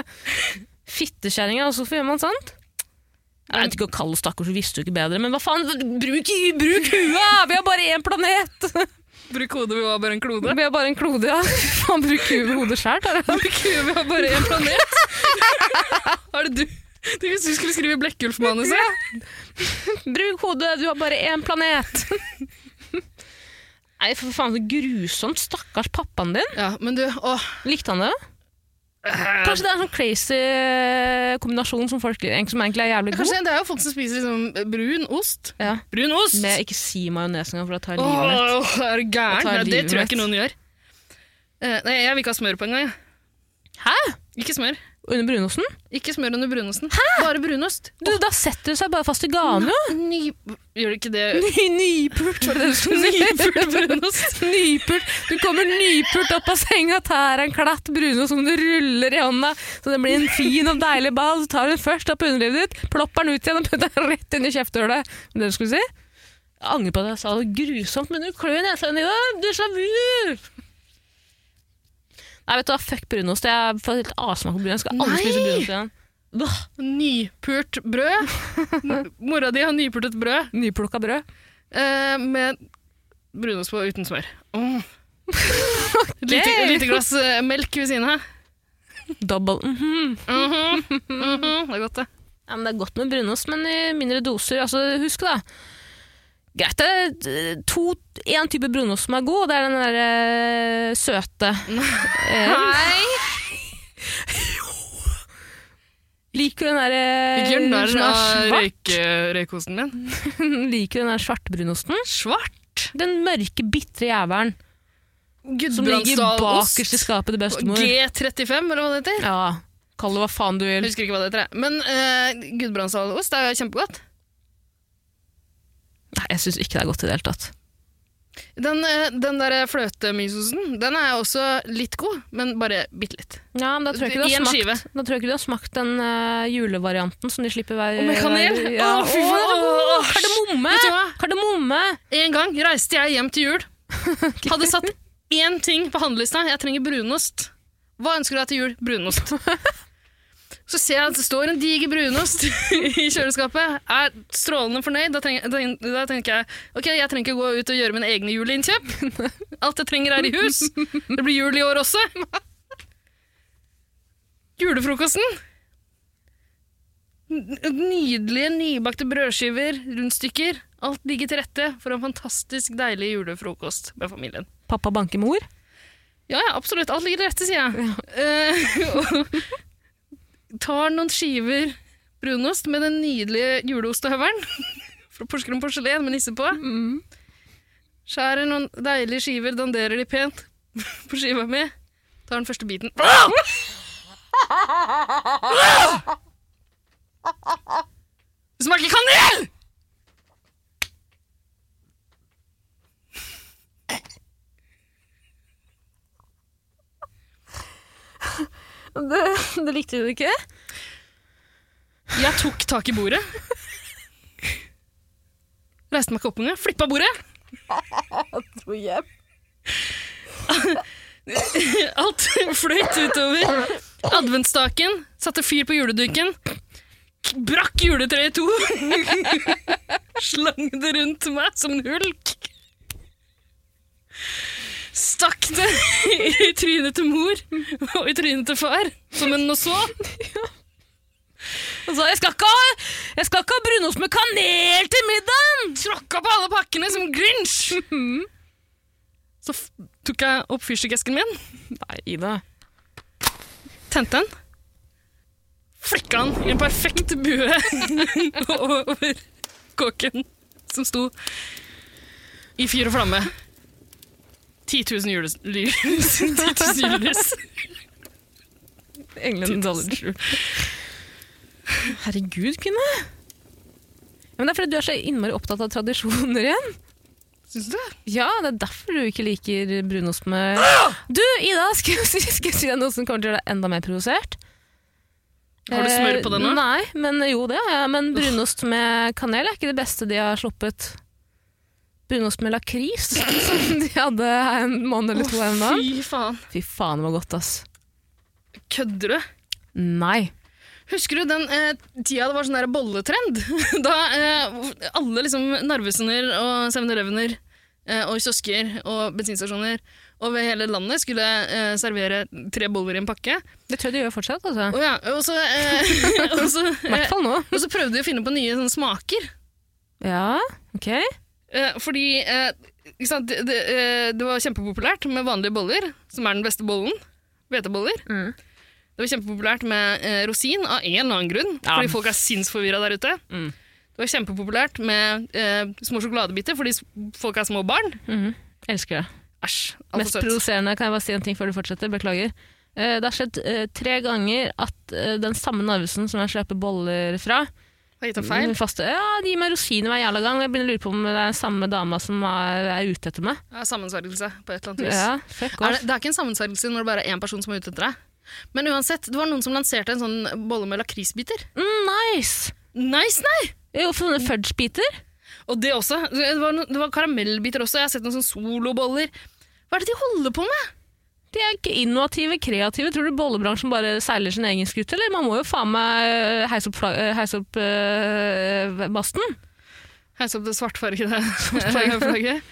Speaker 1: Fittekjerringa, altså, hvorfor gjør man sånt? Jeg vet ikke å kalle oss stakkars, vi visste jo ikke bedre, men hva faen? Bruk, bruk huet! da! Vi har bare én planet!
Speaker 2: Bruk hodet, vi var bare en klode.
Speaker 1: Vi har bare en klode, ja. Faen, bruk huet hodet sjæl, tar jeg.
Speaker 2: Merkur, vi har bare én planet. Har det du? Tenk hvis du skulle skrive Blekkulf-manuset.
Speaker 1: Bruk hodet, du har bare én planet! Nei, for faen, så grusomt. Stakkars pappaen din.
Speaker 2: Ja, men du, åh.
Speaker 1: Likte han det? Kanskje det er en sånn crazy eh, kombinasjon som, folk, som egentlig er jævlig god.
Speaker 2: Kanskje det er jo folk som spiser liksom brun ost.
Speaker 1: Ja.
Speaker 2: Brun ost!
Speaker 1: Med ikke si majones engang, for da tar jeg livet mitt.
Speaker 2: Åh, er du
Speaker 1: Jeg
Speaker 2: gæren?
Speaker 1: tar
Speaker 2: Nei, det
Speaker 1: livet
Speaker 2: tror jeg
Speaker 1: mitt.
Speaker 2: ikke noen gjør. Eh, nei, jeg vil ikke ha smør på engang. jeg.
Speaker 1: Hæ?
Speaker 2: Ikke smør.
Speaker 1: Under brunosten?
Speaker 2: Ikke smør under brunosten. Bare brunost.
Speaker 1: Du, da setter det seg bare fast i ganen, jo!
Speaker 2: Ny... Gjør det ikke det?
Speaker 1: Ny- Nypult, var det det du skulle si?
Speaker 2: Nypult brunost.
Speaker 1: Nypult. Du kommer nypult opp av senga, tar en klatt brunost som du ruller i hånda, så det blir en fin og deilig ball. Så tar du den først opp i underlivet ditt, plopper den ut igjen og putter den rett inn i kjeftehullet. Det du skulle si? Jeg angrer på at jeg sa det grusomt, men du klør nesa di. Å, Du slavur! Nei, vet du hva, fuck brunost. Jeg får helt avsmak på brunost. Jeg skal aldri
Speaker 2: Nei!
Speaker 1: spise brunost igjen. Blah.
Speaker 2: Nypurt brød. M- Mora di har nypurtet brød
Speaker 1: Nyplukka brød.
Speaker 2: eh, med brunost på uten smør. Åh. Lite, lite glass eh, melk ved siden av.
Speaker 1: Double. mhm.
Speaker 2: Mhm, mhm, Det er godt, det.
Speaker 1: Ja, men Det er godt med brunost, men i mindre doser. Altså, husk da. Greit, det er eh, to, en type brunost som er god, og det er den der eh, søte. Eh,
Speaker 2: Nei!
Speaker 1: Liker du den der eh,
Speaker 2: Ikke gjør narr
Speaker 1: som er
Speaker 2: av
Speaker 1: svart?
Speaker 2: røyke- røykosten min.
Speaker 1: Liker du den der svartbrunosten?
Speaker 2: Svart?
Speaker 1: Den mørke, bitre jævelen som ligger bakerst i
Speaker 2: Gudbrandsdalost.
Speaker 1: skapet til bestemor.
Speaker 2: G35, eller hva det heter.
Speaker 1: Ja, Kall det hva faen du
Speaker 2: Jeg
Speaker 1: vil.
Speaker 2: husker ikke hva det heter. jeg. Men uh, gudbrandsdalost er kjempegodt.
Speaker 1: Nei, Jeg syns ikke det er godt i det hele tatt.
Speaker 2: Den, eh, den der fløtemysosen, den er også litt god, men bare bitte litt.
Speaker 1: Ja, men Da tror jeg ikke du har
Speaker 2: I en
Speaker 1: smakt,
Speaker 2: skive.
Speaker 1: da tror jeg ikke du har smakt den eh, julevarianten som de slipper hver
Speaker 2: Og med kanel?
Speaker 1: hver- Ja.
Speaker 2: Å, fy faen.
Speaker 1: Å, den er god!
Speaker 2: Åh,
Speaker 1: Kardemomme!
Speaker 2: Vet du hva?
Speaker 1: Kardemomme!
Speaker 2: En gang reiste jeg hjem til jul. Hadde satt én ting på handlelista. Jeg trenger brunost. Hva ønsker du deg til jul? Brunost. Så ser jeg at det står en diger brunost i kjøleskapet. Er strålende fornøyd. Da tenker, da tenker jeg ok, jeg trenger ikke gå ut og gjøre mine egne juleinnkjøp. Alt jeg trenger, er i hus. Det blir jul i år også. Julefrokosten. N- Nydelige, nybakte brødskiver, rundstykker. Alt ligger til rette for en fantastisk deilig julefrokost med familien.
Speaker 1: Pappa banker mor.
Speaker 2: Ja, ja, absolutt. Alt ligger til rette, sier jeg. Eh, og tar noen skiver brunost med den nydelige juleostehøvelen fra Porsgrunn porselen med nisse på. Skjærer noen deilige skiver, danderer de pent på skiva mi. Tar den første biten. Det smaker kanel!
Speaker 1: Det, det likte du ikke?
Speaker 2: Jeg tok tak i bordet. Reiste meg ikke opp engang. Flippa bordet.
Speaker 1: Dro hjem.
Speaker 2: Alt fløyt utover. Adventstaken satte fyr på juleduken. K- Brakk juletreet i to. Slang det rundt meg som en hulk. Stakk det i trynet til mor og i trynet til far, som hun nå så.
Speaker 1: Han sa jeg skal ikke ha, jeg skal ikke ha brunost med kanel til middagen!
Speaker 2: Tråkka på alle pakkene som Grinch.
Speaker 1: Mhm.
Speaker 2: Så f tok jeg opp fyrstikkesken min,
Speaker 1: Nei, Ida.
Speaker 2: tente den, flikka den i en perfekt bue over kåken som sto i fyr og flamme. 10 000 jules... lys. 10 000 julelys.
Speaker 1: England dollar true. Herregud, kvinne. Ja, men det er fordi du er så innmari opptatt av tradisjoner igjen.
Speaker 2: Syns du det?
Speaker 1: Ja, det er derfor du ikke liker brunost med
Speaker 2: Ah!
Speaker 1: Du, Ida, skal jeg si, skal jeg si deg noe som kommer til å gjøre deg enda mer provosert?
Speaker 2: Har du smør på den nå?
Speaker 1: Eh, Nei, men jo det har jeg. Men brunost med kanel er ikke det beste de har sluppet. Brunost med lakris, som de hadde en måned eller to her om dagen.
Speaker 2: Fy faen.
Speaker 1: Fy faen, det var godt, ass.
Speaker 2: Kødder du?
Speaker 1: Nei.
Speaker 2: Husker du den eh, tida det var sånn der bolletrend? da eh, hvor alle liksom Narvesener og 7-Elevener eh, og kiosker og bensinstasjoner over hele landet skulle eh, servere tre boller i en pakke.
Speaker 1: Det tror jeg de gjør fortsatt, altså.
Speaker 2: Og, ja, og, så, eh, og, så,
Speaker 1: I hvert
Speaker 2: eh,
Speaker 1: fall nå.
Speaker 2: og så prøvde de å finne på nye sånne smaker.
Speaker 1: Ja, ok.
Speaker 2: Eh, fordi eh, ikke sant? Det, det, eh, det var kjempepopulært med vanlige boller, som er den beste bollen. Hveteboller.
Speaker 1: Mm.
Speaker 2: Det var kjempepopulært med eh, rosin av en eller annen grunn,
Speaker 1: Ja.
Speaker 2: fordi folk er sinnsforvirra der ute.
Speaker 1: Mm.
Speaker 2: Det var kjempepopulært med eh, små sjokoladebiter, fordi s- folk er små barn.
Speaker 1: Mhm. Elsker det.
Speaker 2: Æsj,
Speaker 1: Mest
Speaker 2: altfor søtt.
Speaker 1: provoserende, kan jeg bare si en ting før du fortsetter? Beklager. Eh, det har skjedd eh, tre ganger at eh, den samme Narvesen som jeg kjøper boller fra
Speaker 2: Har jeg gitt en feil?
Speaker 1: min Faste, ja, de gir meg rosiner hver jævla gang, og jeg begynner å lure på om det er den samme dama som er, er ute etter meg.
Speaker 2: Ja, sammensvergelse på et eller annet vis.
Speaker 1: Ja, fuck
Speaker 2: Er
Speaker 1: off.
Speaker 2: det, det er ikke en sammensvergelse når det bare er én person som er ute etter deg. Men uansett, det var noen som lanserte en sånn bolle med lakrisbiter.
Speaker 1: Mm, nice!
Speaker 2: Nice, nei!
Speaker 1: Jo, for sånne fudgebiter.
Speaker 2: Og det også. Det var, no, det var karamellbiter også. Jeg har sett noen sånne soloboller. Hva er det de holder på med?
Speaker 1: De er ikke innovative, kreative. Tror du bollebransjen bare seiler sin egen skute, eller? Man må jo faen meg eh, heise opp, fla- eh, heise opp eh, masten.
Speaker 2: Heis opp det svartfargede flagget.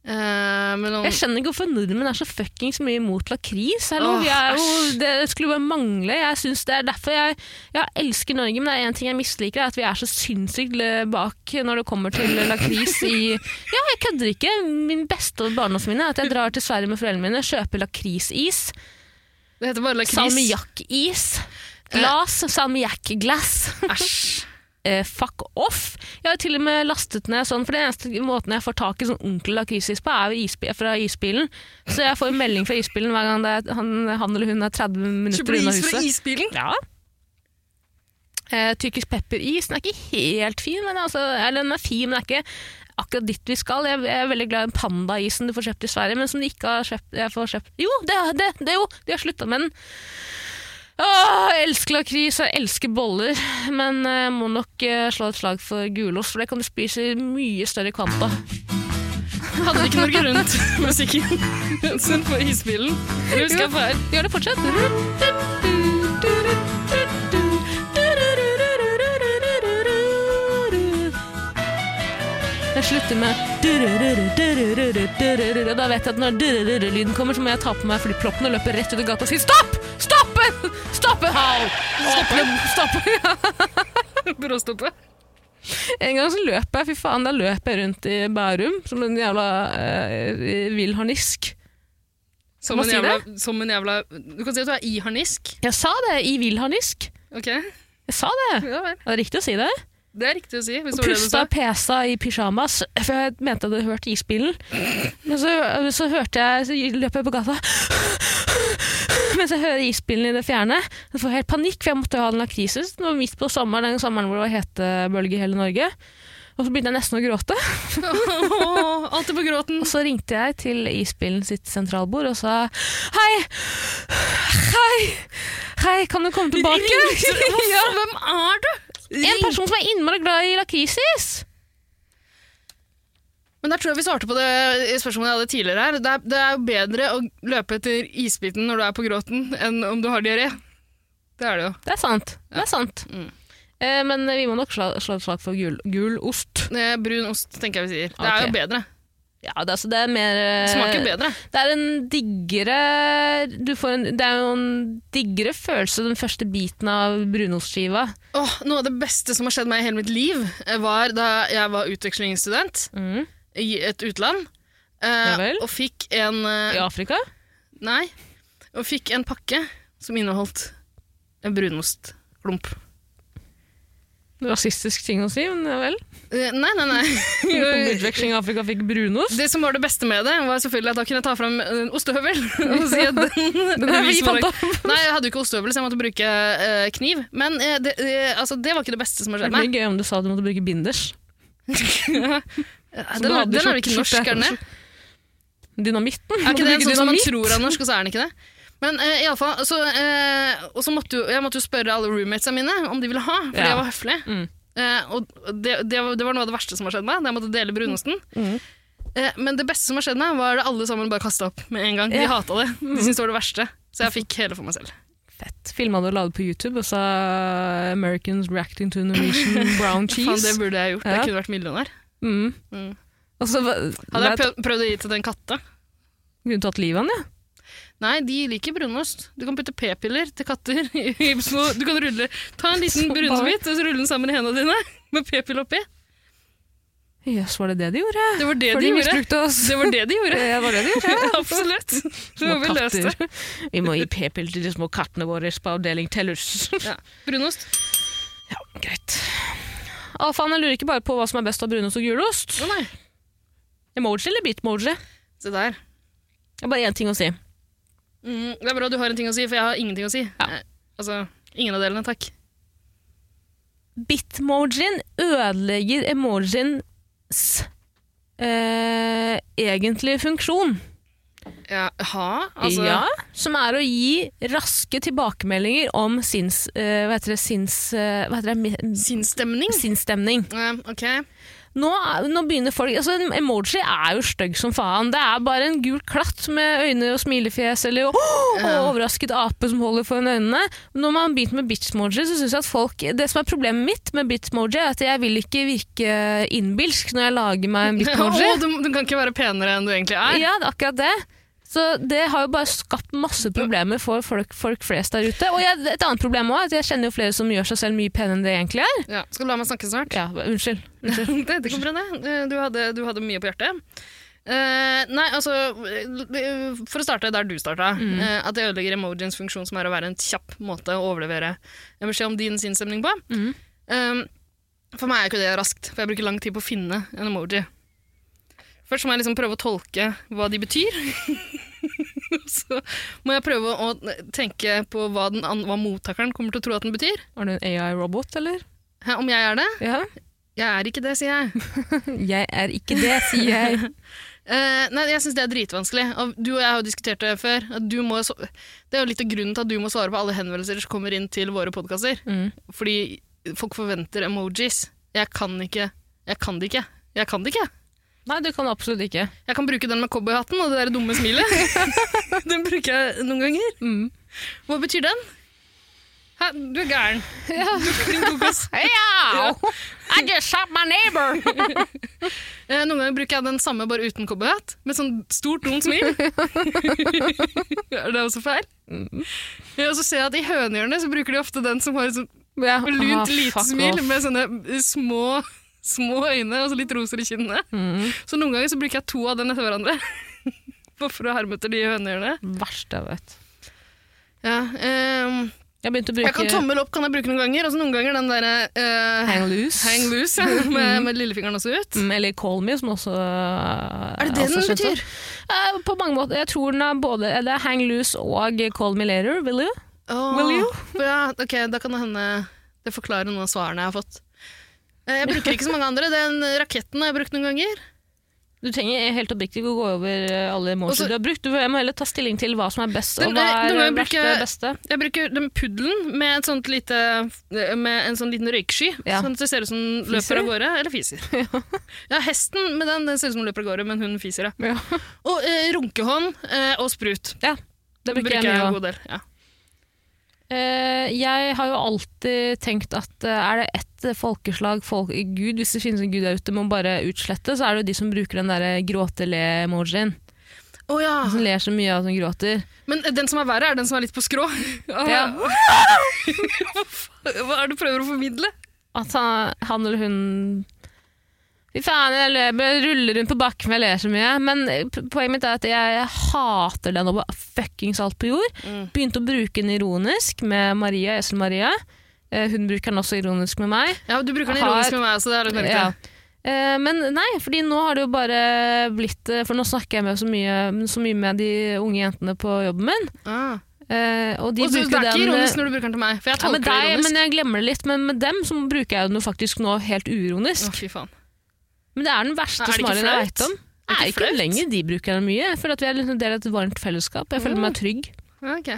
Speaker 2: Eh, men om,
Speaker 1: Jeg skjønner ikke hvorfor nordmenn er så fuckings mye imot lakris. Hallo.
Speaker 2: Åh,
Speaker 1: Vi er jo,
Speaker 2: æsj.
Speaker 1: det skulle bare mangle. Jeg synes det er derfor jeg, jeg elsker Norge, men det er én ting jeg misliker, er at vi er så sinnssykt le- bak når det kommer til lakris i Ja, jeg kødder ikke. Min beste barndomsminne er at jeg drar til Sverige med foreldrene mine, kjøper lakrisis,
Speaker 2: det heter bare lakris. Eh.
Speaker 1: salmiakkis, glass, salmiakkglass.
Speaker 2: Æsj.
Speaker 1: Eh, fuck off! Jeg har til og med lastet ned sånn, for den eneste måten jeg får tak i sånn ordentlig lakrisis på, er jo isbi fra isbilen. Så jeg får jo melding fra isbilen hver gang det er, han, han eller hun er 30 minutter
Speaker 2: Kjøper
Speaker 1: unna
Speaker 2: is fra
Speaker 1: huset.
Speaker 2: isbilen?
Speaker 1: Ja. Eh, tyrkisk pepperis, den er ikke helt fin, men altså, eller den er fin, men det er ikke akkurat dit vi skal. Jeg, jeg er veldig glad i den pandaisen du får kjøpt i Sverige, men som de ikke har kjøpt, jeg får kjøpt. Jo, det, det, det jo, de har sluttet med den. Åh, jeg elsker lakris, jeg elsker boller, men eh, jeg må nok eh, slå et slag for gulost, for det kan du spise i mye større kvanta.
Speaker 2: Hadde ikke Norge Rundt musikken sin på isbilen? Det husker jeg feil.
Speaker 1: Gjør det fortsatt. Jeg slutter med Og da vet jeg at når lyden kommer, så må jeg ta på meg flipploppen og løpe rett ut i gata og si stopp! Stopp! Stopp! Hal! Stopp! Stopp! Ja.
Speaker 2: Bråstoppet.
Speaker 1: En gang så løp jeg, fy faen, da løp jeg rundt i Bærum som en jævla eh, vill harnisk.
Speaker 2: Som
Speaker 1: Må
Speaker 2: en,
Speaker 1: si
Speaker 2: jævla, som en jævla Du kan si at du er i harnisk.
Speaker 1: Jeg sa det, i vill harnisk.
Speaker 2: Ok,
Speaker 1: Jeg sa det.
Speaker 2: ja vel.
Speaker 1: Det er riktig å si det.
Speaker 2: Det er riktig å si. Hvis
Speaker 1: Og
Speaker 2: det var det du
Speaker 1: pusta
Speaker 2: sa.
Speaker 1: og pesa i pysjamas, for jeg mente jeg hadde hørt isbilen. Men så, så hørte jeg, så løp jeg på gata. mens jeg hører isbilen i det fjerne. Jeg får helt panikk, for jeg måtte jo ha en lakrisus. Det var midt på sommeren, den sommeren hvor det var hetebølge i hele Norge. Og så begynte jeg nesten å gråte.
Speaker 2: Åh, Alltid på gråten.
Speaker 1: Og så ringte jeg til isbilen sitt sentralbord og sa hei, hei, hei, kan du komme tilbake?
Speaker 2: Ringte-
Speaker 1: Ja.
Speaker 2: Hvem er du?
Speaker 1: En person som er innmari glad i lakrisis.
Speaker 2: Men der tror jeg vi svarte på det i spørsmålet jeg hadde tidligere her. Det er, det er jo bedre å løpe etter isbiten når du er på gråten, enn om du har diaré. Det er det jo.
Speaker 1: Det er sant. Det er sant.
Speaker 2: Mm.
Speaker 1: Eh, men vi må nok slå, slå et slag for gul, gul ost.
Speaker 2: Eh, Brun ost, tenker jeg vi sier. Det er
Speaker 1: Ok.
Speaker 2: jo bedre.
Speaker 1: Ja, det, er- altså, det er mer eh,
Speaker 2: Smaker bedre.
Speaker 1: Det er en diggere du får en, Det er jo en diggere følelse den første biten av brunostskiva.
Speaker 2: Åh, noe av det beste som har skjedd meg i hele mitt liv, eh, var da jeg var utvekslingsstudent
Speaker 1: Mm.
Speaker 2: i et utland. eh,
Speaker 1: Ja vel.
Speaker 2: og fikk en eh,
Speaker 1: I Afrika.
Speaker 2: Nei. Og fikk en pakke som inneholdt en brunostklump.
Speaker 1: Rasistisk ting å si, men ja vel.
Speaker 2: Eh, nei, nei, nei.
Speaker 1: Utveksling i Afrika fikk brunost.
Speaker 2: Det som var det beste med det, var selvfølgelig at da kunne jeg ta fram en ostehøvel. og si at den,
Speaker 1: Den har vi
Speaker 2: viser hvor
Speaker 1: fant
Speaker 2: lang-
Speaker 1: opp. Det
Speaker 2: Nei, jeg hadde jo ikke ostehøvel, så jeg måtte bruke eh, kniv. Men eh, det, eh, altså, det var ikke det beste som har
Speaker 1: hadde
Speaker 2: skjedd
Speaker 1: vært
Speaker 2: meg.
Speaker 1: mye gøy om du sa du måtte bruke binders.
Speaker 2: Den,
Speaker 1: du
Speaker 2: er-
Speaker 1: hadde i
Speaker 2: den er vel ikke
Speaker 1: skjorte-
Speaker 2: norsk, er den det?
Speaker 1: Dynamitten.
Speaker 2: Er
Speaker 1: måtte
Speaker 2: ikke det
Speaker 1: bruke
Speaker 2: sånn som man
Speaker 1: dynamitt.
Speaker 2: tror er norsk, og så er den ikke det? Men eh, i alle fall, så, eh, og så måtte jo, jeg måtte jo spørre alle roommatesa mine om de ville ha, for
Speaker 1: Ja.
Speaker 2: jeg var høflig.
Speaker 1: Mm.
Speaker 2: Eh, og det, det, var- det var noe av det verste som har skjedd meg, da jeg måtte dele brunosten.
Speaker 1: Mm.
Speaker 2: Eh, men det beste som har skjedd meg, var det alle sammen bare kasta opp med en gang. De
Speaker 1: Ja.
Speaker 2: hata det. De syntes det var det verste. Så jeg fikk hele for meg selv.
Speaker 1: Fett. Filma det og la det på YouTube og sa 'Americans reacting to Norwegian brown
Speaker 2: Faen, det
Speaker 1: cheese'.
Speaker 2: burde jeg gjort.
Speaker 1: Ja.
Speaker 2: Jeg kunne vært millionær.
Speaker 1: Mm.
Speaker 2: Mm.
Speaker 1: Og så var-
Speaker 2: Hadde
Speaker 1: vet-
Speaker 2: jeg prøv- prøvd å gi til den katta
Speaker 1: Kunne tatt livet av den, ja.
Speaker 2: Nei, de liker brunost. Du kan putte p-piller til katter i i små Du kan rulle Ta en
Speaker 1: Så
Speaker 2: liten brunostbit og så rulle den sammen i hendene dine med p-pill oppi.
Speaker 1: Jøs, var det det de gjorde?
Speaker 2: Det var det
Speaker 1: For
Speaker 2: de
Speaker 1: de
Speaker 2: gjorde.
Speaker 1: misbrukte oss.
Speaker 2: Det var det de gjorde.
Speaker 1: Det var det de gjorde.
Speaker 2: Absolutt. Så
Speaker 1: Små
Speaker 2: vi løste det.
Speaker 1: katter. Vi må gi p-piller til de små kattene våre på avdeling Tellus.
Speaker 2: Ja. Brunost.
Speaker 1: Ja, greit. Alfaen, jeg lurer ikke bare på hva som er best av brunost og gulost.
Speaker 2: Å nei.
Speaker 1: Emoji eller bitmoji? Det
Speaker 2: Se der.
Speaker 1: er bare én ting å si.
Speaker 2: Mm, det er bra du har en ting å si, for jeg har ingenting å si. Eh, Altså, ingen av delene, takk.
Speaker 1: Bitmojien ødelegger emojiens eh, egentlige funksjon.
Speaker 2: Ja, ha? Altså,
Speaker 1: ja, som er å gi raske tilbakemeldinger om sinns... eh, hva heter det? Sinns... eh, hva heter det? Mi-
Speaker 2: sinnsstemning?
Speaker 1: Sinnsstemning.
Speaker 2: Eh, ok.
Speaker 1: Nå, er- nå begynner folk altså, en Emoji er jo stygg som faen. Det er bare en gul klatt med øyne og smilefjes eller og, og overrasket ape som holder foran øynene. Når man har begynt med bitchmoji, så synes jeg at folk Det som er problemet mitt med bitchmoji, er at jeg vil ikke virke innbilsk når jeg lager meg en bitchmoji.
Speaker 2: Å, du, du kan ikke være penere enn du egentlig er.
Speaker 1: Ja, det er akkurat det. Så det har jo bare skapt masse problemer for folk, folk flest der ute. Og jeg, et annet problem også, er at jeg kjenner jo flere som gjør seg selv mye penere enn det egentlig er.
Speaker 2: Ja. Skal du la meg snakke snart?
Speaker 1: Ja, unnskyld.
Speaker 2: det, det går bra, det. Eh, Du hadde, du hadde mye på hjertet. Eh, nei, altså eh, For å starte der du starta. eh, at det ødelegger emojiens funksjon, som er å være en kjapp måte å overlevere en beskjed om din sinnsstemning på.
Speaker 1: Mhm.
Speaker 2: Eh, for meg er ikke det raskt, for jeg bruker lang tid på å finne en emoji. Først må jeg liksom prøve å tolke hva de betyr. Så må jeg prøve å tenke på hva, den, an- hva mottakeren kommer til å tro at den betyr.
Speaker 1: Var du en AI-robot, eller?
Speaker 2: Hæ, om jeg er det?
Speaker 1: Ja.
Speaker 2: Jeg er ikke det, sier jeg.
Speaker 1: Jeg er ikke det, sier jeg.
Speaker 2: Eh, nei, jeg syns det er dritvanskelig. Og du og jeg har jo diskutert det før. At du må, så- det er jo litt av grunnen til at du må svare på alle henvendelser som kommer inn til våre podkaster.
Speaker 1: Mm.
Speaker 2: Fordi folk forventer emojis. Jeg kan ikke. Jeg kan det ikke. Jeg kan det ikke.
Speaker 1: Nei, du kan absolutt ikke.
Speaker 2: Jeg kan bruke den med cowboyhatten og det der dumme smilet. den bruker jeg noen ganger.
Speaker 1: Mm.
Speaker 2: Hva betyr den? Hæ, du er gæren.
Speaker 1: Ja.
Speaker 2: Din kokos.
Speaker 1: Heyo! I just shot my neighbor!
Speaker 2: Eh, Noen ganger bruker jeg den samme bare uten cowboyhatt, med sånn stort, dumt smil. er det også feil? Ja, og så ser jeg at I hønehjørnet så bruker de ofte den som har et sånt
Speaker 1: Ja. Ah,
Speaker 2: lunt, lite
Speaker 1: fuck
Speaker 2: smil
Speaker 1: off.
Speaker 2: med sånne eh, små, små øyne og så litt roser i kinnene.
Speaker 1: Mm.
Speaker 2: Så noen ganger så bruker jeg to av den etter hverandre. Bare for å herme etter de i hønehjørnet.
Speaker 1: Verst jeg vet.
Speaker 2: Ja, ehm,
Speaker 1: Jeg begynte å
Speaker 2: jeg kan
Speaker 1: bruke
Speaker 2: tommel opp kan jeg bruke noen ganger, og så noen ganger den derre eh,
Speaker 1: hang loose.
Speaker 2: hang loose Mm. ja, med, med lillefingeren også ut.
Speaker 1: Mm, Eller call me, som også
Speaker 2: Er det det
Speaker 1: også
Speaker 2: den
Speaker 1: kjent som.
Speaker 2: betyr?
Speaker 1: Eh, På mange måter. Jeg tror den er både eh, det er Hang Loose og Call Me Later, vil du?
Speaker 2: Åh,
Speaker 1: Will you?
Speaker 2: Ja, ok, da kan det hende det forklarer noen av svarene jeg har fått. Eh, Jeg bruker ikke så mange andre. Den raketten har jeg brukt noen ganger.
Speaker 1: Du trenger helt oppriktig ikke å gå over eh, alle
Speaker 2: Også-
Speaker 1: emotions du har brukt. Du må heller ta stilling til hva som er best,
Speaker 2: Den-
Speaker 1: og hva
Speaker 2: den
Speaker 1: er
Speaker 2: må
Speaker 1: eh,
Speaker 2: jeg
Speaker 1: verst
Speaker 2: bruke-
Speaker 1: det beste.
Speaker 2: Jeg bruker den puddelen med, et sånt lite, med en sånn liten røyksky,
Speaker 1: Ja.
Speaker 2: sånn at det ser ut som den
Speaker 1: Fiser
Speaker 2: løper
Speaker 1: du?
Speaker 2: av gårde. Eller fiser. Ja, hesten med den, den ser ut som den løper av gårde, men hun fiser, ja.
Speaker 1: Ja.
Speaker 2: Og eh, runkehånd eh, og sprut.
Speaker 1: Det
Speaker 2: Den
Speaker 1: bruker
Speaker 2: bruker
Speaker 1: jeg mye
Speaker 2: jeg en
Speaker 1: også.
Speaker 2: god del. Ja.
Speaker 1: Eh, Jeg har jo alltid tenkt at eh, er det ett folkeslag, folk, gud, hvis det finnes en gud der ute, må bare utslette, så er det jo de som bruker den der gråte-le-emojien.
Speaker 2: Å ja.
Speaker 1: Som ler så mye av at hun gråter.
Speaker 2: Men eh, den som er verre, er den som er litt på skrå.
Speaker 1: Ja.
Speaker 2: Hva er det du prøver å formidle?
Speaker 1: At han, han eller hun Fy faen, jeg løper, ruller rundt på bakken, for jeg ler så mye. Men p- poenget mitt er at jeg hater den over fuckings alt på jord.
Speaker 2: Mm.
Speaker 1: Begynte å bruke den ironisk med Maria, Esel Maria. Eh, Hun bruker den også ironisk med meg.
Speaker 2: Ja, Du bruker den
Speaker 1: Har-
Speaker 2: ironisk med meg, så det er litt merkelig.
Speaker 1: Ja. Eh, Men nei, fordi nå har det jo bare blitt eh, For nå snakker jeg med så, mye, så mye med de unge jentene på jobben min.
Speaker 2: Ah.
Speaker 1: eh, Og de
Speaker 2: Og så, det
Speaker 1: bruker
Speaker 2: er ikke
Speaker 1: den eh,
Speaker 2: ironisk når du bruker den til meg, for jeg
Speaker 1: ja, med
Speaker 2: tolker
Speaker 1: deg,
Speaker 2: det ironisk.
Speaker 1: men jeg glemmer det litt. Men med dem så bruker jeg den jo faktisk nå helt uironisk.
Speaker 2: Å, fy faen.
Speaker 1: Men det er den verste
Speaker 2: Er det ikke
Speaker 1: smiley jeg
Speaker 2: flaut?
Speaker 1: vet om.
Speaker 2: Er det
Speaker 1: Nei,
Speaker 2: ikke
Speaker 1: ikke
Speaker 2: flaut?
Speaker 1: lenger de bruker den mye. Jeg føler at vi er liksom en del av et varmt fellesskap. Jeg føler
Speaker 2: Mm.
Speaker 1: meg trygg.
Speaker 2: Ja, ok.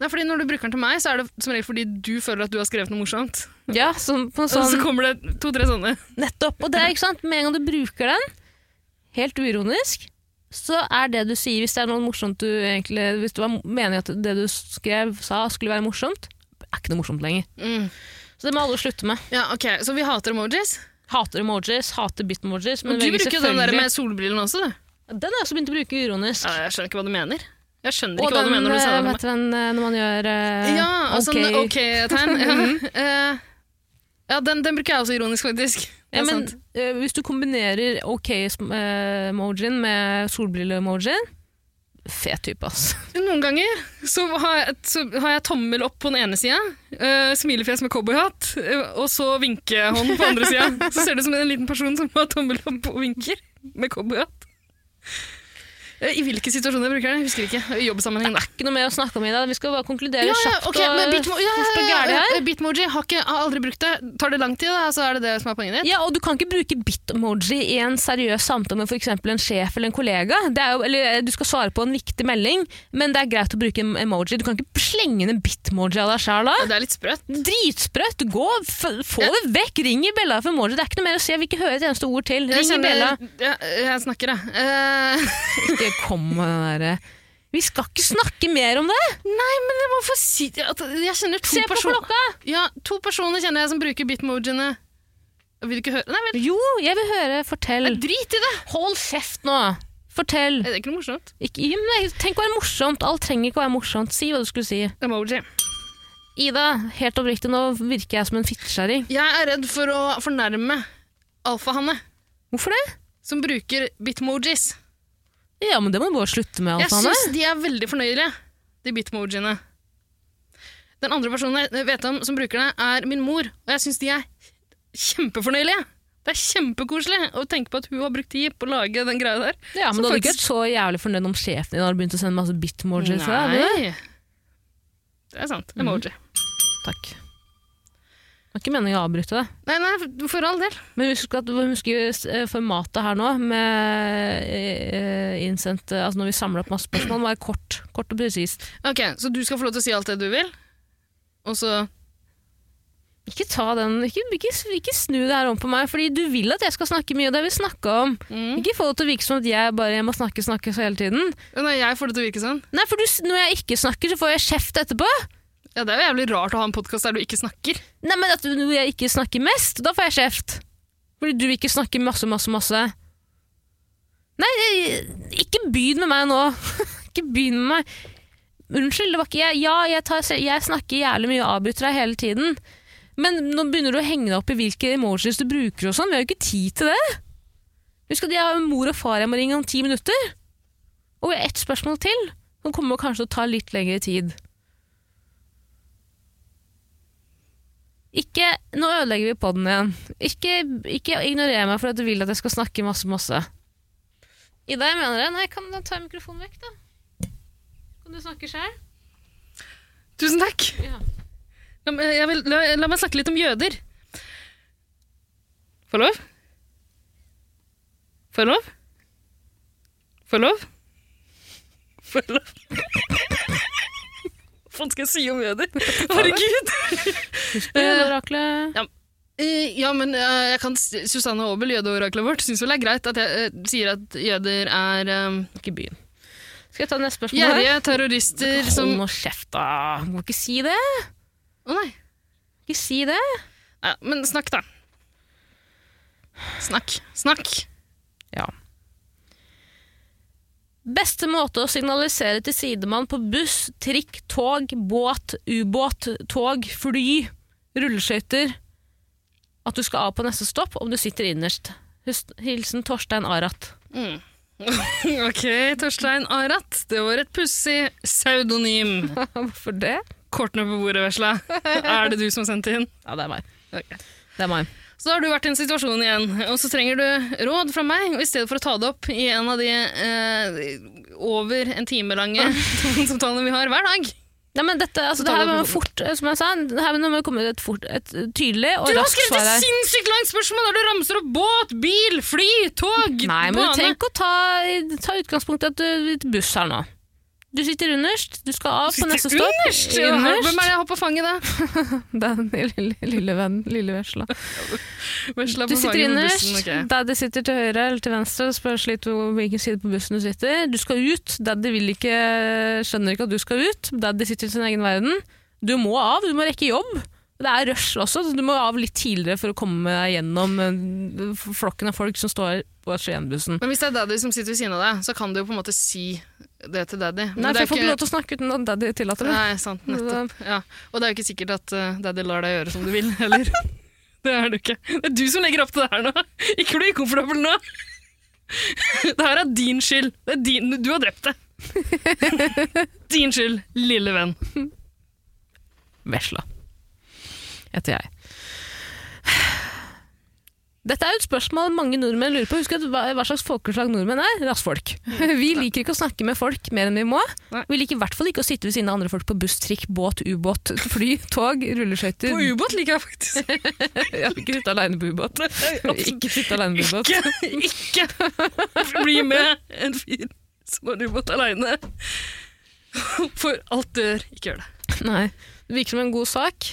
Speaker 2: Nei, fordi Når du bruker den til meg, så er det som regel fordi du føler at du har skrevet noe morsomt.
Speaker 1: Ja, sånn, på en
Speaker 2: Og så
Speaker 1: sånn,
Speaker 2: kommer det to-tre sånne.
Speaker 1: nettopp. Og det er ikke sant, med en gang du bruker den, helt uironisk, så er det du sier, hvis det er noe morsomt du egentlig Hvis du var meningen at det du skrev, sa skulle være morsomt, er ikke noe morsomt lenger. Så det må alle slutte med.
Speaker 2: Ja, ok. Så vi hater emojis.
Speaker 1: Hater emojis, hater bit-emojis.
Speaker 2: Men
Speaker 1: Men
Speaker 2: du
Speaker 1: velger
Speaker 2: bruker jo den der
Speaker 1: selvfølgelig-
Speaker 2: med solbrillene også, du.
Speaker 1: Den har jeg også begynt å bruke uironisk.
Speaker 2: Ja, jeg skjønner ikke hva du mener. Jeg skjønner
Speaker 1: Og
Speaker 2: ikke hva
Speaker 1: den,
Speaker 2: du mener når du sier
Speaker 1: eh,
Speaker 2: det.
Speaker 1: vet du den, eh, når man gjør eh,
Speaker 2: Ja, altså
Speaker 1: ok.
Speaker 2: sånn ok-tegn. Ja, Eh, ja den, den bruker jeg også ironisk, faktisk. Det
Speaker 1: Ja,
Speaker 2: er
Speaker 1: men
Speaker 2: sant.
Speaker 1: eh, Hvis du kombinerer OK-emojien med solbrille-emojien Fet type, ass.
Speaker 2: Noen ganger så har, jeg, så har jeg tommel opp på den ene sida, eh, smilefjes med cowboyhatt, eh, og så vinkehånd på andre sida. Så ser det ut som en liten person som har tommel opp og vinker med cowboyhatt. Eh, I hvilke situasjoner jeg bruker den? Jeg husker ikke. I jobbsammenheng, da.
Speaker 1: Ikke noe mer å snakke om i dag. Vi skal bare konkludere kjapt
Speaker 2: ok, men
Speaker 1: og
Speaker 2: Bitmo- ja,
Speaker 1: fort og gærlig her.
Speaker 2: Bitmoji har, ikke, har aldri brukt det. Tar det lang tid, da, så er det det som er poenget ditt?
Speaker 1: Ja, og du kan ikke bruke bit-emoji i en seriøs samtale med f.eks. en sjef eller en kollega. Det er jo, eller eh, du skal svare på en viktig melding, men det er greit å bruke en emoji. Du kan ikke slenge inn en bit-emoji av deg sjæl da.
Speaker 2: Ja, Det er litt sprøtt.
Speaker 1: Dritsprøtt! Gå, f få det vekk! Ring i bjella for emoji. Det er ikke noe mer å si. Jeg vil ikke høre et eneste ord til.
Speaker 2: Jeg,
Speaker 1: Ring i bjella.
Speaker 2: kjenner, jeg, jeg snakker, jeg. Eh,
Speaker 1: Ikke kom med den derre Vi skal ikke snakke mer om det!
Speaker 2: hvorfor sier jeg at Jeg kjenner to
Speaker 1: Se på
Speaker 2: personer
Speaker 1: klokka!
Speaker 2: Ja, to personer kjenner jeg som bruker bitmojiene. Vil du ikke høre? Nei, vel,
Speaker 1: Jo, jeg vil høre. Fortell.
Speaker 2: nei, drit i det!
Speaker 1: Hold kjeft nå! Fortell.
Speaker 2: Mm. Det er ikke noe morsomt.
Speaker 1: Ikke, jo, men jeg- tenk å være morsomt. Alt trenger ikke å være morsomt. Si hva du skulle si.
Speaker 2: Emoji.
Speaker 1: Ida, helt oppriktig, nå virker jeg som en fittekjerring.
Speaker 2: Jeg er redd for å fornærme alfahanne
Speaker 1: Hvorfor det?
Speaker 2: som bruker bitmojis.
Speaker 1: Ja, men det må du bare slutte med,
Speaker 2: Jeg
Speaker 1: Alfane.
Speaker 2: syns de er veldig fornøyelige, de bitmojiene. Den andre personen jeg vet om som bruker det, er min mor, og jeg syns de er kjempefornøyelige. Det er kjempekoselig å tenke på at hun har brukt tid på å lage den greia der.
Speaker 1: Ja, men
Speaker 2: som
Speaker 1: du hadde ikke
Speaker 2: faktisk-
Speaker 1: vært så jævlig fornøyd om sjefen din hadde begynt å sende masse bitmojis. Nei.
Speaker 2: Nei. Det er sant. Emoji.
Speaker 1: Takk. Det var ikke meningen å avbryte det.
Speaker 2: Nei, nei, for- for all del.
Speaker 1: Men husk at husk eh, formatet her nå, med eh, innsendt eh, Altså når vi samler opp masse spørsmål, må være kort, kort og presist.
Speaker 2: Ok, Så du skal få lov til å si alt det du vil? Og så
Speaker 1: Ikke ta den, ikke, ikke, ikke snu det her om på meg, fordi du vil at jeg skal snakke mye, og det vil vi snakke om.
Speaker 2: mm.
Speaker 1: Ikke få det til å virke som at jeg bare må snakke, snakke så hele tiden.
Speaker 2: Nei, jeg får det til å virke sånn.
Speaker 1: Nei, for du, s- når jeg ikke snakker, så får jeg kjeft etterpå.
Speaker 2: Ja, Det er jo jævlig rart å ha en podkast der du ikke snakker.
Speaker 1: Nei, men at når jeg ikke snakker mest, da får jeg kjeft. Fordi du ikke snakker masse, masse, masse. Nei, jeg- ikke begynn med meg nå. ikke begynn med meg. Unnskyld, det var ikke jeg. Ja, jeg, tar, jeg snakker jævlig mye og avbryter deg hele tiden. Men nå begynner du å henge deg opp i hvilke emojis du bruker og sånn. Vi har jo ikke tid til det. Husk at jeg har en mor og far jeg må ringe om ti minutter. Og vi har ett spørsmål til. Som kommer kanskje til å ta litt lengre tid. Ikke, nå ødelegger vi podden igjen. Ikke, ikke ignorer meg for at du vil at jeg skal snakke masse, masse. Ida, jeg mener det. Nei, kan du ta mikrofonen vekk, da? Kan du snakke sjøl?
Speaker 2: Tusen takk!
Speaker 1: Ja.
Speaker 2: La, meg- jeg vil, la, la meg snakke litt om jøder. Får jeg lov? Får jeg lov? Får jeg lov? Får jeg lov? Hva faen skal jeg si om jøder? Herregud!
Speaker 1: Husk på jødeoraklet.
Speaker 2: Eh, Ja, men eh, jeg kan, s- Susanne Aabel, jødeoraklet vårt, syns vel det er greit at jeg eh, sier at jøder er eh,
Speaker 1: Ikke byen. Skal jeg ta neste spørsmål? her?
Speaker 2: gjerrige terrorister som
Speaker 1: Hold nå kjeft, da. Du må ikke si det.
Speaker 2: Å nei.
Speaker 1: Ikke si det.
Speaker 2: Ja, men snakk, da. Snakk. Snakk.
Speaker 1: Ja. Beste måte å signalisere til sidemann på buss, trikk, tog, båt, ubåt, tog, fly, rulleskøyter At du skal av på neste stopp om du sitter innerst. Hus- Hilsen Torstein Arat.
Speaker 2: Mm. ok, Torstein Arat. Det var et pussig pseudonym.
Speaker 1: Hvorfor det?
Speaker 2: Kortene på bordet, vesla. Er det du som sendte inn?
Speaker 1: Ja, det er meg.
Speaker 2: Ok.
Speaker 1: Det er meg.
Speaker 2: Så har du vært i en situasjon igjen, og så trenger du råd fra meg. Og i stedet for å ta det opp i en av de eh, over en time lange
Speaker 1: Ah.
Speaker 2: telefonsamtalene vi har hver dag
Speaker 1: Nei, men dette, altså,
Speaker 2: Så
Speaker 1: det
Speaker 2: tar
Speaker 1: her
Speaker 2: vi
Speaker 1: må
Speaker 2: på
Speaker 1: fort, eh, som jeg sa, det her må jo komme ut et, fort, et tydelig og
Speaker 2: Du har
Speaker 1: raskt
Speaker 2: skrevet
Speaker 1: svar
Speaker 2: et
Speaker 1: her.
Speaker 2: sinnssykt langt spørsmål der du ramser opp båt, bil, fly, tog,
Speaker 1: Nei, men
Speaker 2: bane.
Speaker 1: du trenger ikke å ta, ta utgangspunkt i at du et buss her nå. Du sitter underst, du skal av på neste stopp.
Speaker 2: Innerst! Ja, Hvem er det jeg har på fanget, da?
Speaker 1: Den lille, lille venn, lille vesla.
Speaker 2: Vesla
Speaker 1: Du
Speaker 2: på
Speaker 1: sitter
Speaker 2: fanget på
Speaker 1: innerst,
Speaker 2: bussen, ok.
Speaker 1: daddy sitter til høyre eller til venstre, det spørs litt hvor- hvilken side på bussen du sitter. Du skal ut, daddy vil ikke, skjønner ikke at du skal ut, daddy sitter i sin egen verden. Du må av, du må rekke jobb. Det er rush også, så du må av litt tidligere for å komme deg gjennom eh, flokken av folk som står på Skien-bussen.
Speaker 2: Men hvis det er daddy som sitter ved siden av deg, så kan du jo på en måte si det til daddy. Men
Speaker 1: Nei, for
Speaker 2: det er
Speaker 1: jeg får
Speaker 2: ikke-
Speaker 1: ikke lov til å snakke uten at daddy tillater det.
Speaker 2: Nei, sant, nettopp. Ja. Og det er jo ikke sikkert at eh, daddy lar deg gjøre som du vil, heller. det er det ikke. Det er du som legger opp til det her nå! Ikke bli ukomfortabel nå! det her er din skyld. Det er din, du har drept det. din skyld, lille venn.
Speaker 1: Vesla, heter jeg. Dette er jo et spørsmål mange nordmenn lurer på. Husk at hva, hva slags folkeslag nordmenn er? Rassfolk. Vi liker ikke å snakke med folk mer enn vi må.
Speaker 2: Mm. Nei.
Speaker 1: Vi liker i hvert fall ikke å sitte ved siden av andre folk på buss, trikk, båt, ubåt, fly, tog, rulleskøyter.
Speaker 2: På ubåt liker jeg faktisk.
Speaker 1: Ja, Ikke sitte alene på ubåt. Ikke sitte alene på ubåt.
Speaker 2: ikke, ikke bli med en fyr som har ubåt aleine. For alt dør. Ikke gjør det.
Speaker 1: Nei. Det virker som en god sak.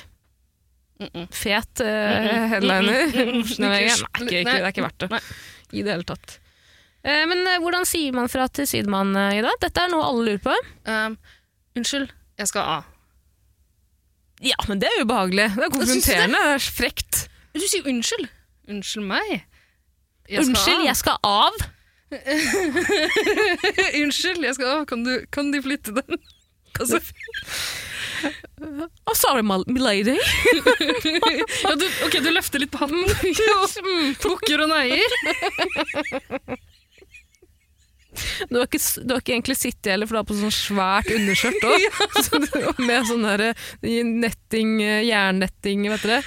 Speaker 2: Mm-mm.
Speaker 1: Fet eh, headliner. Nei, det er ikke, ikke, det er ikke verdt det.
Speaker 2: Nei.
Speaker 1: I det hele tatt. Eh, men eh, hvordan sier man fra til sidemann eh, i dag? Dette er noe alle lurer på.
Speaker 2: Um, unnskyld, jeg skal av.
Speaker 1: Ja, men det er ubehagelig. Det er
Speaker 2: konfronterende,
Speaker 1: Det er frekt.
Speaker 2: Du sier unnskyld. Unnskyld meg. Jeg skal
Speaker 1: Unnskyld, jeg
Speaker 2: av.
Speaker 1: skal av.
Speaker 2: unnskyld, jeg skal av. Kan, du, kan de flytte den? Altså,
Speaker 1: Oh, sorry, my lady.
Speaker 2: ja, du, ok, du løfter litt på hatten og bukker og neier.
Speaker 1: Du har ikke, s- du har ikke egentlig sittet heller, for du har på sånn svært underskjørt også. Så du- Med sånn der eh, netting, eh, jernnetting, vet dere.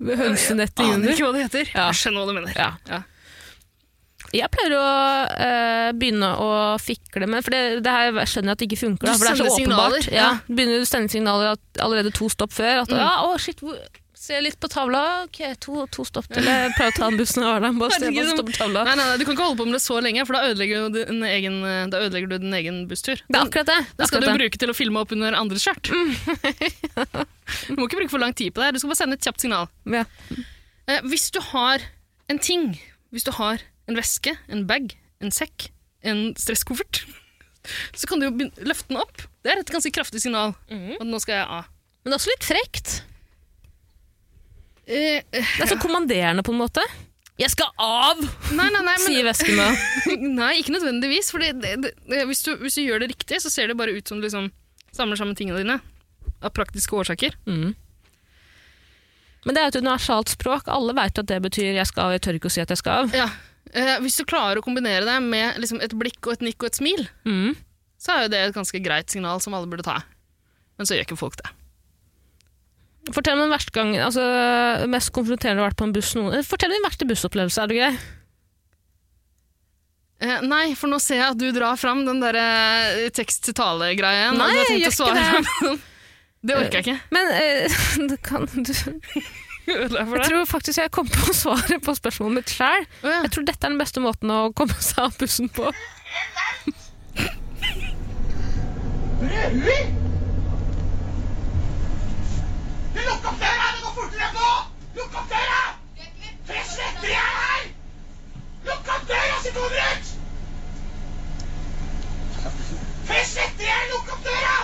Speaker 1: Hønsenetting
Speaker 2: Aner
Speaker 1: under.
Speaker 2: ikke hva det heter.
Speaker 1: Ja.
Speaker 2: Jeg skjønner hva du mener.
Speaker 1: Ja.
Speaker 2: Ja.
Speaker 1: Jeg pleier å eh, begynne å fikle med For det, det her skjønner jeg at det ikke funker. Da,
Speaker 2: Du
Speaker 1: for det er så
Speaker 2: sender
Speaker 1: åpenbart.
Speaker 2: signaler,
Speaker 1: Ja.
Speaker 2: ja. Mm.
Speaker 1: Begynner du å sende signaler at, allerede to stopp før. At, ja, å, shit, hvor, Se litt på tavla. Ok, to, to stopp til. Jeg prøver å ta den bussen i Arendal. Bare se hva som står på tavla.
Speaker 2: Nei, nei, nei, Du kan ikke holde på med det så lenge, for da ødelegger du din egen, eh, da ødelegger du din egen busstur.
Speaker 1: Det er akkurat det.
Speaker 2: Den skal du
Speaker 1: Akkurat det.
Speaker 2: bruke til å filme opp under andres skjørt. du må ikke bruke for lang tid på det. her. Du skal bare sende et kjapt signal.
Speaker 1: Ja.
Speaker 2: Eh, hvis du har en ting, hvis du har en veske, en bag, en sekk, en stresskoffert, så kan du jo begyn- løfte den opp. Det er et ganske kraftig signal.
Speaker 1: Mhm.
Speaker 2: At nå skal jeg av.
Speaker 1: Men det er også litt frekt.
Speaker 2: Eh, eh,
Speaker 1: Det er så kommanderende, på en måte. Jeg skal av,
Speaker 2: nei, nei, nei, men,
Speaker 1: sier vesken da.
Speaker 2: nei, ikke nødvendigvis. For det, det, det, hvis, du, hvis du gjør det riktig, så ser det bare ut som du liksom samler sammen tingene dine. Av praktiske årsaker.
Speaker 1: Mm. Men det er jo et universalt språk. Alle veit at det betyr 'jeg skal av', 'jeg tør ikke å si at jeg skal av'.
Speaker 2: Ja. Eh, hvis du klarer å kombinere det med liksom, et blikk og et nikk og et smil,
Speaker 1: Mm.
Speaker 2: så er jo det et ganske greit signal som alle burde ta. Men så gjør ikke folk det.
Speaker 1: Fortell om den verste gangen, altså mest konfronterende du har vært på en buss noen. Fortell om din verste bussopplevelse, er du grei?
Speaker 2: Eh, nei, for nå ser jeg at du drar fram den der eh, tekst-til-tale-greien. og
Speaker 1: Nei,
Speaker 2: du har
Speaker 1: jeg
Speaker 2: tenkt å
Speaker 1: gjør ikke
Speaker 2: svare på den. Det orker jeg ikke.
Speaker 1: Men eh, du kan du Jeg
Speaker 2: Ødela jeg for deg?
Speaker 1: tror faktisk jeg kom på svaret på spørsmålet mitt sjøl.
Speaker 2: Å, ja.
Speaker 1: Jeg tror dette er den beste måten å komme seg av bussen på.
Speaker 3: Rødhuer! Lukk opp døra! Det går fortere enn nå! Lukk opp døra! For jeg sletter jeg er her! Lukk opp døra, sier Tomerud! For jeg sletter jeg er! Lukk opp døra!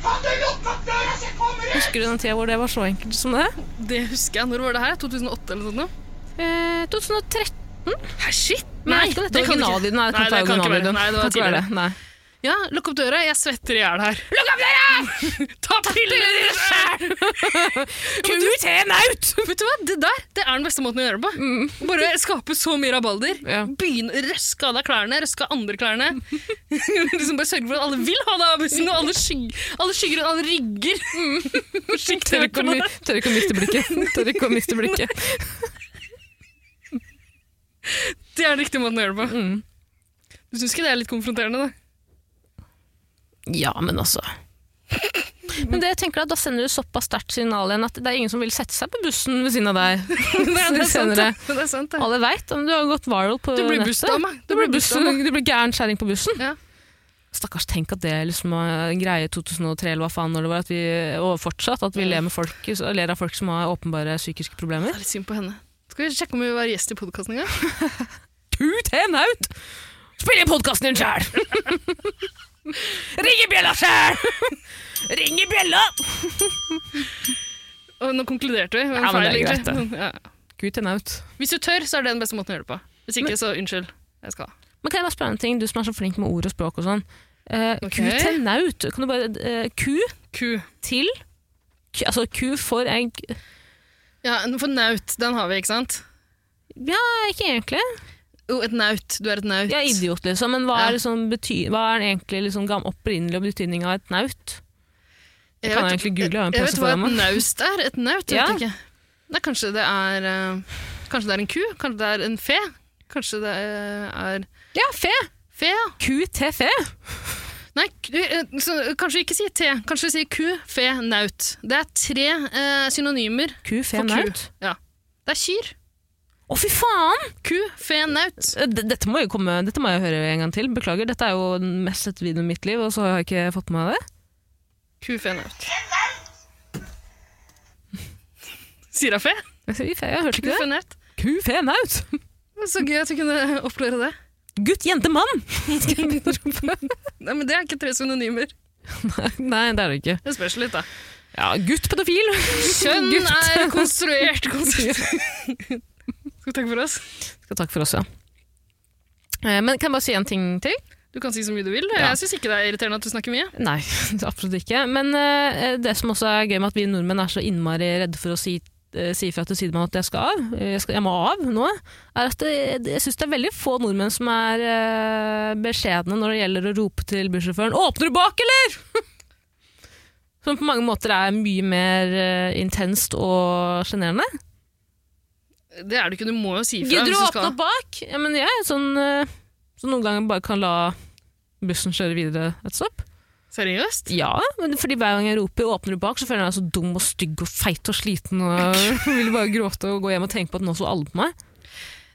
Speaker 3: Kan du lukke opp døra, så jeg kommer ut?
Speaker 1: Husker du den tida hvor det var så enkelt som det?
Speaker 2: Det husker jeg. Når var det her? 2008 eller noe sånt?
Speaker 1: Eh, 2013?
Speaker 2: Hæ, shit!
Speaker 1: Men jeg vet ikke om dette er originalladen. Nei, det kan
Speaker 2: Nei,
Speaker 1: ikke være
Speaker 2: det
Speaker 1: originallyden.
Speaker 2: Nei, det
Speaker 1: Kan ikke
Speaker 2: var
Speaker 1: være
Speaker 2: tidligere.
Speaker 1: det, Nei.
Speaker 2: Ja, lukk opp døra. Jeg svetter i hjel her.
Speaker 1: Lukk opp døra!
Speaker 2: Ta piller!
Speaker 1: QT-en ut!
Speaker 2: Vet du hva? Det der det er den beste måten å gjøre det på. Bare skape så mye rabalder.
Speaker 1: Mm. Ja.
Speaker 2: Begynne å røske av deg klærne, røske av andre klærne. liksom Bare sørge for at alle vil ha deg av bussen, og alle, skyg alle skygger og alle rygger.
Speaker 1: Mm.
Speaker 2: Skygg
Speaker 1: Tør ikke, å mi-
Speaker 2: det.
Speaker 1: tør ikke å miste blikket. Tør ikke å miste blikket.
Speaker 2: det er den riktige måten å gjøre det på.
Speaker 1: Mm.
Speaker 2: Du syns ikke det er litt konfronterende, da?
Speaker 1: Ja, men altså. Men det jeg tenker at Da sender du såpass sterkt signal igjen at det er ingen som vil sette seg på bussen ved siden av deg.
Speaker 2: Nei, det, er sant,
Speaker 1: Senere.
Speaker 2: det. det er sant, det.
Speaker 1: Alle veit om du har gått viral på
Speaker 2: Du blir
Speaker 1: nettet.
Speaker 2: bussdama.
Speaker 1: Du blir, bussen, du blir gæren kjerring på bussen.
Speaker 2: Ja.
Speaker 1: Stakkars, tenk at det liksom var en greie i 2003 eller hva faen når det var, at vi, og fortsatt, at vi ler, med folk, ler av folk som har åpenbare psykiske problemer.
Speaker 2: Det er litt synd på henne. Skal vi sjekke om hun vil være gjest i podkasten en gang?
Speaker 1: Tut hen ut! Spill inn podkasten din sjæl! Ring i bjella sjæl! Ring i bjella!
Speaker 2: Og nå konkluderte vi. med en
Speaker 1: Ja, men
Speaker 2: feil,
Speaker 1: det er
Speaker 2: egentlig. Ja.
Speaker 1: Tut hen ut.
Speaker 2: Hvis du tør, så er det den beste måten å gjøre det på. Hvis ikke, så unnskyld. Jeg skal ha.
Speaker 1: Men kan jeg bare spørre en ting, du som er så flink med ord og språk og sånn. Uh,
Speaker 2: Ok.
Speaker 1: Ku til naut. Kan du bare eh, Ku
Speaker 2: Ku.
Speaker 1: til ku, Altså ku for egg
Speaker 2: Ja, for naut, den har vi, ikke sant?
Speaker 1: Ja, ikke egentlig.
Speaker 2: Jo, et naut. Du er et naut.
Speaker 1: Jeg er idiot, liksom. Men hva
Speaker 2: Ja.
Speaker 1: er, liksom, bety hva er den egentlig liksom, gam- opprinnelig betydning av et naut?
Speaker 2: Jeg
Speaker 1: kan
Speaker 2: vet-
Speaker 1: egentlig google, jeg har en
Speaker 2: Jeg
Speaker 1: pause
Speaker 2: vet hva
Speaker 1: foran
Speaker 2: et naust er. Et naut, jeg
Speaker 1: Ja.
Speaker 2: vet ikke. Nei, kanskje det er eh, Kanskje det er en ku? Kanskje det er en fe? Kanskje det eh, er
Speaker 1: Ja, fe!
Speaker 2: fe, ja.
Speaker 1: Ku til fe.
Speaker 2: Nei, k- eh, så, kanskje ikke si te. Kanskje si ku, fe, naut. Det er tre eh, synonymer
Speaker 1: Ku, fe,
Speaker 2: for
Speaker 1: naut.
Speaker 2: ku. Ja. Det er kyr.
Speaker 1: Å, fy faen! Eh,
Speaker 2: Ku, fe, naut.
Speaker 1: D- Dette må, jo komme, dette må jeg høre en gang til. Beklager, dette er jo den mest sett videoen i mitt liv, og så har jeg ikke fått med meg det.
Speaker 2: Ku, fe, naut. Sier jeg fe?
Speaker 1: Jeg sier fe, jeg hørte
Speaker 2: Ku,
Speaker 1: ikke det.
Speaker 2: fe, naut.
Speaker 1: Ku, fe, naut!
Speaker 2: Det er Så gøy at vi kunne oppklare det.
Speaker 1: Gutt, jente, mann! Skal jeg begynne å rope?
Speaker 2: Nei, men Det er ikke tre synonymer.
Speaker 1: Nei, det er det ikke.
Speaker 2: Det spørs litt, da.
Speaker 1: Ja, gutt pedofil.
Speaker 2: Kjønn
Speaker 1: Gutt.
Speaker 2: er konstruert konsept. Skal vi takke for oss?
Speaker 1: Skal takke for oss, ja. Eh, Men kan jeg bare si en ting til?
Speaker 2: Du kan si så mye du vil.
Speaker 1: Ja.
Speaker 2: Jeg syns ikke det er irriterende at du snakker mye.
Speaker 1: Nei, absolutt ikke. Men eh, det som også er gøy med at vi nordmenn er så innmari redde for å si, eh, si fra til sidemann at jeg skal av, eh, jeg, skal, jeg må av nå, er at det, det- jeg syns det er veldig få nordmenn som er eh, beskjedne når det gjelder å rope til bussjåføren 'Åpner du bak, eller?' som på mange måter er mye mer eh, intenst og sjenerende.
Speaker 2: Det er du ikke, du må jo si fra.
Speaker 1: Gidder du
Speaker 2: hvis
Speaker 1: å åpne
Speaker 2: skal-
Speaker 1: opp bak? Ja, men jeg er sånn eh, som noen ganger bare kan la bussen kjøre videre et stopp.
Speaker 2: Seriøst?
Speaker 1: Ja, men fordi hver gang jeg roper 'åpner du bak', så føler jeg meg så dum og stygg og feit og sliten og vil bare gråte og gå hjem og tenke på at nå så alle på meg.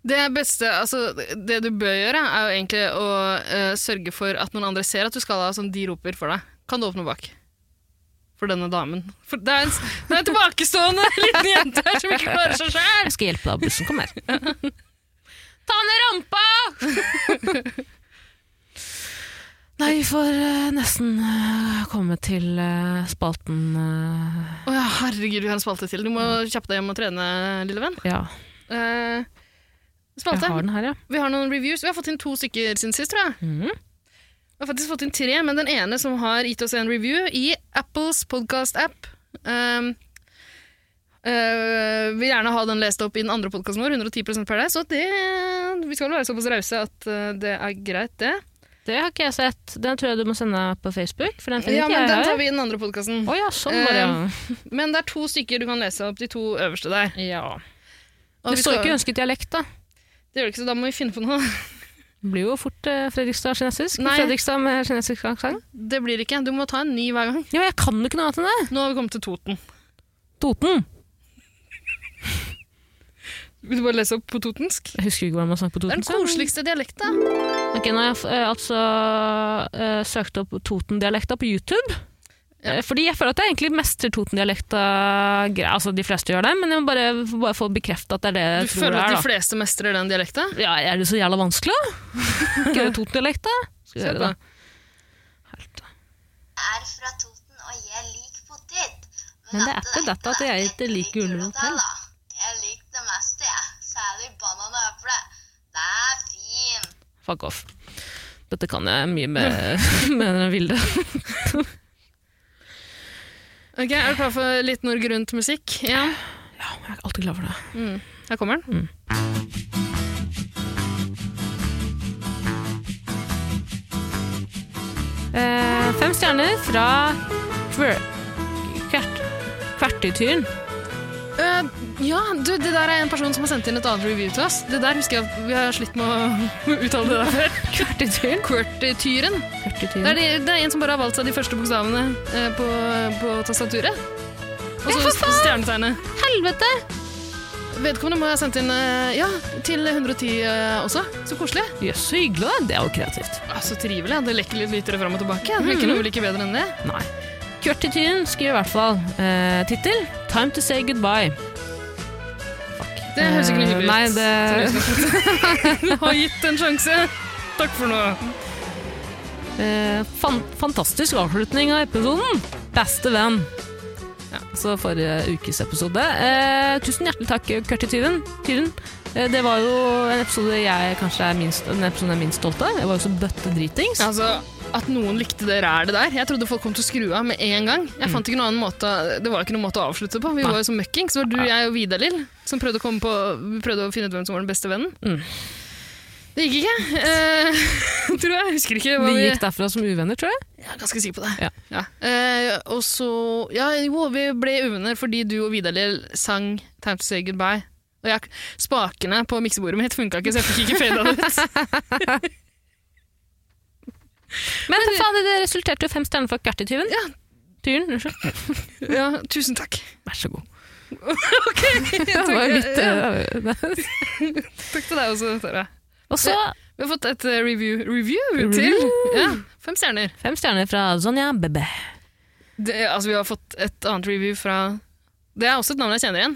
Speaker 2: Det beste, altså, det du bør gjøre, er jo egentlig å eh, sørge for at noen andre ser at du skal ha som de roper for deg. Kan du åpne bak? For denne damen. For det er en, det er en tilbakestående liten jente her som ikke klarer seg sjøl!
Speaker 1: Jeg skal hjelpe deg av bussen, kom her. Ta ned rampa! Nei, vi får eh, nesten eh, komme til eh, spalten eh,
Speaker 2: Å ja, herregud, vi har en spalte til. Du må kjappe deg hjem og trene, lille venn.
Speaker 1: Ja,
Speaker 2: Eh,
Speaker 1: jeg
Speaker 2: spalte.
Speaker 1: har den her, ja.
Speaker 2: Vi har noen reviews. Vi har fått inn to stykker siden sist, tror jeg.
Speaker 1: Mhm.
Speaker 2: Vi har faktisk fått inn tre, men den ene som har gitt oss en review i Apples podcast-app um, øh, Vil gjerne ha den lest opp i den andre podkasten vår, 110 Paradise. Og det, vi skal vel være såpass rause at øh, det er greit, det.
Speaker 1: Det har ikke jeg sett. Den tror jeg du må sende på Facebook, for den finner
Speaker 2: Ja,
Speaker 1: ikke
Speaker 2: men
Speaker 1: jeg
Speaker 2: Den tar
Speaker 1: her.
Speaker 2: vi Eh, i den andre podkasten.
Speaker 1: Å ja, sånn var det.
Speaker 2: Men det er to stykker du kan lese opp, de to øverste der.
Speaker 1: Ja.
Speaker 2: Og
Speaker 1: Det
Speaker 2: vi
Speaker 1: står
Speaker 2: skal-
Speaker 1: ikke ønsket dialekt, da.
Speaker 2: Det gjør det ikke, så da må vi finne på noe.
Speaker 1: Det blir jo fort eh, Fredrikstad-kinesisk.
Speaker 2: Nei.
Speaker 1: Fredrikstad med kinesisk aksent.
Speaker 2: Det blir ikke. Du må ta en ny hver gang.
Speaker 1: Ja, men jeg kan jo ikke noe annet enn det!
Speaker 2: Nå har vi kommet til Toten.
Speaker 1: Toten!
Speaker 2: Vil du bare lese opp på totensk?
Speaker 1: Jeg husker ikke hvordan man snakker på
Speaker 2: Det er
Speaker 1: Toten.
Speaker 2: den
Speaker 1: så-
Speaker 2: koseligste dialekten.
Speaker 1: Ok, nå har jeg eh, altså eh, søkt opp Toten-dialekta på YouTube. Eh, Fordi jeg føler at jeg egentlig mestrer Toten-dialekta gre- Altså, de fleste gjør det, men jeg må bare, får bare få bekrefta at det er det jeg
Speaker 2: Du
Speaker 1: tror
Speaker 2: føler
Speaker 1: det
Speaker 2: at
Speaker 1: er.
Speaker 2: de
Speaker 1: Da.
Speaker 2: fleste mestrer den dialekten?
Speaker 1: Ja, er det så jævla vanskelig, da? Ikke det Toten-dialekta? Skal
Speaker 2: Se
Speaker 1: gjøre
Speaker 2: på.
Speaker 1: det. Helt.
Speaker 4: er fra Toten, og jeg liker potet.
Speaker 1: Men det er ikke dette at jeg ikke liker gulrot heller.
Speaker 4: Jeg liker det meste, jeg. Særlig banan og eple. Det er fint.
Speaker 1: Fuck off. Dette kan jeg mye med, med den vilde.
Speaker 2: Ok, Er du klar for litt Norge Rundt-musikk? Ja,
Speaker 1: Ja, men jeg er alltid glad for det.
Speaker 2: her kommer den.
Speaker 1: Eh, fem stjerner fra Kver... Kvert... Kvertityren.
Speaker 2: Eh, ja, du, det der er en person som har sendt inn et annet review til oss. Det der husker jeg at vi har slitt med å uttale det der før.
Speaker 1: Kvertityren?
Speaker 2: Qwerty-tyren. Det, er
Speaker 1: Kvertityren.
Speaker 2: de, det er en som bare har valgt seg de første bokstavene eh, på, på tastaturet. Og
Speaker 1: Ja,
Speaker 2: så
Speaker 1: for faen!
Speaker 2: stjernetegnet.
Speaker 1: Helvete!
Speaker 2: Vedkommende må ha sendt inn eh, ja, til 110 eh, også. Så koselig.
Speaker 1: Jøss, så hyggelig. da. Det er jo kreativt.
Speaker 2: Ah, så trivelig. ja. Det lekker litt lytere fram og tilbake. Det blir
Speaker 1: Mm.
Speaker 2: ikke noe like bedre enn det.
Speaker 1: Nei. Kvertityren skriver i hvert fall eh, tittel 'Time to say goodbye'. Fuck.
Speaker 2: Det høres ikke noe hyggelig ut.
Speaker 1: Eh, Nei, det,
Speaker 2: det... har gitt en sjanse. Takk for nå.
Speaker 1: eh, fan, fantastisk avslutning av episoden. Beste venn. Ja, så forrige ukes episode. Eh, tusen hjertelig takk, Kvertityren. Tyren. Eh, det var jo en episode jeg kanskje er minst, en episode jeg er minst stolt av. Jeg var jo så bøttedritings.
Speaker 2: Altså, at noen likte det rælet der. Jeg trodde folk kom til å skru av med en gang. Jeg fant ikke noen annen måte, Det var ikke noen måte å avslutte på. Vi
Speaker 1: Mm. Nei.
Speaker 2: var jo som møkkings. Det var du, jeg og Vidar-Lill som prøvde å, komme på, vi prøvde å finne ut hvem som var den beste vennen.
Speaker 1: Mm.
Speaker 2: Det gikk ikke. Eh, tror jeg. Jeg husker ikke. hva
Speaker 1: Vi gikk derfra som uvenner, tror jeg.
Speaker 2: Jeg er ganske sikker på det.
Speaker 1: Ja.
Speaker 2: Eh, og så Ja, jo, vi ble uvenner fordi du og Vidar-Lill sang 'Time to Say Goodbye'. Og jeg, spakene på miksebordet mitt funka ikke, så jeg fikk ikke fada det ut.
Speaker 1: Men, for faen, det resulterte jo fem stjerner fra Gertityven.
Speaker 2: Ja.
Speaker 1: Tyren, unnskyld.
Speaker 2: Ja, tusen takk.
Speaker 1: Vær så god.
Speaker 2: Det
Speaker 1: Det var jo litt eh,
Speaker 2: Takk til deg også, Tara.
Speaker 1: Og så
Speaker 2: Vi har fått et eh, review, review
Speaker 1: Review!
Speaker 2: til. Ja, fem stjerner.
Speaker 1: fem stjerner fra Sonja Bebe.
Speaker 2: Det, altså, vi har fått et annet review fra Det er også et navn jeg kjenner igjen.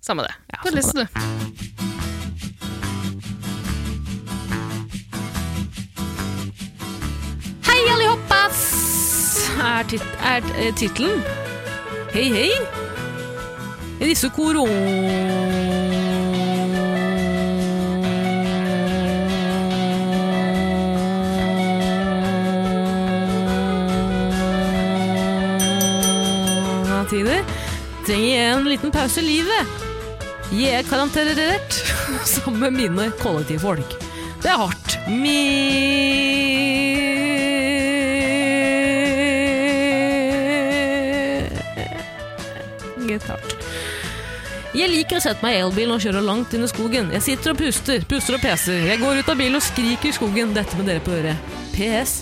Speaker 2: Samme det.
Speaker 1: Ja, samme
Speaker 2: Bare les det, du.
Speaker 1: Hei, allihoppas! Er, tit er eh, tittelen. Hei, hei. I disse koronatider trenger jeg en liten pause i livet. Jeg er karantenert sammen med mine kollektivfolk. Det er hardt. Meget hardt. Jeg liker å sette meg i elbilen og kjøre langt inn i skogen. Jeg sitter og puster, puster og peser. Jeg går ut av bilen og skriker i skogen. Dette med dere på øret. PS.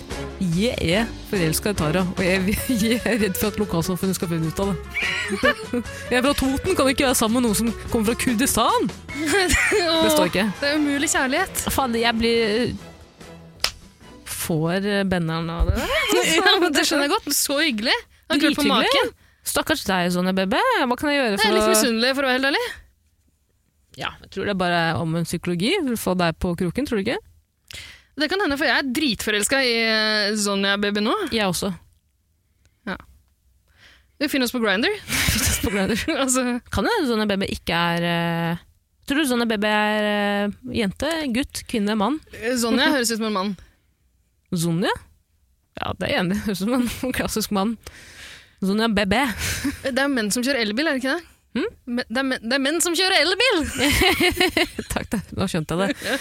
Speaker 1: Jeg er forelska i Tara, og jeg, jeg er redd for at lokalsamfunnet skal finne ut av det. Jeg er fra Toten, kan ikke være sammen med noen som kommer fra Kurdistan? Det står ikke.
Speaker 2: Det er umulig kjærlighet.
Speaker 1: Faen, jeg blir Får eh, benderen av det der?
Speaker 2: Ja, men det skjønner jeg godt. Så hyggelig. Han klør på
Speaker 1: Drithyggelig.
Speaker 2: maken.
Speaker 1: Stakkars deg, Sonja Bebe. Hva kan jeg gjøre
Speaker 2: Jeg er
Speaker 1: for
Speaker 2: litt
Speaker 1: å
Speaker 2: misunnelig, for å være helt ærlig.
Speaker 1: ja, Jeg tror det er bare om en psykologi. for å Få deg på kroken, tror du ikke?
Speaker 2: Det kan hende, for jeg er dritforelska i eh, Sonja Baby nå.
Speaker 1: Jeg også.
Speaker 2: Vi finner oss på Grinder.
Speaker 1: På Grindr.
Speaker 2: altså,
Speaker 1: kan det hende Sonja Bebe ikke er eh, Tror du Sonja Bebe er eh, jente, gutt, kvinne, mann?
Speaker 2: eh, Sonja høres ut som en mann.
Speaker 1: Sonja? Ja, det er jeg enig i. Høres ut som en klassisk mann. Sonja Bebe.
Speaker 2: Det er jo menn som kjører elbil, er det ikke det? Men- Det, er menn, det er menn som kjører elbil!
Speaker 1: Takk, da. nå skjønte jeg det.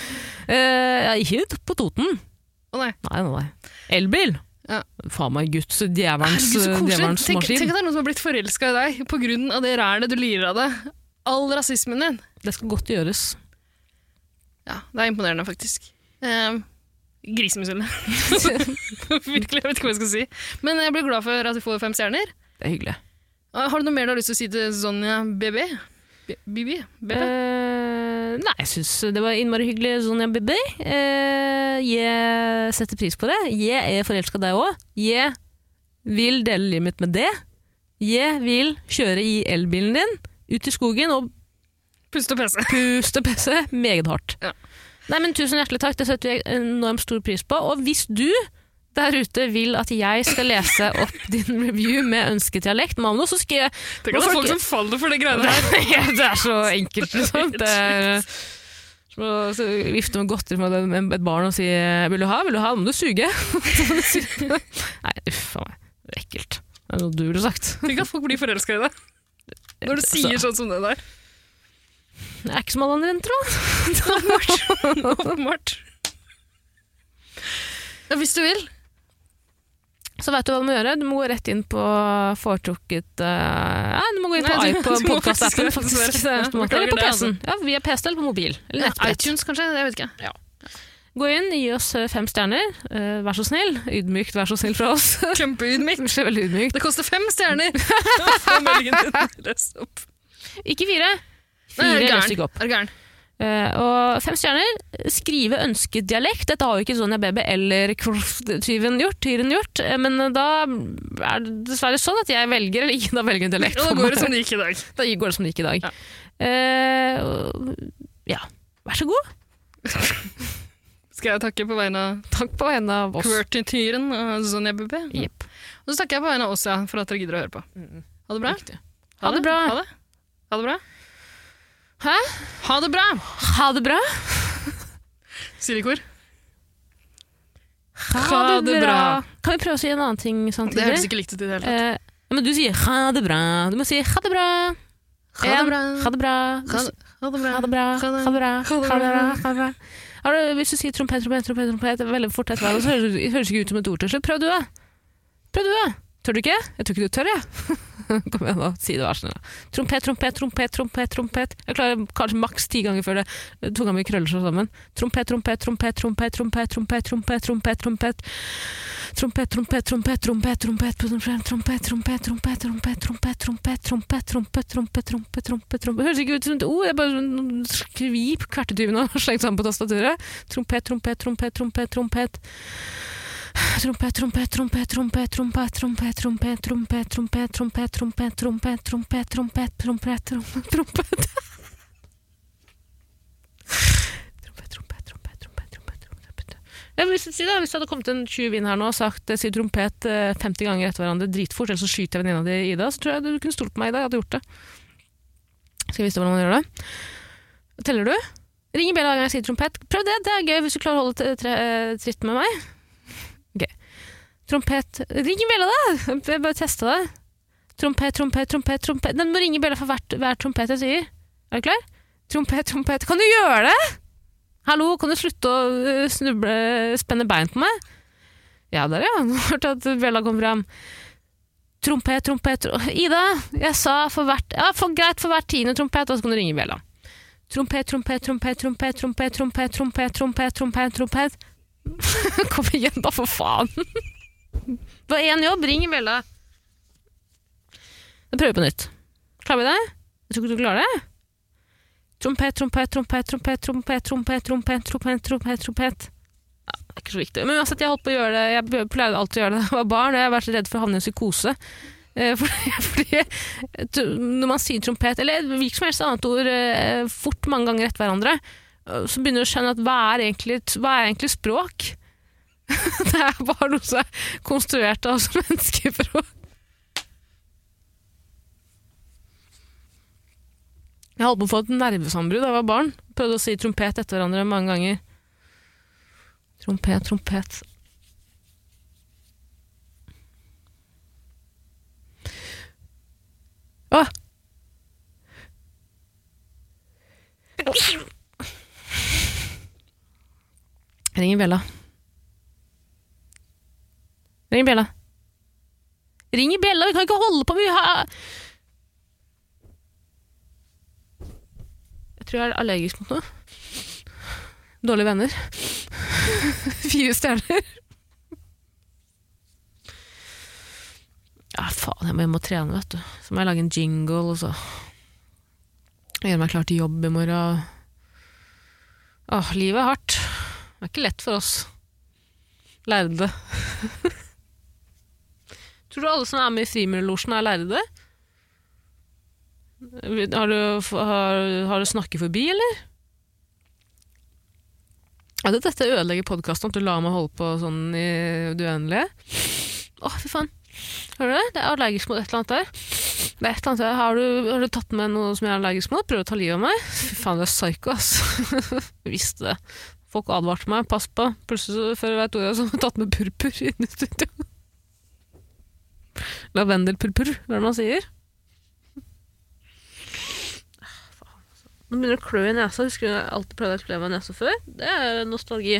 Speaker 1: Eh, ja, ikke på Toten.
Speaker 2: Å nei.
Speaker 1: Nei, nei, nei. Elbil?
Speaker 2: Ja.
Speaker 1: Faen meg guds
Speaker 2: Herregud,
Speaker 1: djevelens,
Speaker 2: så koselig.
Speaker 1: djevelens
Speaker 2: Tenk, tenk
Speaker 1: maskin.
Speaker 2: at det er noen som har blitt forelska i deg pga. det rælet du lirer av deg. All rasismen din.
Speaker 1: Det skal godt gjøres.
Speaker 2: Ja, det er imponerende, faktisk. Um, Grisemisunnelig. Virkelig, jeg vet ikke hva jeg skal si. Men jeg blir glad for at du får fem stjerner.
Speaker 1: Det er hyggelig.
Speaker 2: Og Har du noe mer du har lyst til å si til Sonja BB? B- BB? BB?
Speaker 1: Eh, nei, jeg syns det var innmari hyggelig, Sonja Bibi. Eh, jeg setter pris på det. Jeg er forelska i deg òg. Jeg vil dele livet mitt med det. Jeg vil kjøre i elbilen din, ut i skogen og
Speaker 2: Puste og pese.
Speaker 1: puste og pisse meget hardt.
Speaker 2: Ja.
Speaker 1: Nei, men Tusen hjertelig takk, det setter vi enormt stor pris på. Og hvis du der ute vil at jeg skal lese opp din review med ønsket dialekt, Mano, så skal jeg
Speaker 2: Tenk at det er folk som faller for de greiene der.
Speaker 1: det er så enkelt, liksom. Det er som å så vifte med godteri med en- et barn og si 'vil du ha', 'vil du ha', nå må du suge. Nei, uff a meg. Det er ekkelt. Det er noe du ville sagt. Altså,
Speaker 2: Tenk at folk blir forelska i deg når du
Speaker 1: Eh,
Speaker 2: sier sånn som det der.
Speaker 1: Det er ikke som alle andre jenter, da.
Speaker 2: Åpenbart. Ja, hvis du vil.
Speaker 1: Så veit du hva du må gjøre. Du må gå rett inn på foretrukket eh, Nei, du må gå inn på
Speaker 2: Nei, du-
Speaker 1: iPod-
Speaker 2: du må
Speaker 1: podkast-appen,
Speaker 2: faktisk-
Speaker 1: faktisk. Det er
Speaker 2: Ja,
Speaker 1: eneste måten. Eller på
Speaker 2: beklager det, altså.
Speaker 1: PC-en. Ja, via PC eller på mobil. Eller nettbrett.
Speaker 2: iTunes, kanskje? Jeg vet ikke.
Speaker 1: Gå inn, gi oss eh, fem stjerner. Eh, Vær så snill. Ydmykt, vær så snill fra oss.
Speaker 2: Kjempeydmyk.
Speaker 1: Det er veldig ydmykt.
Speaker 2: Det koster fem stjerner! Få meldingen din lest opp.
Speaker 1: Ikke fire.
Speaker 2: Nei, er
Speaker 1: Fire
Speaker 2: du
Speaker 1: løser
Speaker 2: gæren?
Speaker 1: ikke opp.
Speaker 2: Er du gæren?
Speaker 1: Eh, og fem stjerner. Skrive ønsket dialekt. Dette har jo ikke sånn Sonja Bebe eller Kroff- tyven gjort, tyren gjort, eh, men eh, da er det dessverre sånn at jeg velger eller ikke da velger en dialekt.
Speaker 2: Ja, da
Speaker 1: for
Speaker 2: går
Speaker 1: meg.
Speaker 2: det som det gikk i dag.
Speaker 1: Da går det som det gikk i dag.
Speaker 2: Ja.
Speaker 1: Eh, og- ja. Vær så god.
Speaker 2: Skal jeg takke på vegne av
Speaker 1: Takk på vegne av oss.
Speaker 2: Querty-tyren og Sonja BB?
Speaker 1: Jepp.
Speaker 2: Og så takker jeg på vegne av oss, ja, for at dere gidder å høre på. Ha det bra.
Speaker 1: Riktig. Ha det bra.
Speaker 2: Ha det, ha det bra.
Speaker 1: Hæ?
Speaker 2: Ha det bra!
Speaker 1: Ha det bra.
Speaker 2: Sier i kor. Ha det bra.
Speaker 1: Kan vi prøve å si en annen ting samtidig?
Speaker 2: Det høres ikke likt ut i det hele tatt.
Speaker 1: Eh, men du sier ha det bra. Du må si ha det bra.
Speaker 2: Ha det bra.
Speaker 1: En, Eh, Ha det bra. Du sier,
Speaker 2: Ha det- ha det bra.
Speaker 1: Ha det bra. Ha det bra.
Speaker 2: Ha det bra.
Speaker 1: Ha det bra. Ha det bra. Har du, hvis du sier trompet, trompet, trompet, trompet veldig fort etter hverandre, så høres det høres ikke ut som et ord til slutt. Prøv du, da. Prøv du, da. Tør du ikke? Jeg tror ikke du tør, jeg. Kom igjen, da. Si det, vær snill. da. Trompet, trompet, trompet, trompet, trompet. Jeg klarer kanskje maks ti ganger før det tunga mi krøller seg sammen. Trompet, trompet, trompet, trompet, trompet, trompet, trompet, trompet, trompet. Trompet, trompet, trompet, trompet, trompet, trompet, trompet, trompet, trompet, trompet, trompet, trompet, trompet, trompet, trompet, trompet, trompet, trompet Høres ikke ut som et ord, det er bare sånn noen skvip kvertetyvene har slengt sammen på tastaturet. Trompet, trompet, trompet, trompet, trompet. Trompet, trompet, trompet, trompet, trompet, trompet, trompet, trompet, trompet, trompet, trompet, trompet, trompet, trompet, trompet, trompet, trompet. Trompet, trompet, trompet, trompet, trompet, trompet. Ja, men hvis, si da, hvis det hadde kommet en tjuv inn her nå og sagt eh, si trompet eh, 50 ganger etter hverandre dritfort, eller så skyter jeg venninna di Ida, så tror jeg du kunne stolt på meg, Ida. Jeg hadde gjort det. Skal jeg vise deg hvordan man gjør det? Teller du? Ring i bjella hver gang jeg sier trompet. Prøv det, det er gøy hvis du klarer å holde t- tre, eh, tritt med meg. Ok. Trompet Ring i bjella, da! Jeg bare testa det. Trompet, trompet, trompet, trompet Den må ringe i bjella for hvert, hver trompet jeg sier. Er du klar? Trompet, trompet Kan du gjøre det?! Hallo, kan du slutte å øh, snuble, spenne bein på meg? Ja, der ja. Nå har jeg hørt at Bella kom fram. Trompet, trompet tro- Ida, jeg sa for hvert Ja, for, greit, for hvert tiende trompet, og så kan du ringe Bella. Trompet, trompet, trompet, trompet, trompet, trompet, trompet, trompet, trompet, trompet. Kom igjen, da, for faen! Det var én jobb, ring Bella. Da prøver vi på nytt. Klarer vi det? Jeg tror ikke du klarer det. Trompet, trompet, trompet, trompet, trompet, trompet, trompet, trompet, trompet, trompet. Ja, det er ikke så viktig. Men uansett, jeg holdt på å gjøre det, jeg pleide alltid å gjøre det da jeg var barn, og jeg har vært redd for å havne i en psykose. Eh, Fordi, fordi t- når man sier trompet, eller hvilket som helst annet ord, eh, fort mange ganger etter hverandre, eh, så begynner du å skjønne at hva er egentlig, hva er egentlig språk? Det er bare noe som er konstruert av oss mennesker for å Jeg holdt på å få et nervesambrudd da jeg var barn. Prøvde å si trompet etter hverandre mange ganger. Trompet, trompet. Å! Jeg ringer bjella. Ring bjella. Ring i bjella, vi kan ikke holde på med vi har... Tror jeg er allergisk mot noe. Dårlige venner. Fire stjerner. Ja, faen, jeg må hjem og trene, vet du. Så må jeg lage en jingle, og så gjøre meg klar til jobb i morgen. Åh, livet er hardt. Det er ikke lett for oss. Lærde. Tror du alle som er med i Frimurlosjen, er lærde? Har du, har, har du snakket forbi, eller? Ja, det, dette ødelegger podkasten, at du lar meg holde på sånn i det uendelige. Å, fy faen. Hører du det? Det er allergisk mot et eller annet der. Det er et eller annet der. Har, du, har du tatt med noe som jeg er allergisk mot? Prøver å ta livet av meg? Fy faen, du er psyko, ass. Jeg Visste det. Folk advarte meg. Pass på. Plutselig, så- før jeg vet ordet, så har jeg tatt med purpur inn i studio. Lavendelpurpur, hva er det man sier? Nå begynner det å klø i nesa. Husker du jeg alltid pleide å klø meg i nesa før? Det er nostalgi.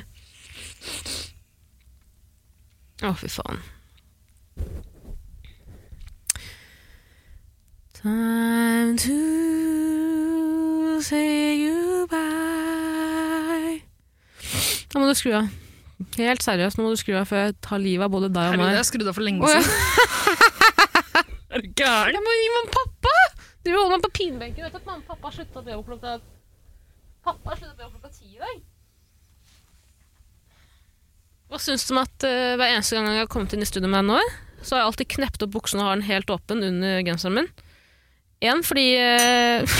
Speaker 1: Å, fy faen. Time to say goodbye. Nå må du skru av. Helt seriøst, nå må du skru av før jeg tar livet av både deg og
Speaker 2: Herregud,
Speaker 1: meg.
Speaker 2: jeg skrudde av for lenge
Speaker 1: Å, ja.
Speaker 2: siden.
Speaker 1: Er du gæren? Jeg må gi meg pappa! Du holder meg på pinbenken. Vet du at mamma og pappa slutta å be om klokka Pappa slutta å be om klokka ti i dag. Hva syns du om at eh, hver eneste gang jeg har kommet inn i studio med deg nå, så har jeg alltid knept opp buksene og har den helt åpen under genseren min? Én fordi eh,